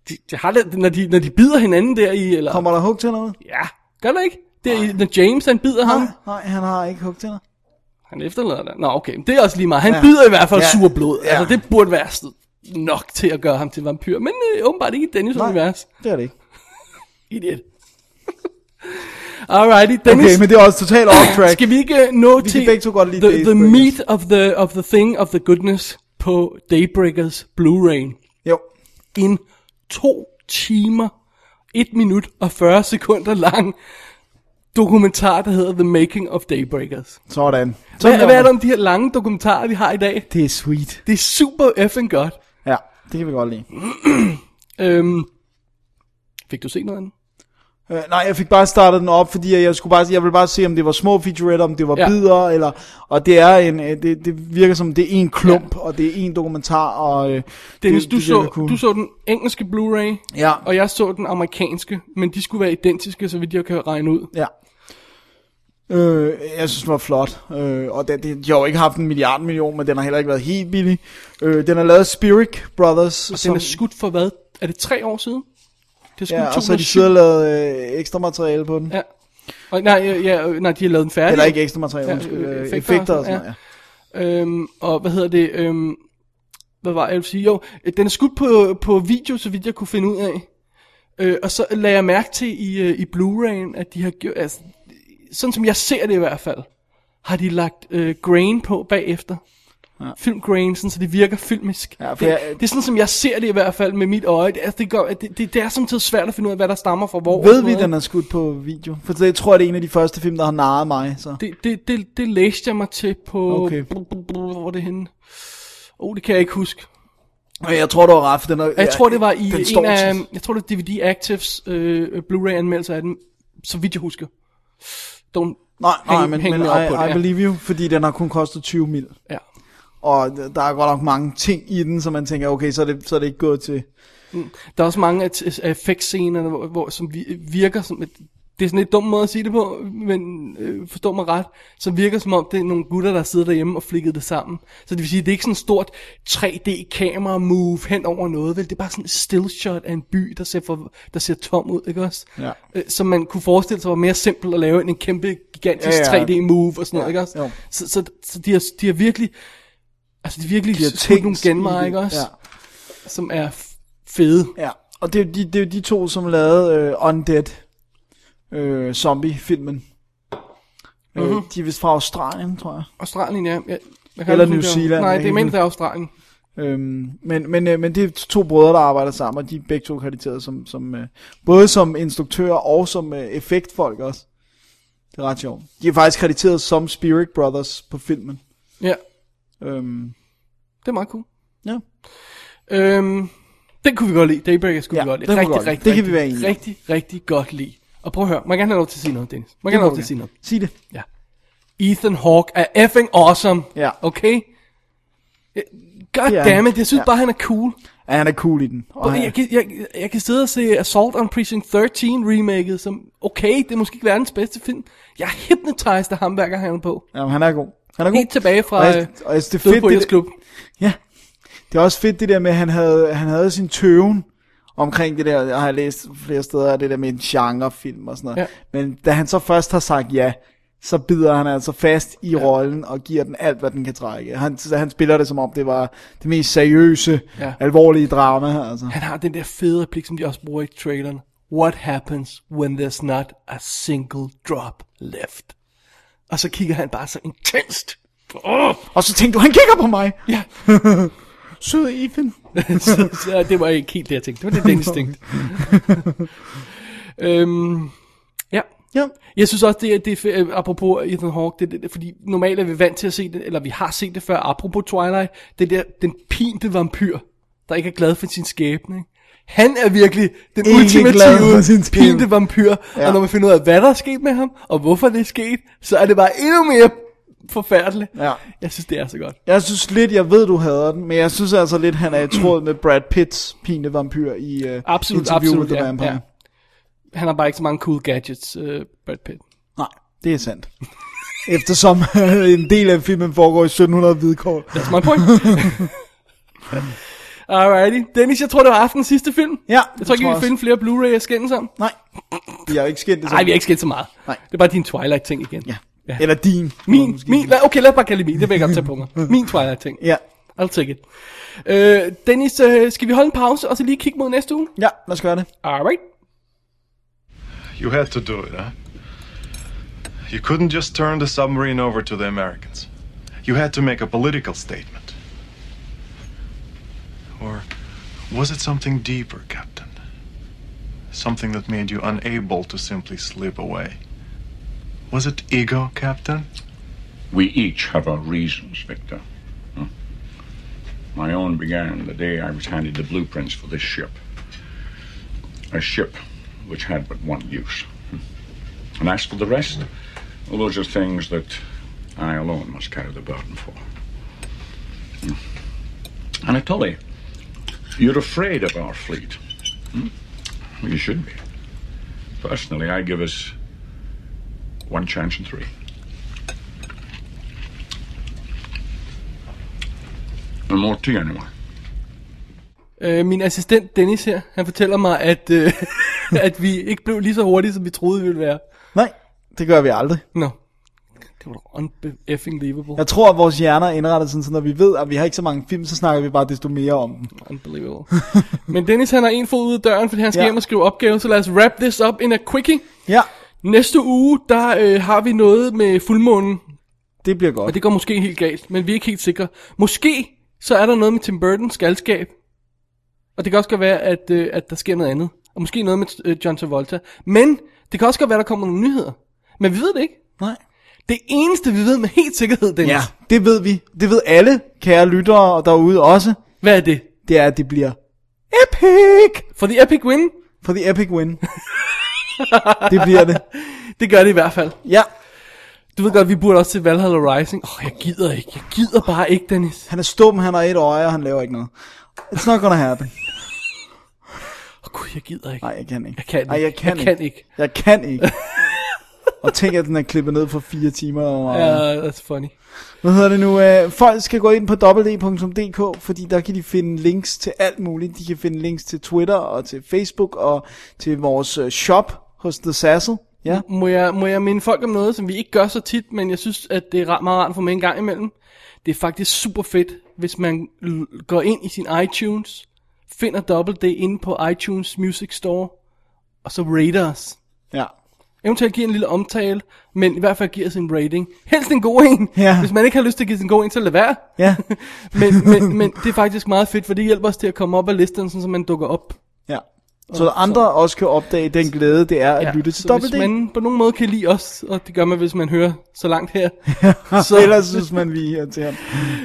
Speaker 3: De, de har det, når, de, når de bider hinanden der i, eller...
Speaker 4: Kommer der hugtænder ud?
Speaker 3: Ja, gør der ikke? Det er, i- når James, han bider ham.
Speaker 4: Nej, nej, han har ikke hugtænder.
Speaker 3: Han efterlader det. Nå, okay, men det er også lige meget. Han
Speaker 4: Ja.
Speaker 3: ja. bider i hvert fald
Speaker 4: Ja.
Speaker 3: ja. sur blod.
Speaker 4: Ja.
Speaker 3: Ja. Altså, det burde være sådan nok til at gøre ham til vampyr. Men øh, åbenbart ikke i Dennis'
Speaker 4: Nej.
Speaker 3: univers.
Speaker 4: Det er det ikke.
Speaker 3: Idiot. Alrighty, Dennis.
Speaker 4: Okay, men det er også totalt off track.
Speaker 3: Skal vi ikke uh, nå
Speaker 4: kan
Speaker 3: til
Speaker 4: begge to godt lide
Speaker 3: the, the
Speaker 4: Daybreakers.
Speaker 3: meat of the, of the thing of the goodness på Daybreakers Blu-ray?
Speaker 4: Jo.
Speaker 3: En to timer, 1 minut og 40 sekunder lang dokumentar, der hedder The Making of Daybreakers.
Speaker 4: Sådan. Sådan
Speaker 3: Hvad, hvad er der om de her lange dokumentarer, vi har i dag?
Speaker 4: Det er sweet.
Speaker 3: Det er super effing godt.
Speaker 4: Ja, det kan vi godt lide.
Speaker 3: Øhm, fik du set noget andet?
Speaker 4: Øh, nej, jeg fik bare startet den op, fordi jeg skulle bare, jeg ville bare se, om det var små featuretter, om det var ja.
Speaker 3: Ja.
Speaker 4: bidder, eller, og det er en, øh, det, det virker som, det er en klump, ja. og det er en dokumentar, og øh,
Speaker 3: Dennis,
Speaker 4: det,
Speaker 3: du,
Speaker 4: det virker
Speaker 3: så, du så den engelske Blu-ray,
Speaker 4: Ja.
Speaker 3: og jeg så den amerikanske, men de skulle være identiske, så vidt jeg kan regne ud.
Speaker 4: Ja. Øh, jeg synes, den var flot. Øh, og den, det, de har jo ikke haft en milliard million, men den har heller ikke været helt billig. Øh, den er lavet af Spirit Brothers.
Speaker 3: Og den er skudt for hvad? Er det tre år siden? Det er skudt
Speaker 4: ja, og så har de
Speaker 3: 2007.
Speaker 4: siddet og lavet øh, ekstra materiale på den.
Speaker 3: Ja. Og, nej, ja, ja, øh, nej, de har lavet den færdig.
Speaker 4: Eller ikke ekstra materiale,
Speaker 3: Ja,
Speaker 4: undskyld,
Speaker 3: øh,
Speaker 4: øh,
Speaker 3: effekter
Speaker 4: effekter og
Speaker 3: og
Speaker 4: sådan
Speaker 3: sådan,
Speaker 4: noget. Ja.
Speaker 3: Øhm, og hvad hedder det? Øhm, hvad var det, jeg ville sige? Jo, øh, den er skudt på, på video, så vidt jeg kunne finde ud af. Øh, og så lagde jeg mærke til i, øh, i Blu-ray'en, at de har gjort... Altså, sådan som jeg ser det i hvert fald, har de lagt øh, grain på bagefter. Ja. Filmgrain, sådan, så det virker filmisk.
Speaker 4: Ja, for
Speaker 3: det,
Speaker 4: jeg-
Speaker 3: det er sådan, som jeg ser det i hvert fald med mit øje. Det, altså, det, gør, det, det, det er samtidig svært at finde ud af, hvad der stammer fra hvor. og
Speaker 4: Ved
Speaker 3: sådan
Speaker 4: vi,
Speaker 3: noget.
Speaker 4: den er skudt på video? For det tror jeg, det er en af de første film, der har narret mig. Så.
Speaker 3: Det, det, det, det læste jeg mig til på...
Speaker 4: Okay.
Speaker 3: Bl- bl- bl- Hvor er det henne? Oh, det kan jeg ikke huske.
Speaker 4: Og jeg tror, du har ret, for den er,
Speaker 3: Jeg tror, det var i
Speaker 4: den står
Speaker 3: en af...
Speaker 4: til-
Speaker 3: Jeg tror, det var DVD Actives øh, Blu-ray-anmeldelser af den, så vidt jeg husker. Don't...
Speaker 4: Nej, nej,
Speaker 3: Hæng-
Speaker 4: men,
Speaker 3: hæng
Speaker 4: men I,
Speaker 3: mig op på det,
Speaker 4: I
Speaker 3: ja.
Speaker 4: believe you, fordi den har kun kostet 20 mil.
Speaker 3: Ja.
Speaker 4: Og der er godt nok mange ting i den, som man tænker, okay, så er det, så er det ikke gået til...
Speaker 3: Der er også mange af, t- af effektscenerne, hvor, hvor, som vi- virker som... Et, det er sådan lidt dum måde at sige det på, men øh, forstå mig ret, så virker som om, det er nogle gutter, der sidder derhjemme og flikket det sammen. Så det vil sige, det er ikke sådan et stort 3D-kamera-move hen over noget, vel? Det er bare sådan et still shot af en by, der ser, for, der ser tom ud, ikke også?
Speaker 4: Ja.
Speaker 3: Øh, som man kunne forestille sig var mere simpelt at lave end en kæmpe, gigantisk
Speaker 4: Ja, ja.
Speaker 3: 3D-move og sådan noget, ikke
Speaker 4: jo.
Speaker 3: også? Så, så, så de, har, de har virkelig... Altså, de har virkelig
Speaker 4: De har
Speaker 3: skudt nogle
Speaker 4: tænkt i det.
Speaker 3: genveje, ikke også?
Speaker 4: Ja.
Speaker 3: Som er f- fede.
Speaker 4: Ja, og det er jo de, det er jo de to, som lavede øh, Undead øh, Zombie-filmen.
Speaker 3: Mhm.
Speaker 4: Mm-hmm. Øh, de er vist fra Australien, tror jeg.
Speaker 3: Australien, ja. Jeg, jeg kan
Speaker 4: Eller
Speaker 3: ikke
Speaker 4: New
Speaker 3: huske, om-
Speaker 4: Zealand,
Speaker 3: Nej,
Speaker 4: ikke?
Speaker 3: det er mindst af Australien.
Speaker 4: Øhm, men, men, øh, men det er to brødre, der arbejder sammen, og de er begge to krediteret som, som, øh, både som instruktører og som øh, effektfolk også. Det er ret sjovt. De er faktisk krediteret som Spirit Brothers på filmen.
Speaker 3: Ja,
Speaker 4: Øhm,
Speaker 3: det er meget cool.
Speaker 4: ja.
Speaker 3: Øhm, den kunne vi godt lide. Daybreaker skulle
Speaker 4: Ja,
Speaker 3: vi godt lide.
Speaker 4: den
Speaker 3: Rigtig,
Speaker 4: kunne vi godt lide.
Speaker 3: rigtig,
Speaker 4: Det kan
Speaker 3: rigtig,
Speaker 4: vi være enige om.
Speaker 3: Rigtig, rigtig godt lide. Og prøv at høre, man kan have lov til at sige noget, Dennis. Man kan have lov til at sige noget.
Speaker 4: Sig det.
Speaker 3: Ja. Ethan Hawke er effing awesome.
Speaker 4: Ja.
Speaker 3: Okay? God
Speaker 4: Det er
Speaker 3: yeah. damn it,
Speaker 4: han.
Speaker 3: jeg synes
Speaker 4: Ja.
Speaker 3: yeah. bare, han er cool.
Speaker 4: Ja, han er cool i den. Og
Speaker 3: Og
Speaker 4: han,
Speaker 3: jeg, kan, jeg, jeg kan sidde og se Assault on Precinct 13 remaket, som, okay, det er måske ikke verdens bedste film. Jeg er hypnotized af ham, hver gang han er på.
Speaker 4: jamen, han er god. Han er god.
Speaker 3: Helt tilbage fra øh,
Speaker 4: Og
Speaker 3: og
Speaker 4: jeg- og jeg synes, det er fedt,
Speaker 3: på
Speaker 4: det-
Speaker 3: det, klub.
Speaker 4: Ja. Det er også fedt det der med, at han havde, han havde sin tøven omkring det der, jeg har læst flere steder, det der med en genrefilm og sådan noget. Ja. Men da han så først har sagt ja, så bider han altså fast i ja. rollen og giver den alt, hvad den kan trække. Han, så han spiller det som om, det var det mest seriøse, ja.
Speaker 3: Ja.
Speaker 4: alvorlige drama. Altså.
Speaker 3: Han har den der fede replik, som de også bruger i traileren. What happens when there's not a single drop left? Og så kigger han bare så intenst. Oh,
Speaker 4: Og så tænkte du, han kigger på mig!
Speaker 3: ja.
Speaker 4: Sød Ethan.
Speaker 3: så, så det var ikke helt det, jeg tænkte. Det var lidt Dennis tænkte. øhm, ja.
Speaker 4: Ja.
Speaker 3: Jeg synes også, det er, det er fe- øh, apropos Ethan Hawke, det, det, det, fordi normalt er vi vant til at se det, eller vi har set det før, apropos Twilight, det der, den pinte vampyr, der ikke er glad for sin skæbne, ikke? Han er virkelig den
Speaker 4: Ikke glad for sin
Speaker 3: ultimative
Speaker 4: skæbne.
Speaker 3: pinte vampyr,
Speaker 4: Ja.
Speaker 3: ja. og når man finder ud af, hvad der er sket med ham, og hvorfor det er sket, så er det bare endnu mere forfærdeligt.
Speaker 4: Ja.
Speaker 3: Jeg synes, det er så godt.
Speaker 4: Jeg synes lidt, jeg ved, du hader den, men jeg synes altså lidt, han er i tråd med Brad Pitts pine vampyr i uh,
Speaker 3: Absolut,
Speaker 4: Interview
Speaker 3: absolut,
Speaker 4: with the
Speaker 3: ja,
Speaker 4: Vampire.
Speaker 3: ja. Han har bare ikke så mange cool gadgets, øh, Brad Pitt.
Speaker 4: Nej, det er sandt. Eftersom øh, en del af filmen foregår i 1700 hvidkål.
Speaker 3: That's my point. Alrighty. Dennis, jeg tror, det var aftenens sidste film.
Speaker 4: Ja,
Speaker 3: Jeg tror ikke, vi
Speaker 4: også.
Speaker 3: kan finde flere Blu-ray at skændes om.
Speaker 4: Nej, vi har ikke skændt det
Speaker 3: Nej, vi har ikke skændt så meget.
Speaker 4: Nej.
Speaker 3: Det er bare din Twilight-ting igen.
Speaker 4: Ja.
Speaker 3: Ja.
Speaker 4: Eller din.
Speaker 3: Min, min, la- okay, lad os bare kalde det min. Det vil jeg godt tage på mig. Min Twilight-ting.
Speaker 4: Ja.
Speaker 3: I'll take it. Øh, Dennis, øh, skal vi holde en pause, og så lige kigge mod næste uge?
Speaker 4: ja, lad os gøre det.
Speaker 3: Alright.
Speaker 8: You had to do it, huh? You couldn't just turn the submarine over to the Americans. You had to make a political statement. Or was it something deeper, Captain? Something that made you unable to simply slip away? Was it ego, Captain?
Speaker 2: We each have our reasons, Victor. Hmm? My own began the day I was handed the blueprints for this ship. A ship which had but one use. Hmm? And as for the rest, well, those are things that I alone must carry the burden for. Hmm? Anatoly, you're afraid of our fleet. Hmm? Well, you should be. Personally, I give us one chance in three. And more tea, anyway.
Speaker 3: Øh, min assistent Dennis her, han fortæller mig, at, øh, at vi ikke blev lige så hurtige, som vi troede, vi ville være.
Speaker 4: Nej, det gør vi aldrig.
Speaker 3: Nå. No. Det var da uneffing livable.
Speaker 4: Jeg tror, at vores hjerner er indrettet sådan, så når vi ved, at vi har ikke så mange film, så snakker vi bare desto mere om dem.
Speaker 3: Unbelievable. Men Dennis han har en fod ud af døren, fordi han skal
Speaker 4: Ja.
Speaker 3: ja. hjem og skrive opgave, så lad os wrap this up in a quickie.
Speaker 4: Ja,
Speaker 3: Næste uge, der øh, har vi noget med fuldmånen,
Speaker 4: det bliver godt.
Speaker 3: og det går måske helt galt, men vi er ikke helt sikre. Måske så er der noget med Tim Burton's galskab, og det kan også godt være, at, øh, at der sker noget andet. Og måske noget med øh, John Travolta. Men det kan også godt være, der kommer nogle nyheder. Men vi ved det ikke.
Speaker 4: Nej.
Speaker 3: Det eneste, vi ved med helt sikkerhed, Dennis,
Speaker 4: Ja, det ved vi. Det ved alle kære lyttere og derude også.
Speaker 3: hvad er det?
Speaker 4: Det er, at det bliver epic
Speaker 3: For The Epic Win,
Speaker 4: for the epic win. det bliver det.
Speaker 3: det gør det i hvert fald.
Speaker 4: Ja,
Speaker 3: Du ved godt, vi burde også til Valhalla Rising. Åh, oh, jeg gider ikke. Jeg gider bare ikke, Dennis.
Speaker 4: han er stum, han har et øje, og han laver ikke noget. It's not gonna happen.
Speaker 3: Åh, oh, gud, jeg gider ikke.
Speaker 4: Nej, jeg kan ikke.
Speaker 3: Jeg kan ikke.
Speaker 4: Ej, jeg kan,
Speaker 3: Jeg kan ikke.
Speaker 4: Jeg kan ikke. og tænk, at den er klippet ned for fire timer. Og,
Speaker 3: Ja,
Speaker 4: ja.
Speaker 3: uh, that's funny.
Speaker 4: Hvad hedder det nu? Øh, folk skal gå ind på E www.dk, fordi der kan de finde links til alt muligt. De kan finde links til Twitter og til Facebook og til vores øh, shop hos The Sassel. Ja,
Speaker 3: Må jeg, må jeg minde folk om noget, som vi ikke gør så tit, men jeg synes, at det er ret meget rart for mig en gang imellem. Det er faktisk super fedt, hvis man l- går ind i sin iTunes, finder Double D inde på iTunes Music Store, og så rater os.
Speaker 4: ja.
Speaker 3: Eventuelt giver en lille omtale, men i hvert fald giver sin rating. Helst en god en.
Speaker 4: Ja.
Speaker 3: Hvis man ikke har lyst til at give sin god en, så lad være.
Speaker 4: Ja.
Speaker 3: men, men, men det er faktisk meget fedt, for det hjælper os til at komme op af listen, sådan, så man dukker op.
Speaker 4: Ja. Så andre også kan opdage den glæde, det er at lytte til E.
Speaker 3: så hvis
Speaker 4: Double D.
Speaker 3: man på nogen måde kan lide os, og det gør man, hvis man hører så langt her,
Speaker 4: Så ellers synes man, vi er til ham.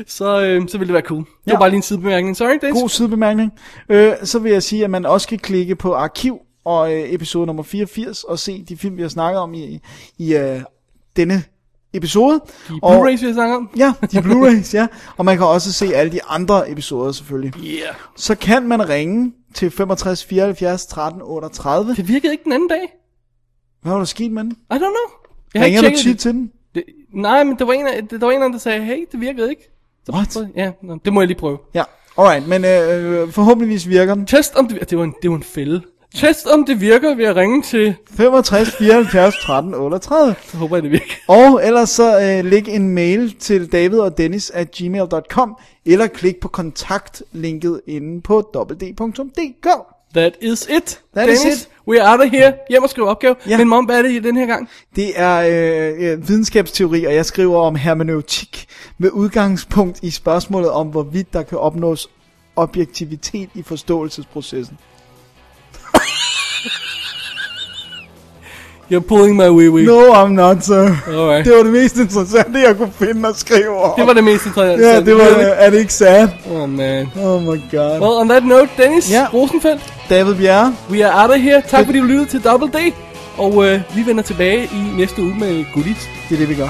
Speaker 3: så, øh, så vil det være cool. Det
Speaker 4: Ja.
Speaker 3: var bare lige en sidebemærkning. Sorry, Days.
Speaker 4: God sidebemærkning. Øh, så vil jeg sige, at man også kan klikke på arkiv og øh, episode nummer 84 og se de film, vi har snakket om i, i øh, denne episode. De
Speaker 3: Blu-rays, vi har snakket om.
Speaker 4: Ja, de Blu-rays, ja. Og man kan også se alle de andre episoder selvfølgelig.
Speaker 3: Yeah.
Speaker 4: Så kan man ringe til 65 74 13 38.
Speaker 3: Det virkede ikke den anden dag.
Speaker 4: Hvad var der sket med den?
Speaker 3: I don't know. Jeg har ikke
Speaker 4: Ringer du
Speaker 3: tjekket
Speaker 4: tit
Speaker 3: det.
Speaker 4: til den?
Speaker 3: Det, nej, men der var, en af, der var en af dem, der sagde, hey, det virkede ikke. Så
Speaker 4: What?
Speaker 3: prøvede- Ja, nå, det må jeg lige prøve.
Speaker 4: Ja, alright, men øh, forhåbentligvis virker den.
Speaker 3: Test om det, det var en, det var en fælde. Test om det virker ved at ringe til...
Speaker 4: 65 74 13 38.
Speaker 3: Så håber jeg, det virker.
Speaker 4: Og ellers så øh, læg en mail til david og dennis at gmail.com, eller klik på kontaktlinket inde på www.dk.
Speaker 3: That is it.
Speaker 4: That is
Speaker 3: Dennis,
Speaker 4: it.
Speaker 3: we are out of here. Hjem og skrive opgave.
Speaker 4: Ja.
Speaker 3: Men mom, hvad er det i den her gang?
Speaker 4: Det er øh, øh, videnskabsteori, og jeg skriver om hermeneutik med udgangspunkt i spørgsmålet om, hvorvidt der kan opnås objektivitet i forståelsesprocessen.
Speaker 3: You're pulling my wee-wee.
Speaker 4: No, I'm not, sir.
Speaker 3: Alright.
Speaker 4: Det var det mest interessante, jeg kunne finde at skrive om.
Speaker 3: Det var det mest interessante.
Speaker 4: ja, det var, er det ikke sad?
Speaker 3: Oh, man.
Speaker 4: Oh my god.
Speaker 3: Well, on that note, Dennis
Speaker 4: Ja.
Speaker 3: yeah. Rosenfeldt,
Speaker 4: David Bjerre,
Speaker 3: we are out of here. Tak fordi du lyttede til Double D. Og øh, vi vender tilbage i næste uge med goodies.
Speaker 4: det er det, vi gør.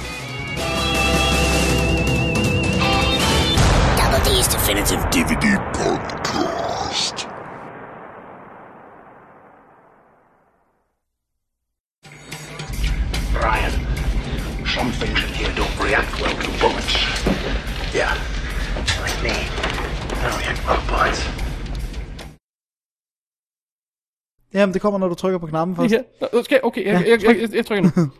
Speaker 1: Double D's Definitive DVD Podcast.
Speaker 9: Brian, some things in here don't react well to bullets. Yeah, like me. I don't react well to bullets.
Speaker 4: Jamen, det kommer, når du trykker på knappen først.
Speaker 3: Lige her. Nå, Okay, okay, jeg,
Speaker 4: Ja,
Speaker 3: jeg, jeg, jeg, jeg trykker nu.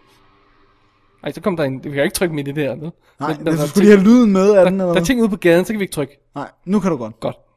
Speaker 3: Ej, så kom der en. Vi kan ikke trykke midt i det her. Vel?
Speaker 4: Nej,
Speaker 3: der,
Speaker 4: men
Speaker 3: der,
Speaker 4: du skulle lige have lyden med af den,
Speaker 3: der,
Speaker 4: eller
Speaker 3: der er
Speaker 4: hvad?
Speaker 3: ting ude på gaden, så kan vi ikke trykke.
Speaker 4: Nej, nu kan du godt.
Speaker 3: Godt.